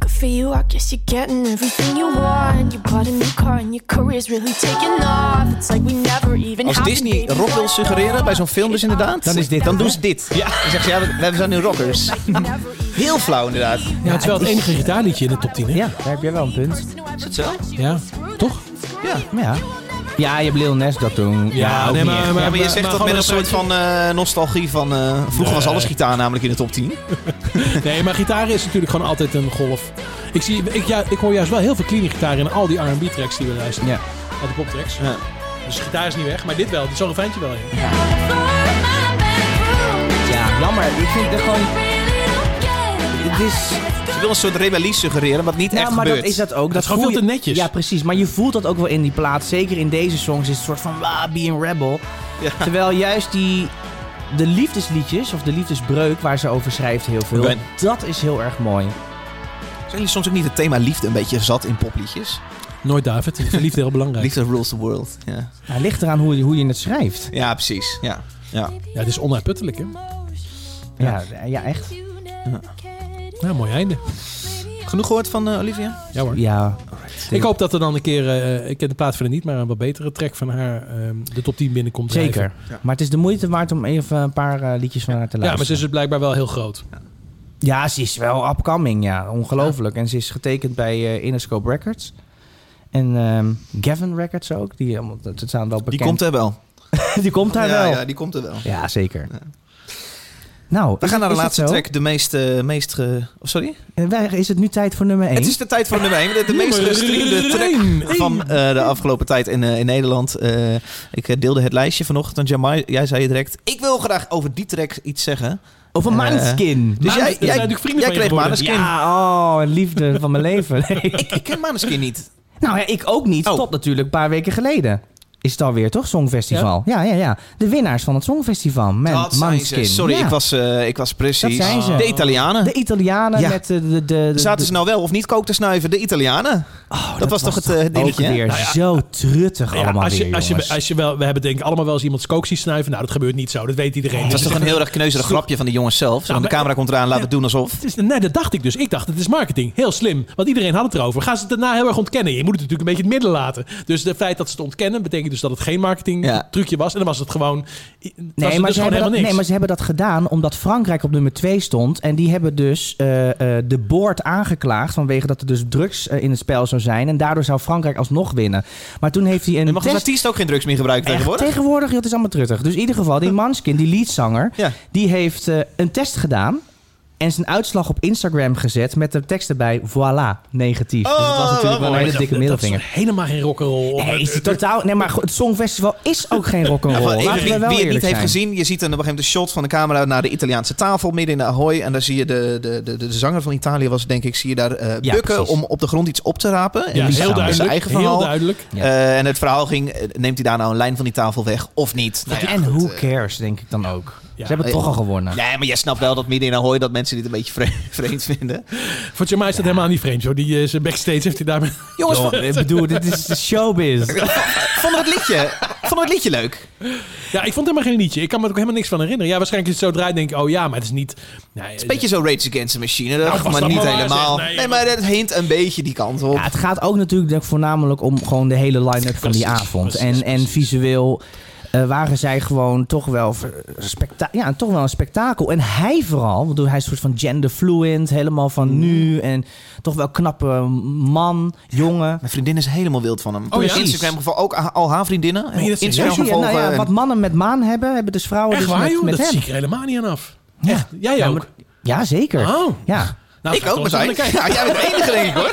L: Good for you, I guess you're getting everything you want. You bought a new car and your career's really taking off. It's like we never even
D: Als
L: had a
D: Disney
L: baby.
D: rock wil suggereren bij zo'n film dus inderdaad...
E: Dan is dit
D: Dan
E: het,
D: doen
E: hè?
D: ze dit. Ja. Dan zeggen ze, ja, we, we zijn nu rockers. Heel flauw inderdaad.
A: Ja, het is wel het enige gitaarliedje in de top 10 hè?
E: Ja, daar heb jij wel een punt.
D: Is het zo?
A: Ja, toch?
E: Maar ja. ja, je hebt Lil Nas dat doen. Ja, ook
A: nee,
E: niet echt.
D: Ja, maar je zegt dat
A: gewoon
D: met een
A: dat
D: soort
A: we-
D: van eh, nostalgie van... eh, vroeger was alles gitaar namelijk in de top 10.
A: Nee, maar gitaar is natuurlijk gewoon altijd een golf. Ik, zie, ik, ja, ik hoor juist wel heel veel clean gitaar in al die R&B tracks die we luisteren.
E: Ja.
A: Al die poptracks.
D: Ja.
A: Dus gitaar is niet weg, maar dit wel. Dit is zo'n fijntje wel. Ja.
E: ja, jammer. Ik vind het gewoon... Het is...
D: Ze wil een soort rebellie suggereren, wat niet
E: Ja,
D: echt
E: maar
D: gebeurt.
E: dat is dat ook. Dat,
A: is gewoon
E: voel
A: veel
E: je-
A: te netjes.
E: Ja, precies. Maar je voelt dat ook wel in die plaat. Zeker in deze songs is het soort van ah, be a rebel.
D: Ja.
E: Terwijl juist die de liefdesliedjes of de liefdesbreuk waar ze over schrijft heel veel.
D: Ben.
E: Dat is heel erg mooi.
D: Zijn jullie soms ook niet het thema liefde een beetje zat in popliedjes?
A: Nooit David. Ik vind liefde heel belangrijk.
D: Liefde rules the world. Ja,
E: Nou, het ligt eraan hoe je, hoe je het schrijft.
D: ja precies. Ja. Ja.
A: Ja, het is onuitputtelijk hè.
E: Ja, eh, ja, echt.
A: Nou, mooi einde.
D: Genoeg gehoord van eh, Olivia?
A: Ja hoor.
E: Ja.
A: Ik hoop dat er dan een keer, eh, ik ken de plaat verder niet, maar een wat betere track van haar eh, de top 10 binnenkomt. drijven.
E: Zeker. Maar het is de moeite waard om even een paar eh, liedjes van haar te
A: Ja, maar ze
E: luisteren.
A: is dus blijkbaar wel heel groot.
E: Ja, ze is wel upcoming, ja. Ongelooflijk. En ze is getekend bij eh, Interscope Records. En ehm, Gavin Records ook. Die, allemaal- dat staan wel bekend.
D: Die komt er wel.
E: die komt daar
D: ja,
E: wel.
D: ja, die komt er wel.
E: Ja, zeker. Nou,
D: We
E: is
D: gaan
E: het-
D: naar de
E: is het
D: laatste
E: zo?
D: track, de meest... eh, meest ge- oh, sorry?
E: En wij- Is het nu tijd voor nummer 1?
D: Het is de tijd voor nummer 1. De, de meest
A: Nummer
D: gestreamde
A: één.
D: track van eh, de afgelopen tijd in, eh, in Nederland. Eh, ik eh, deelde het lijstje vanochtend. aan Jamai, jij zei direct, ik wil graag over die track iets zeggen.
E: Over
D: Eh,
E: Maneskin.
D: Dus jij,
A: Manes- dat zijn
D: jij,
A: natuurlijk vrienden
D: jij
A: van
D: kreeg
A: je geworden.
D: Maneskin.
E: Ja, oh, liefde van mijn leven. Nee.
D: Ik, ik ken Maneskin niet.
E: nou ja, ik ook niet.
D: Oh.
E: Tot natuurlijk een paar weken geleden. Is het alweer, toch? Songfestival. Ja, ja, ja. De winnaars van het Songfestival. Man,
D: Dat zijn ze.
E: Maneskin.
D: Sorry,
E: Ja.
D: ik, was, eh, ik was precies...
E: Dat zijn ze.
D: De Italianen.
E: De Italianen
D: Ja.
E: met de... de, de, de-
D: Zaten ze nou wel of niet kook te snuiven? De Italianen.
E: Oh,
D: dat, was toch het eh,
E: ook
D: dingetje? hè? Nou
E: weer zo truttig
A: Ja,
E: allemaal
A: als, je,
E: weer,
A: als, je,
E: jongens.
A: als je wel, we hebben denk ik allemaal wel eens iemand kook zien snuiven. Nou, dat gebeurt niet zo. Dat weet iedereen.
D: Het was
A: Dus
D: toch
A: het
D: een
A: is-
D: heel erg kneuzerig grapje van de jongens zelf. Zo,
A: Nou,
D: de
A: maar-
D: camera komt eraan, laten we het doen alsof.
A: het is, nee, dat dacht ik dus. Ik dacht, het is marketing. Heel slim. Want iedereen had het erover. Gaan ze het daarna heel erg ontkennen? Je moet het natuurlijk een beetje in het midden laten. Dus het feit dat ze het ontkennen, betekent dus dat het geen marketing trucje was. En dan was het gewoon.
E: Nee maar, ze
A: dus gewoon
E: hebben
A: helemaal
E: dat,
A: niks.
E: nee, maar ze hebben dat gedaan omdat Frankrijk op nummer 2 stond. En die hebben dus eh, eh, de board aangeklaagd vanwege dat er dus drugs eh, in het spel zou zijn. En daardoor zou Frankrijk alsnog winnen. Maar toen heeft hij een
D: Mag een
E: test-
D: artiest ook geen drugs meer gebruiken
E: Echt,
D: tegenwoordig?
E: Tegenwoordig, joh, het is allemaal truttig. Dus in ieder geval, die Manskin, die leadzanger, die heeft eh, een test gedaan. En zijn uitslag op Instagram gezet met de tekst erbij, voilà, negatief. dus dat was natuurlijk wel een hele dikke middelvinger.
A: helemaal geen rock'n'roll.
E: Nee, is die totaal... Nee, maar goed, het Songfestival is ook geen
D: Ja,
E: rock'n'roll.
D: maar
E: Oh, Laten
D: even,
E: we wel
D: wie het
E: eerlijk
D: niet heeft
E: zijn.
D: gezien, je ziet dan op een gegeven moment een shot van de camera naar de Italiaanse tafel midden in de Ahoy. En daar zie je de, de, de, de zanger van Italië was, denk ik, zie je daar eh,
A: Ja,
D: bukken
A: precies.
D: om op de grond iets op te rapen.
A: Ja,
D: die
A: heel
D: staat met zijn
A: duidelijk,
D: eigen
A: heel
D: verhaal.
A: duidelijk.
D: Ja. Eh, en het verhaal ging, eh, neemt hij daar nou een lijn van die tafel weg of niet? Nou ja,
E: en who cares, denk ik dan ook. Ze hebben het toch al gewonnen.
D: Nee, maar jij snapt wel dat midden in Ahoy dat mensen dit een beetje vre- vreemd vinden.
A: Voor Jamai is dat helemaal niet vreemd, joh. Die eh, zijn backstage heeft hij daarmee.
D: Jongens,
A: Joh,
D: wat-
A: ik bedoel, dit is
E: de showbiz.
D: Vonden we het liedje, vonden we het liedje leuk?
A: Ja, ik vond helemaal geen liedje. Ik kan me er ook helemaal niks van herinneren. Ja, waarschijnlijk als je het zo draait, denk ik, oh ja, maar het is niet. Nee, eh, het
D: is een beetje zo Rage Against the Machine,
A: Nou,
D: dat
A: was
D: maar
A: dat
D: niet
A: maar waar,
D: helemaal.
A: zeg. Nee,
D: Nee, maar het hint een beetje die kant op.
E: Ja, het gaat ook natuurlijk denk ik, voornamelijk om gewoon de hele line-up van die avond. en, en visueel eh, waren zij gewoon toch wel, ver- specta- ja, toch wel een spektakel. En hij vooral, want hij is een soort van genderfluent, helemaal van nu. En toch wel knappe man, jongen.
D: Mijn vriendin is helemaal wild van hem. Oh,
E: Precies.
D: Instagram geval ook a- al haar vriendinnen.
E: Meen je dat
D: Instagram eh,
E: serieus? Ja,
D: gevolgen.
E: nou ja,
D: en-
E: wat mannen met maan hebben, hebben dus vrouwen
A: Echt
E: dus
A: waar,
E: met,
A: joh?
E: met
A: dat
E: hem.
A: zie ik er helemaal niet aan af. Echt? Jij
E: Ja,
A: ook?
E: maar- ja, zeker.
A: Oh.
E: Ja.
A: Nou,
D: Ik ook, Martijn. Ja, jij bent de enige, denk ik, hoor.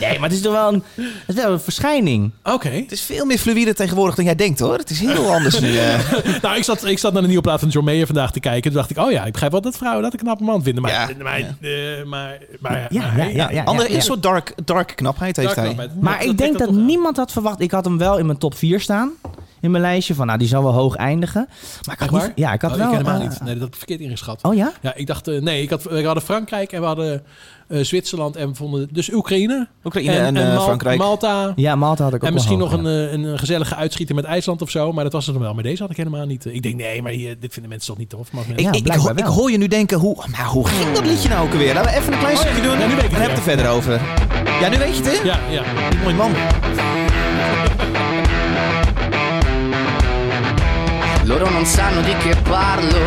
E: Nee, maar het is toch wel een, het is wel een verschijning.
A: Oké.
D: Het is veel meer fluïde tegenwoordig dan jij denkt, hoor. Het is heel anders nu. eh.
A: nou, ik zat, ik zat naar de nieuwe plaat van John Mayer vandaag te kijken. Toen dacht ik, oh ja, ik begrijp wel dat vrouwen dat een knappe man vinden. Maar, maar, eh, maar, maar, maar-
D: Andere, Een soort dark, dark knapheid heeft
A: Dark
D: hij.
A: knapheid.
E: Maar ik denk dat, niemand had verwacht. Ik had hem wel in mijn top 4 staan. In mijn lijstje van, nou, die zal wel hoog eindigen. Maar ik had
A: Echt
E: niet-
A: waar?
E: ja, ik had
A: Oh,
E: wel.
A: helemaal
E: eh,
A: niet. Nee, dat heb ik verkeerd ingeschat.
E: Oh ja?
A: Ja, ik dacht... eh, nee, ik had, we hadden Frankrijk en we hadden eh, Zwitserland en we vonden... Dus Oekraïne.
D: Oekraïne en, eh,
A: Mal-
D: Frankrijk.
A: Malta.
E: Ja, Malta had ik ook
A: En misschien
E: wel
A: nog
E: hoog,
A: een, eh, een gezellige uitschieter met IJsland of zo. Maar dat was het dan wel. Maar deze had ik helemaal niet. eh, Ik denk, nee, maar hier, dit vinden mensen toch niet tof? Maar,
D: Ik, ik, ik, hoor- ik hoor je nu denken, hoe, maar hoe ging dat liedje nou ook alweer? Laten we even een klein stukje doen.
A: nu weet ik
D: Dan heb je het er verder over. Ja, nu weet je het, hè?
A: Ja, ja.
D: Die mooie man.
M: Loro non sanno di che parlo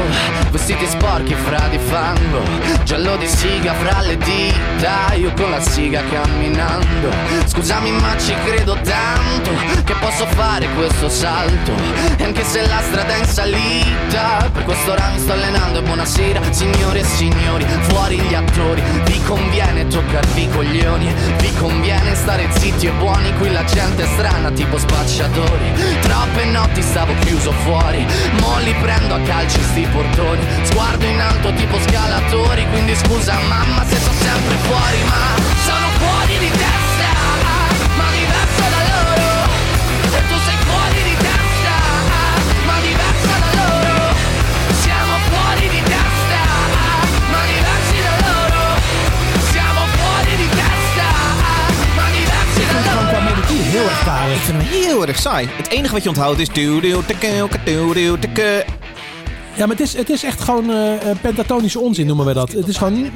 M: Vestiti sporchi fra di fango Giallo di siga fra le dita Io con la siga camminando Scusami ma ci credo tanto Che posso fare questo salto E anche se la strada è in salita Per questo ora mi sto allenando E buonasera signore e signori Fuori gli attori Vi conviene toccarvi i coglioni Vi conviene stare zitti e buoni Qui la gente è strana tipo spacciatori Troppe notti stavo chiuso fuori Mo li prendo a calci sti portoni Sguardo in alto tipo scalatori Quindi scusa mamma se sono sempre fuori Ma sono fuori di testa Ma diversa da loro E tu sei fuori di testa Ma diversa da loro Siamo fuori di testa Ma diversi da loro Siamo fuori di testa Ma diversi da loro
D: Heel erg saai. Ik vind hem heel erg saai. Het enige wat je onthoudt is... du- du- tikke- du- du- tikke.
A: Ja, maar het is, het is echt gewoon eh, eh, pentatonische onzin, noemen we dat. Het is gewoon...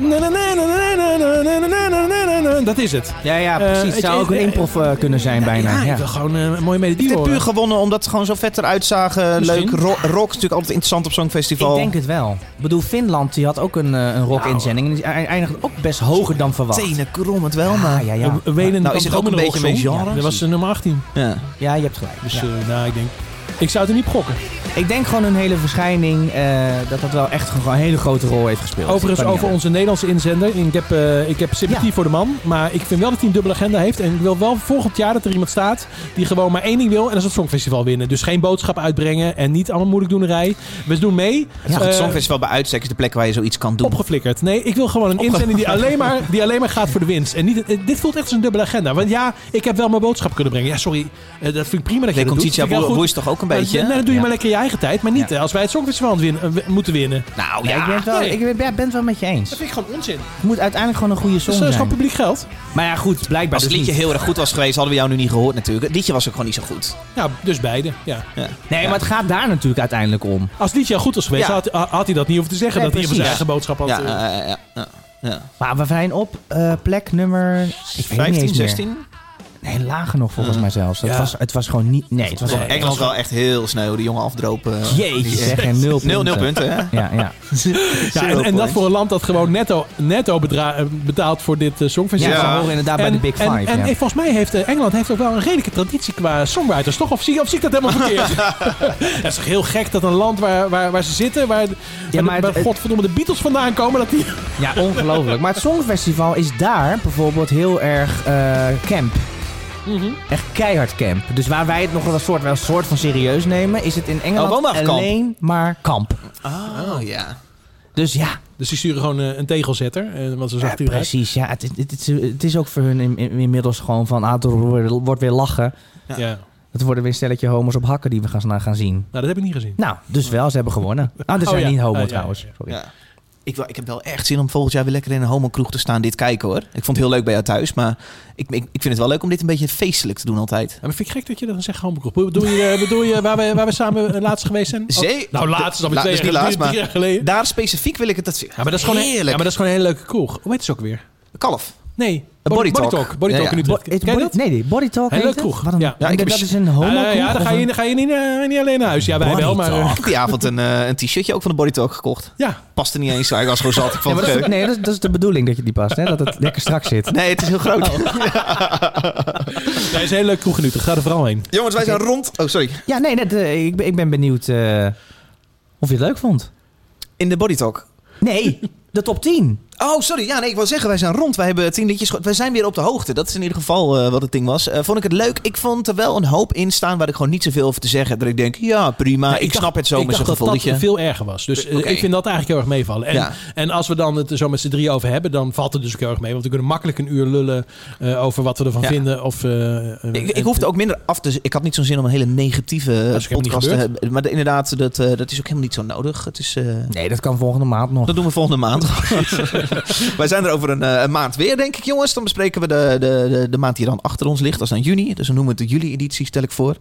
A: Dat is het.
E: Ja, ja,
A: Eh,
E: precies.
A: het-
E: zou ook een
A: eh,
E: improv eh, kunnen zijn bijna.
A: Ja,
E: Ja,
A: ik wil gewoon eh, een mooie melodie
D: Het
A: horen.
D: puur gewonnen omdat ze gewoon zo vet eruit zagen.
A: Misschien.
D: Leuk. Ro- rock is natuurlijk altijd interessant op zo'n festival.
E: Ik denk het wel. Ik bedoel, Finland die had ook een, eh, een
A: Nou.
E: rock-inzending. En die eindigde ook best hoger dan verwacht. Ah,
D: Tenen krommend wel, maar...
E: ja, ja.
A: Eh, Wenen
D: Nou,
A: kwam
D: is het
A: toch
D: ook een
A: met
D: beetje mijn
A: rocksong?
D: genre?
A: Ja, dat was eh, nummer 18.
D: Ja.
E: Ja, je hebt gelijk.
A: Dus
E: Ja.
A: eh, nou, ik denk... Ik zou het er niet op gokken.
E: Ik denk gewoon een hele verschijning eh, dat dat wel echt gewoon een hele grote rol heeft gespeeld.
A: Overigens
E: Kan niet
A: over
E: anders.
A: onze Nederlandse inzender. Ik heb, eh, ik heb sympathie voor de man. Maar ik vind wel dat hij een dubbele agenda heeft. En ik wil wel volgend jaar dat er iemand staat die gewoon maar één ding wil. En dat is het Songfestival winnen. Dus geen boodschap uitbrengen en niet allemaal moeilijkdoenerij. We doen mee.
D: Het
A: Eh,
D: Songfestival bij uitstek is de plek waar je zoiets kan doen.
A: Opgeflikkerd. Nee, ik wil gewoon een inzending die alleen, maar, die alleen maar gaat voor de winst. En niet, eh, dit voelt echt als een dubbele agenda. Want ja, ik heb wel mijn boodschap kunnen brengen. Ja, sorry. eh, dat vind ik prima dat je
D: Nee,
A: dat doet.
D: Conchitia
A: Vind ik wel
D: Wo-
A: goed.
D: Woest toch ook een
A: Maar,
D: beetje,
A: eh,
D: hè?
A: Nee, dat doe
D: Ja.
A: je maar lekker je eigen tijd. Maar niet eh, als wij het Songfestival aan het winnen- eh, moeten winnen.
D: Nou
E: Nee, ik ben het wel,
A: Nee.
E: ik ben, ben het wel met je eens.
A: Dat vind ik gewoon onzin.
E: Het moet uiteindelijk gewoon een goede song
A: Dus dat
E: zijn.
A: Dus, is gewoon publiek geld.
E: Maar ja, goed, blijkbaar
D: Als het
E: dus
D: liedje
E: niet.
D: heel erg goed was geweest, hadden we jou nu niet gehoord natuurlijk. Het liedje was ook gewoon niet zo goed.
A: Ja, dus beide. Ja.
E: Nee, maar het gaat daar natuurlijk uiteindelijk om.
A: Als het liedje al goed was geweest,
E: Ja.
A: had, had hij dat niet hoeven te zeggen.
E: Nee,
A: dat hij van zijn
E: precies.
A: eigen boodschap had.
D: Ja,
A: eh,
D: eh, ja, ja, ja.
E: Maar we zijn op eh, plek nummer... Ik weet het niet
D: 15,
E: eens meer.
D: 16?
E: Nee, lager nog volgens mij zelfs. Dat was, het was gewoon niet... Nee, het was
D: Engeland
E: het was
D: wel echt heel snel, die jongen afdropen.
E: Jeetje, zeg, en nul punten.
D: Nul, nul punten, hè?
E: Ja, ja.
A: Ja, en, en dat voor een land dat gewoon netto, netto bedra- eh, betaalt voor dit eh, songfestival.
E: Ja, ze horen inderdaad bij
A: En-
E: de Big
A: en-
E: Five,
A: En,
E: ja.
A: eh, volgens mij heeft eh, Engeland heeft ook wel een redelijke traditie qua songwriters, toch? Of zie, of zie ik dat helemaal verkeerd? Het is toch heel gek dat een land waar, waar, waar ze zitten, waar, waar,
E: maar het-
A: waar godverdomme de Beatles vandaan komen, dat die...
E: Ja, ongelooflijk. Maar het Songfestival is daar bijvoorbeeld heel erg eh, camp.
A: Mhm.
E: Echt keihard camp. Dus waar wij het nog wel een soort, wel een soort van serieus nemen, is het in
D: Oh, wel
E: Engeland
D: nog kamp.
E: alleen maar kamp.
D: Oh, ja.
E: Dus ja.
A: Dus die sturen gewoon eh, een tegelzetter, eh, want ze zag
E: Ja,
A: eruit.
E: precies, ja. Het, het, het, het is ook voor hun in- in- inmiddels gewoon van, ah, het wordt- wordt weer lachen.
A: Ja.
E: Het worden weer een stelletje homo's op hakken die we gaan, gaan zien.
A: Nou, dat heb ik niet gezien.
E: Nou, dus wel, ze hebben gewonnen. Ah, dat
D: Oh,
E: zijn
D: ja.
E: niet homo
D: Ah,
A: Eh,
D: ja,
E: trouwens.
D: ja, ja.
E: Sorry.
D: Ja. Ik, wil, ik heb wel echt zin om volgend jaar weer lekker in een homokroeg te staan. Dit kijken hoor. Ik vond het heel leuk bij jou thuis. Maar ik, ik, ik vind het wel leuk om dit een beetje feestelijk te doen altijd.
A: Ja, maar vind ik gek dat je dat dan zegt, homokroeg. Bedoel je, eh, bedoel je waar, we, waar we samen eh, laatst geweest zijn?
D: Zee-
A: Oh, nou, laatst, dan
D: La-
A: twee
D: dus niet
A: jaar-
D: laatst,
A: drie-
D: maar
A: drie jaar geleden.
D: Daar specifiek wil ik het dat Ja,
A: maar dat is gewoon, een- ja,
D: Heerlijk.
A: maar dat is gewoon een hele leuke kroeg. Hoe heet ze ook weer?
D: Kalf.
A: Nee,
D: Body Talk.
A: Body
D: Ja,
A: Talk
D: ja.
A: in Utrecht.
D: Bo- het
A: Ken je
D: Body-
A: dat?
E: Nee, nee, Body Talk
A: Heel
E: heet
A: leuk
E: het?
A: kroeg.
E: Wat een-
A: ja.
E: Ja, ik heb
A: dat
E: eens- is een homo
A: Ja,
E: kroeg
A: dan
E: of
A: ga je,
E: een-
A: dan ga je niet, eh, niet alleen naar huis. Ja, wij wel, maar...
D: Ik
A: eh,
D: heb die avond een, eh, een t-shirtje ook van de Body Talk gekocht.
A: Ja.
D: Paste niet eens. Ik was gewoon zat. Ik
E: Ja,
D: vond
E: maar
D: het
E: dat is,
D: leuk.
E: nee, dat is, dat is de bedoeling dat je die past, hè? dat het lekker strak zit.
D: Nee, het is Oh. heel groot.
A: Nee, is een hele leuke kroeg in Utrecht. Ga er vooral heen.
D: Jongens, wij zijn rond. Oh, sorry.
E: Ja, nee, net, eh, ik, ben- ik ben benieuwd eh, of je het leuk vond.
D: In de Body Talk.
E: Nee, de top 10.
D: Oh, sorry. Ja, nee, ik wil zeggen, wij zijn rond. Wij hebben tien liedjes. gehoord. Wij zijn weer op de hoogte. Dat is in ieder geval eh, wat het ding was. Eh, vond ik het leuk. Ik vond er wel een hoop in staan waar ik gewoon niet zoveel over te zeggen. heb. Dat ik denk, ja, prima.
A: Nee,
D: ik,
A: dacht-
D: snap het zo
A: ik
D: met
A: dacht
D: zo'n
A: dat
D: gevoel.
A: dat veel erger was. Dus eh,
D: Oké.
A: ik vind dat eigenlijk heel erg meevallen. En,
D: Ja.
A: en als we dan het er zo met z'n drie over hebben, dan valt het dus ook heel erg mee. Want we kunnen makkelijk een uur lullen eh, over wat we ervan
D: Ja.
A: vinden. Of, eh, eh,
D: Ik, ik hoefde ook minder af te... Ik had niet zo'n zin om een hele negatieve
A: Nou, is ook helemaal
D: podcast
A: niet
D: te
A: gebeurd.
D: hebben. Maar de- inderdaad, dat, eh, dat is ook helemaal niet zo nodig. Het is... eh,
E: Nee, dat kan volgende maand nog.
D: Dat doen we volgende maand. Wij zijn er over een, eh, een maand weer, denk ik, jongens. Dan bespreken we de, de, de, de maand die dan achter ons ligt. Dat is dan juni. Dus we noemen het de juli-editie, stel ik voor.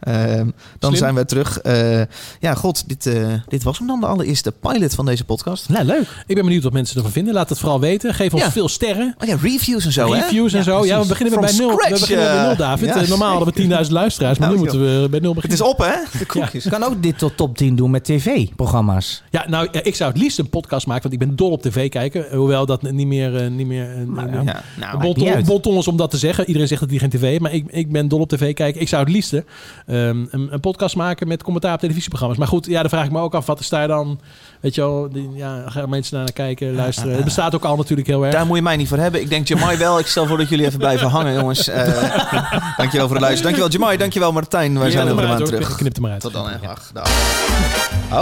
D: Ehm, dan
A: Slim.
D: zijn we terug. Eh, ja, god, dit, eh, dit was hem dan de allereerste pilot van deze podcast.
E: Nou, leuk.
A: Ik ben benieuwd wat mensen ervan vinden. Laat het vooral weten. Geef ons
D: Ja.
A: veel sterren.
D: Oh ja, reviews en zo, hè?
A: Reviews en
D: Ja,
A: zo.
D: precies.
A: Ja, we beginnen weer bij
D: From
A: nul.
D: scratch,
A: we beginnen weer bij nul,
D: eh,
A: David.
D: ja.
A: Eh, Normaal hadden we 10.000 luisteraars, maar nu
D: Nou,
A: moeten we bij nul
D: Het
A: beginnen.
D: is op, hè? De koekjes.
E: Je kan ook dit tot top 10 doen met tv-programma's.
A: Ja, nou, ja, ik zou het liefst een podcast maken, want ik ben dol op tv kijken. Eh, Hoewel dat niet meer... eh, niet meer eh, niet-
D: Ja, nou,
A: Bon
E: niet uit.
A: ton- bon ton is om dat te zeggen. Iedereen zegt dat hij geen tv heeft, maar ik, ik ben dol op tv kijken. Ik zou het liefst ehm, een, een podcast maken met commentaar op televisieprogramma's. Maar goed, ja, dan vraag ik me ook af, wat is daar dan... Weet je wel, die- ja, gaan mensen naar kijken, luisteren. Het bestaat ook al natuurlijk heel erg.
D: daar moet je mij niet voor hebben. Ik denk Jamai wel. Ik stel voor dat jullie even blijven hangen, jongens. Eh, dankjewel voor het luisteren. Dankjewel Jamai, dankjewel Martijn. Wij zijn
A: Ja,
D: over
A: maar
D: een maand
A: uit, hoor.
D: terug.
A: Knip er maar uit.
D: Tot dan, hè. Dag.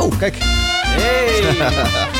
D: Oh, kijk. Hey.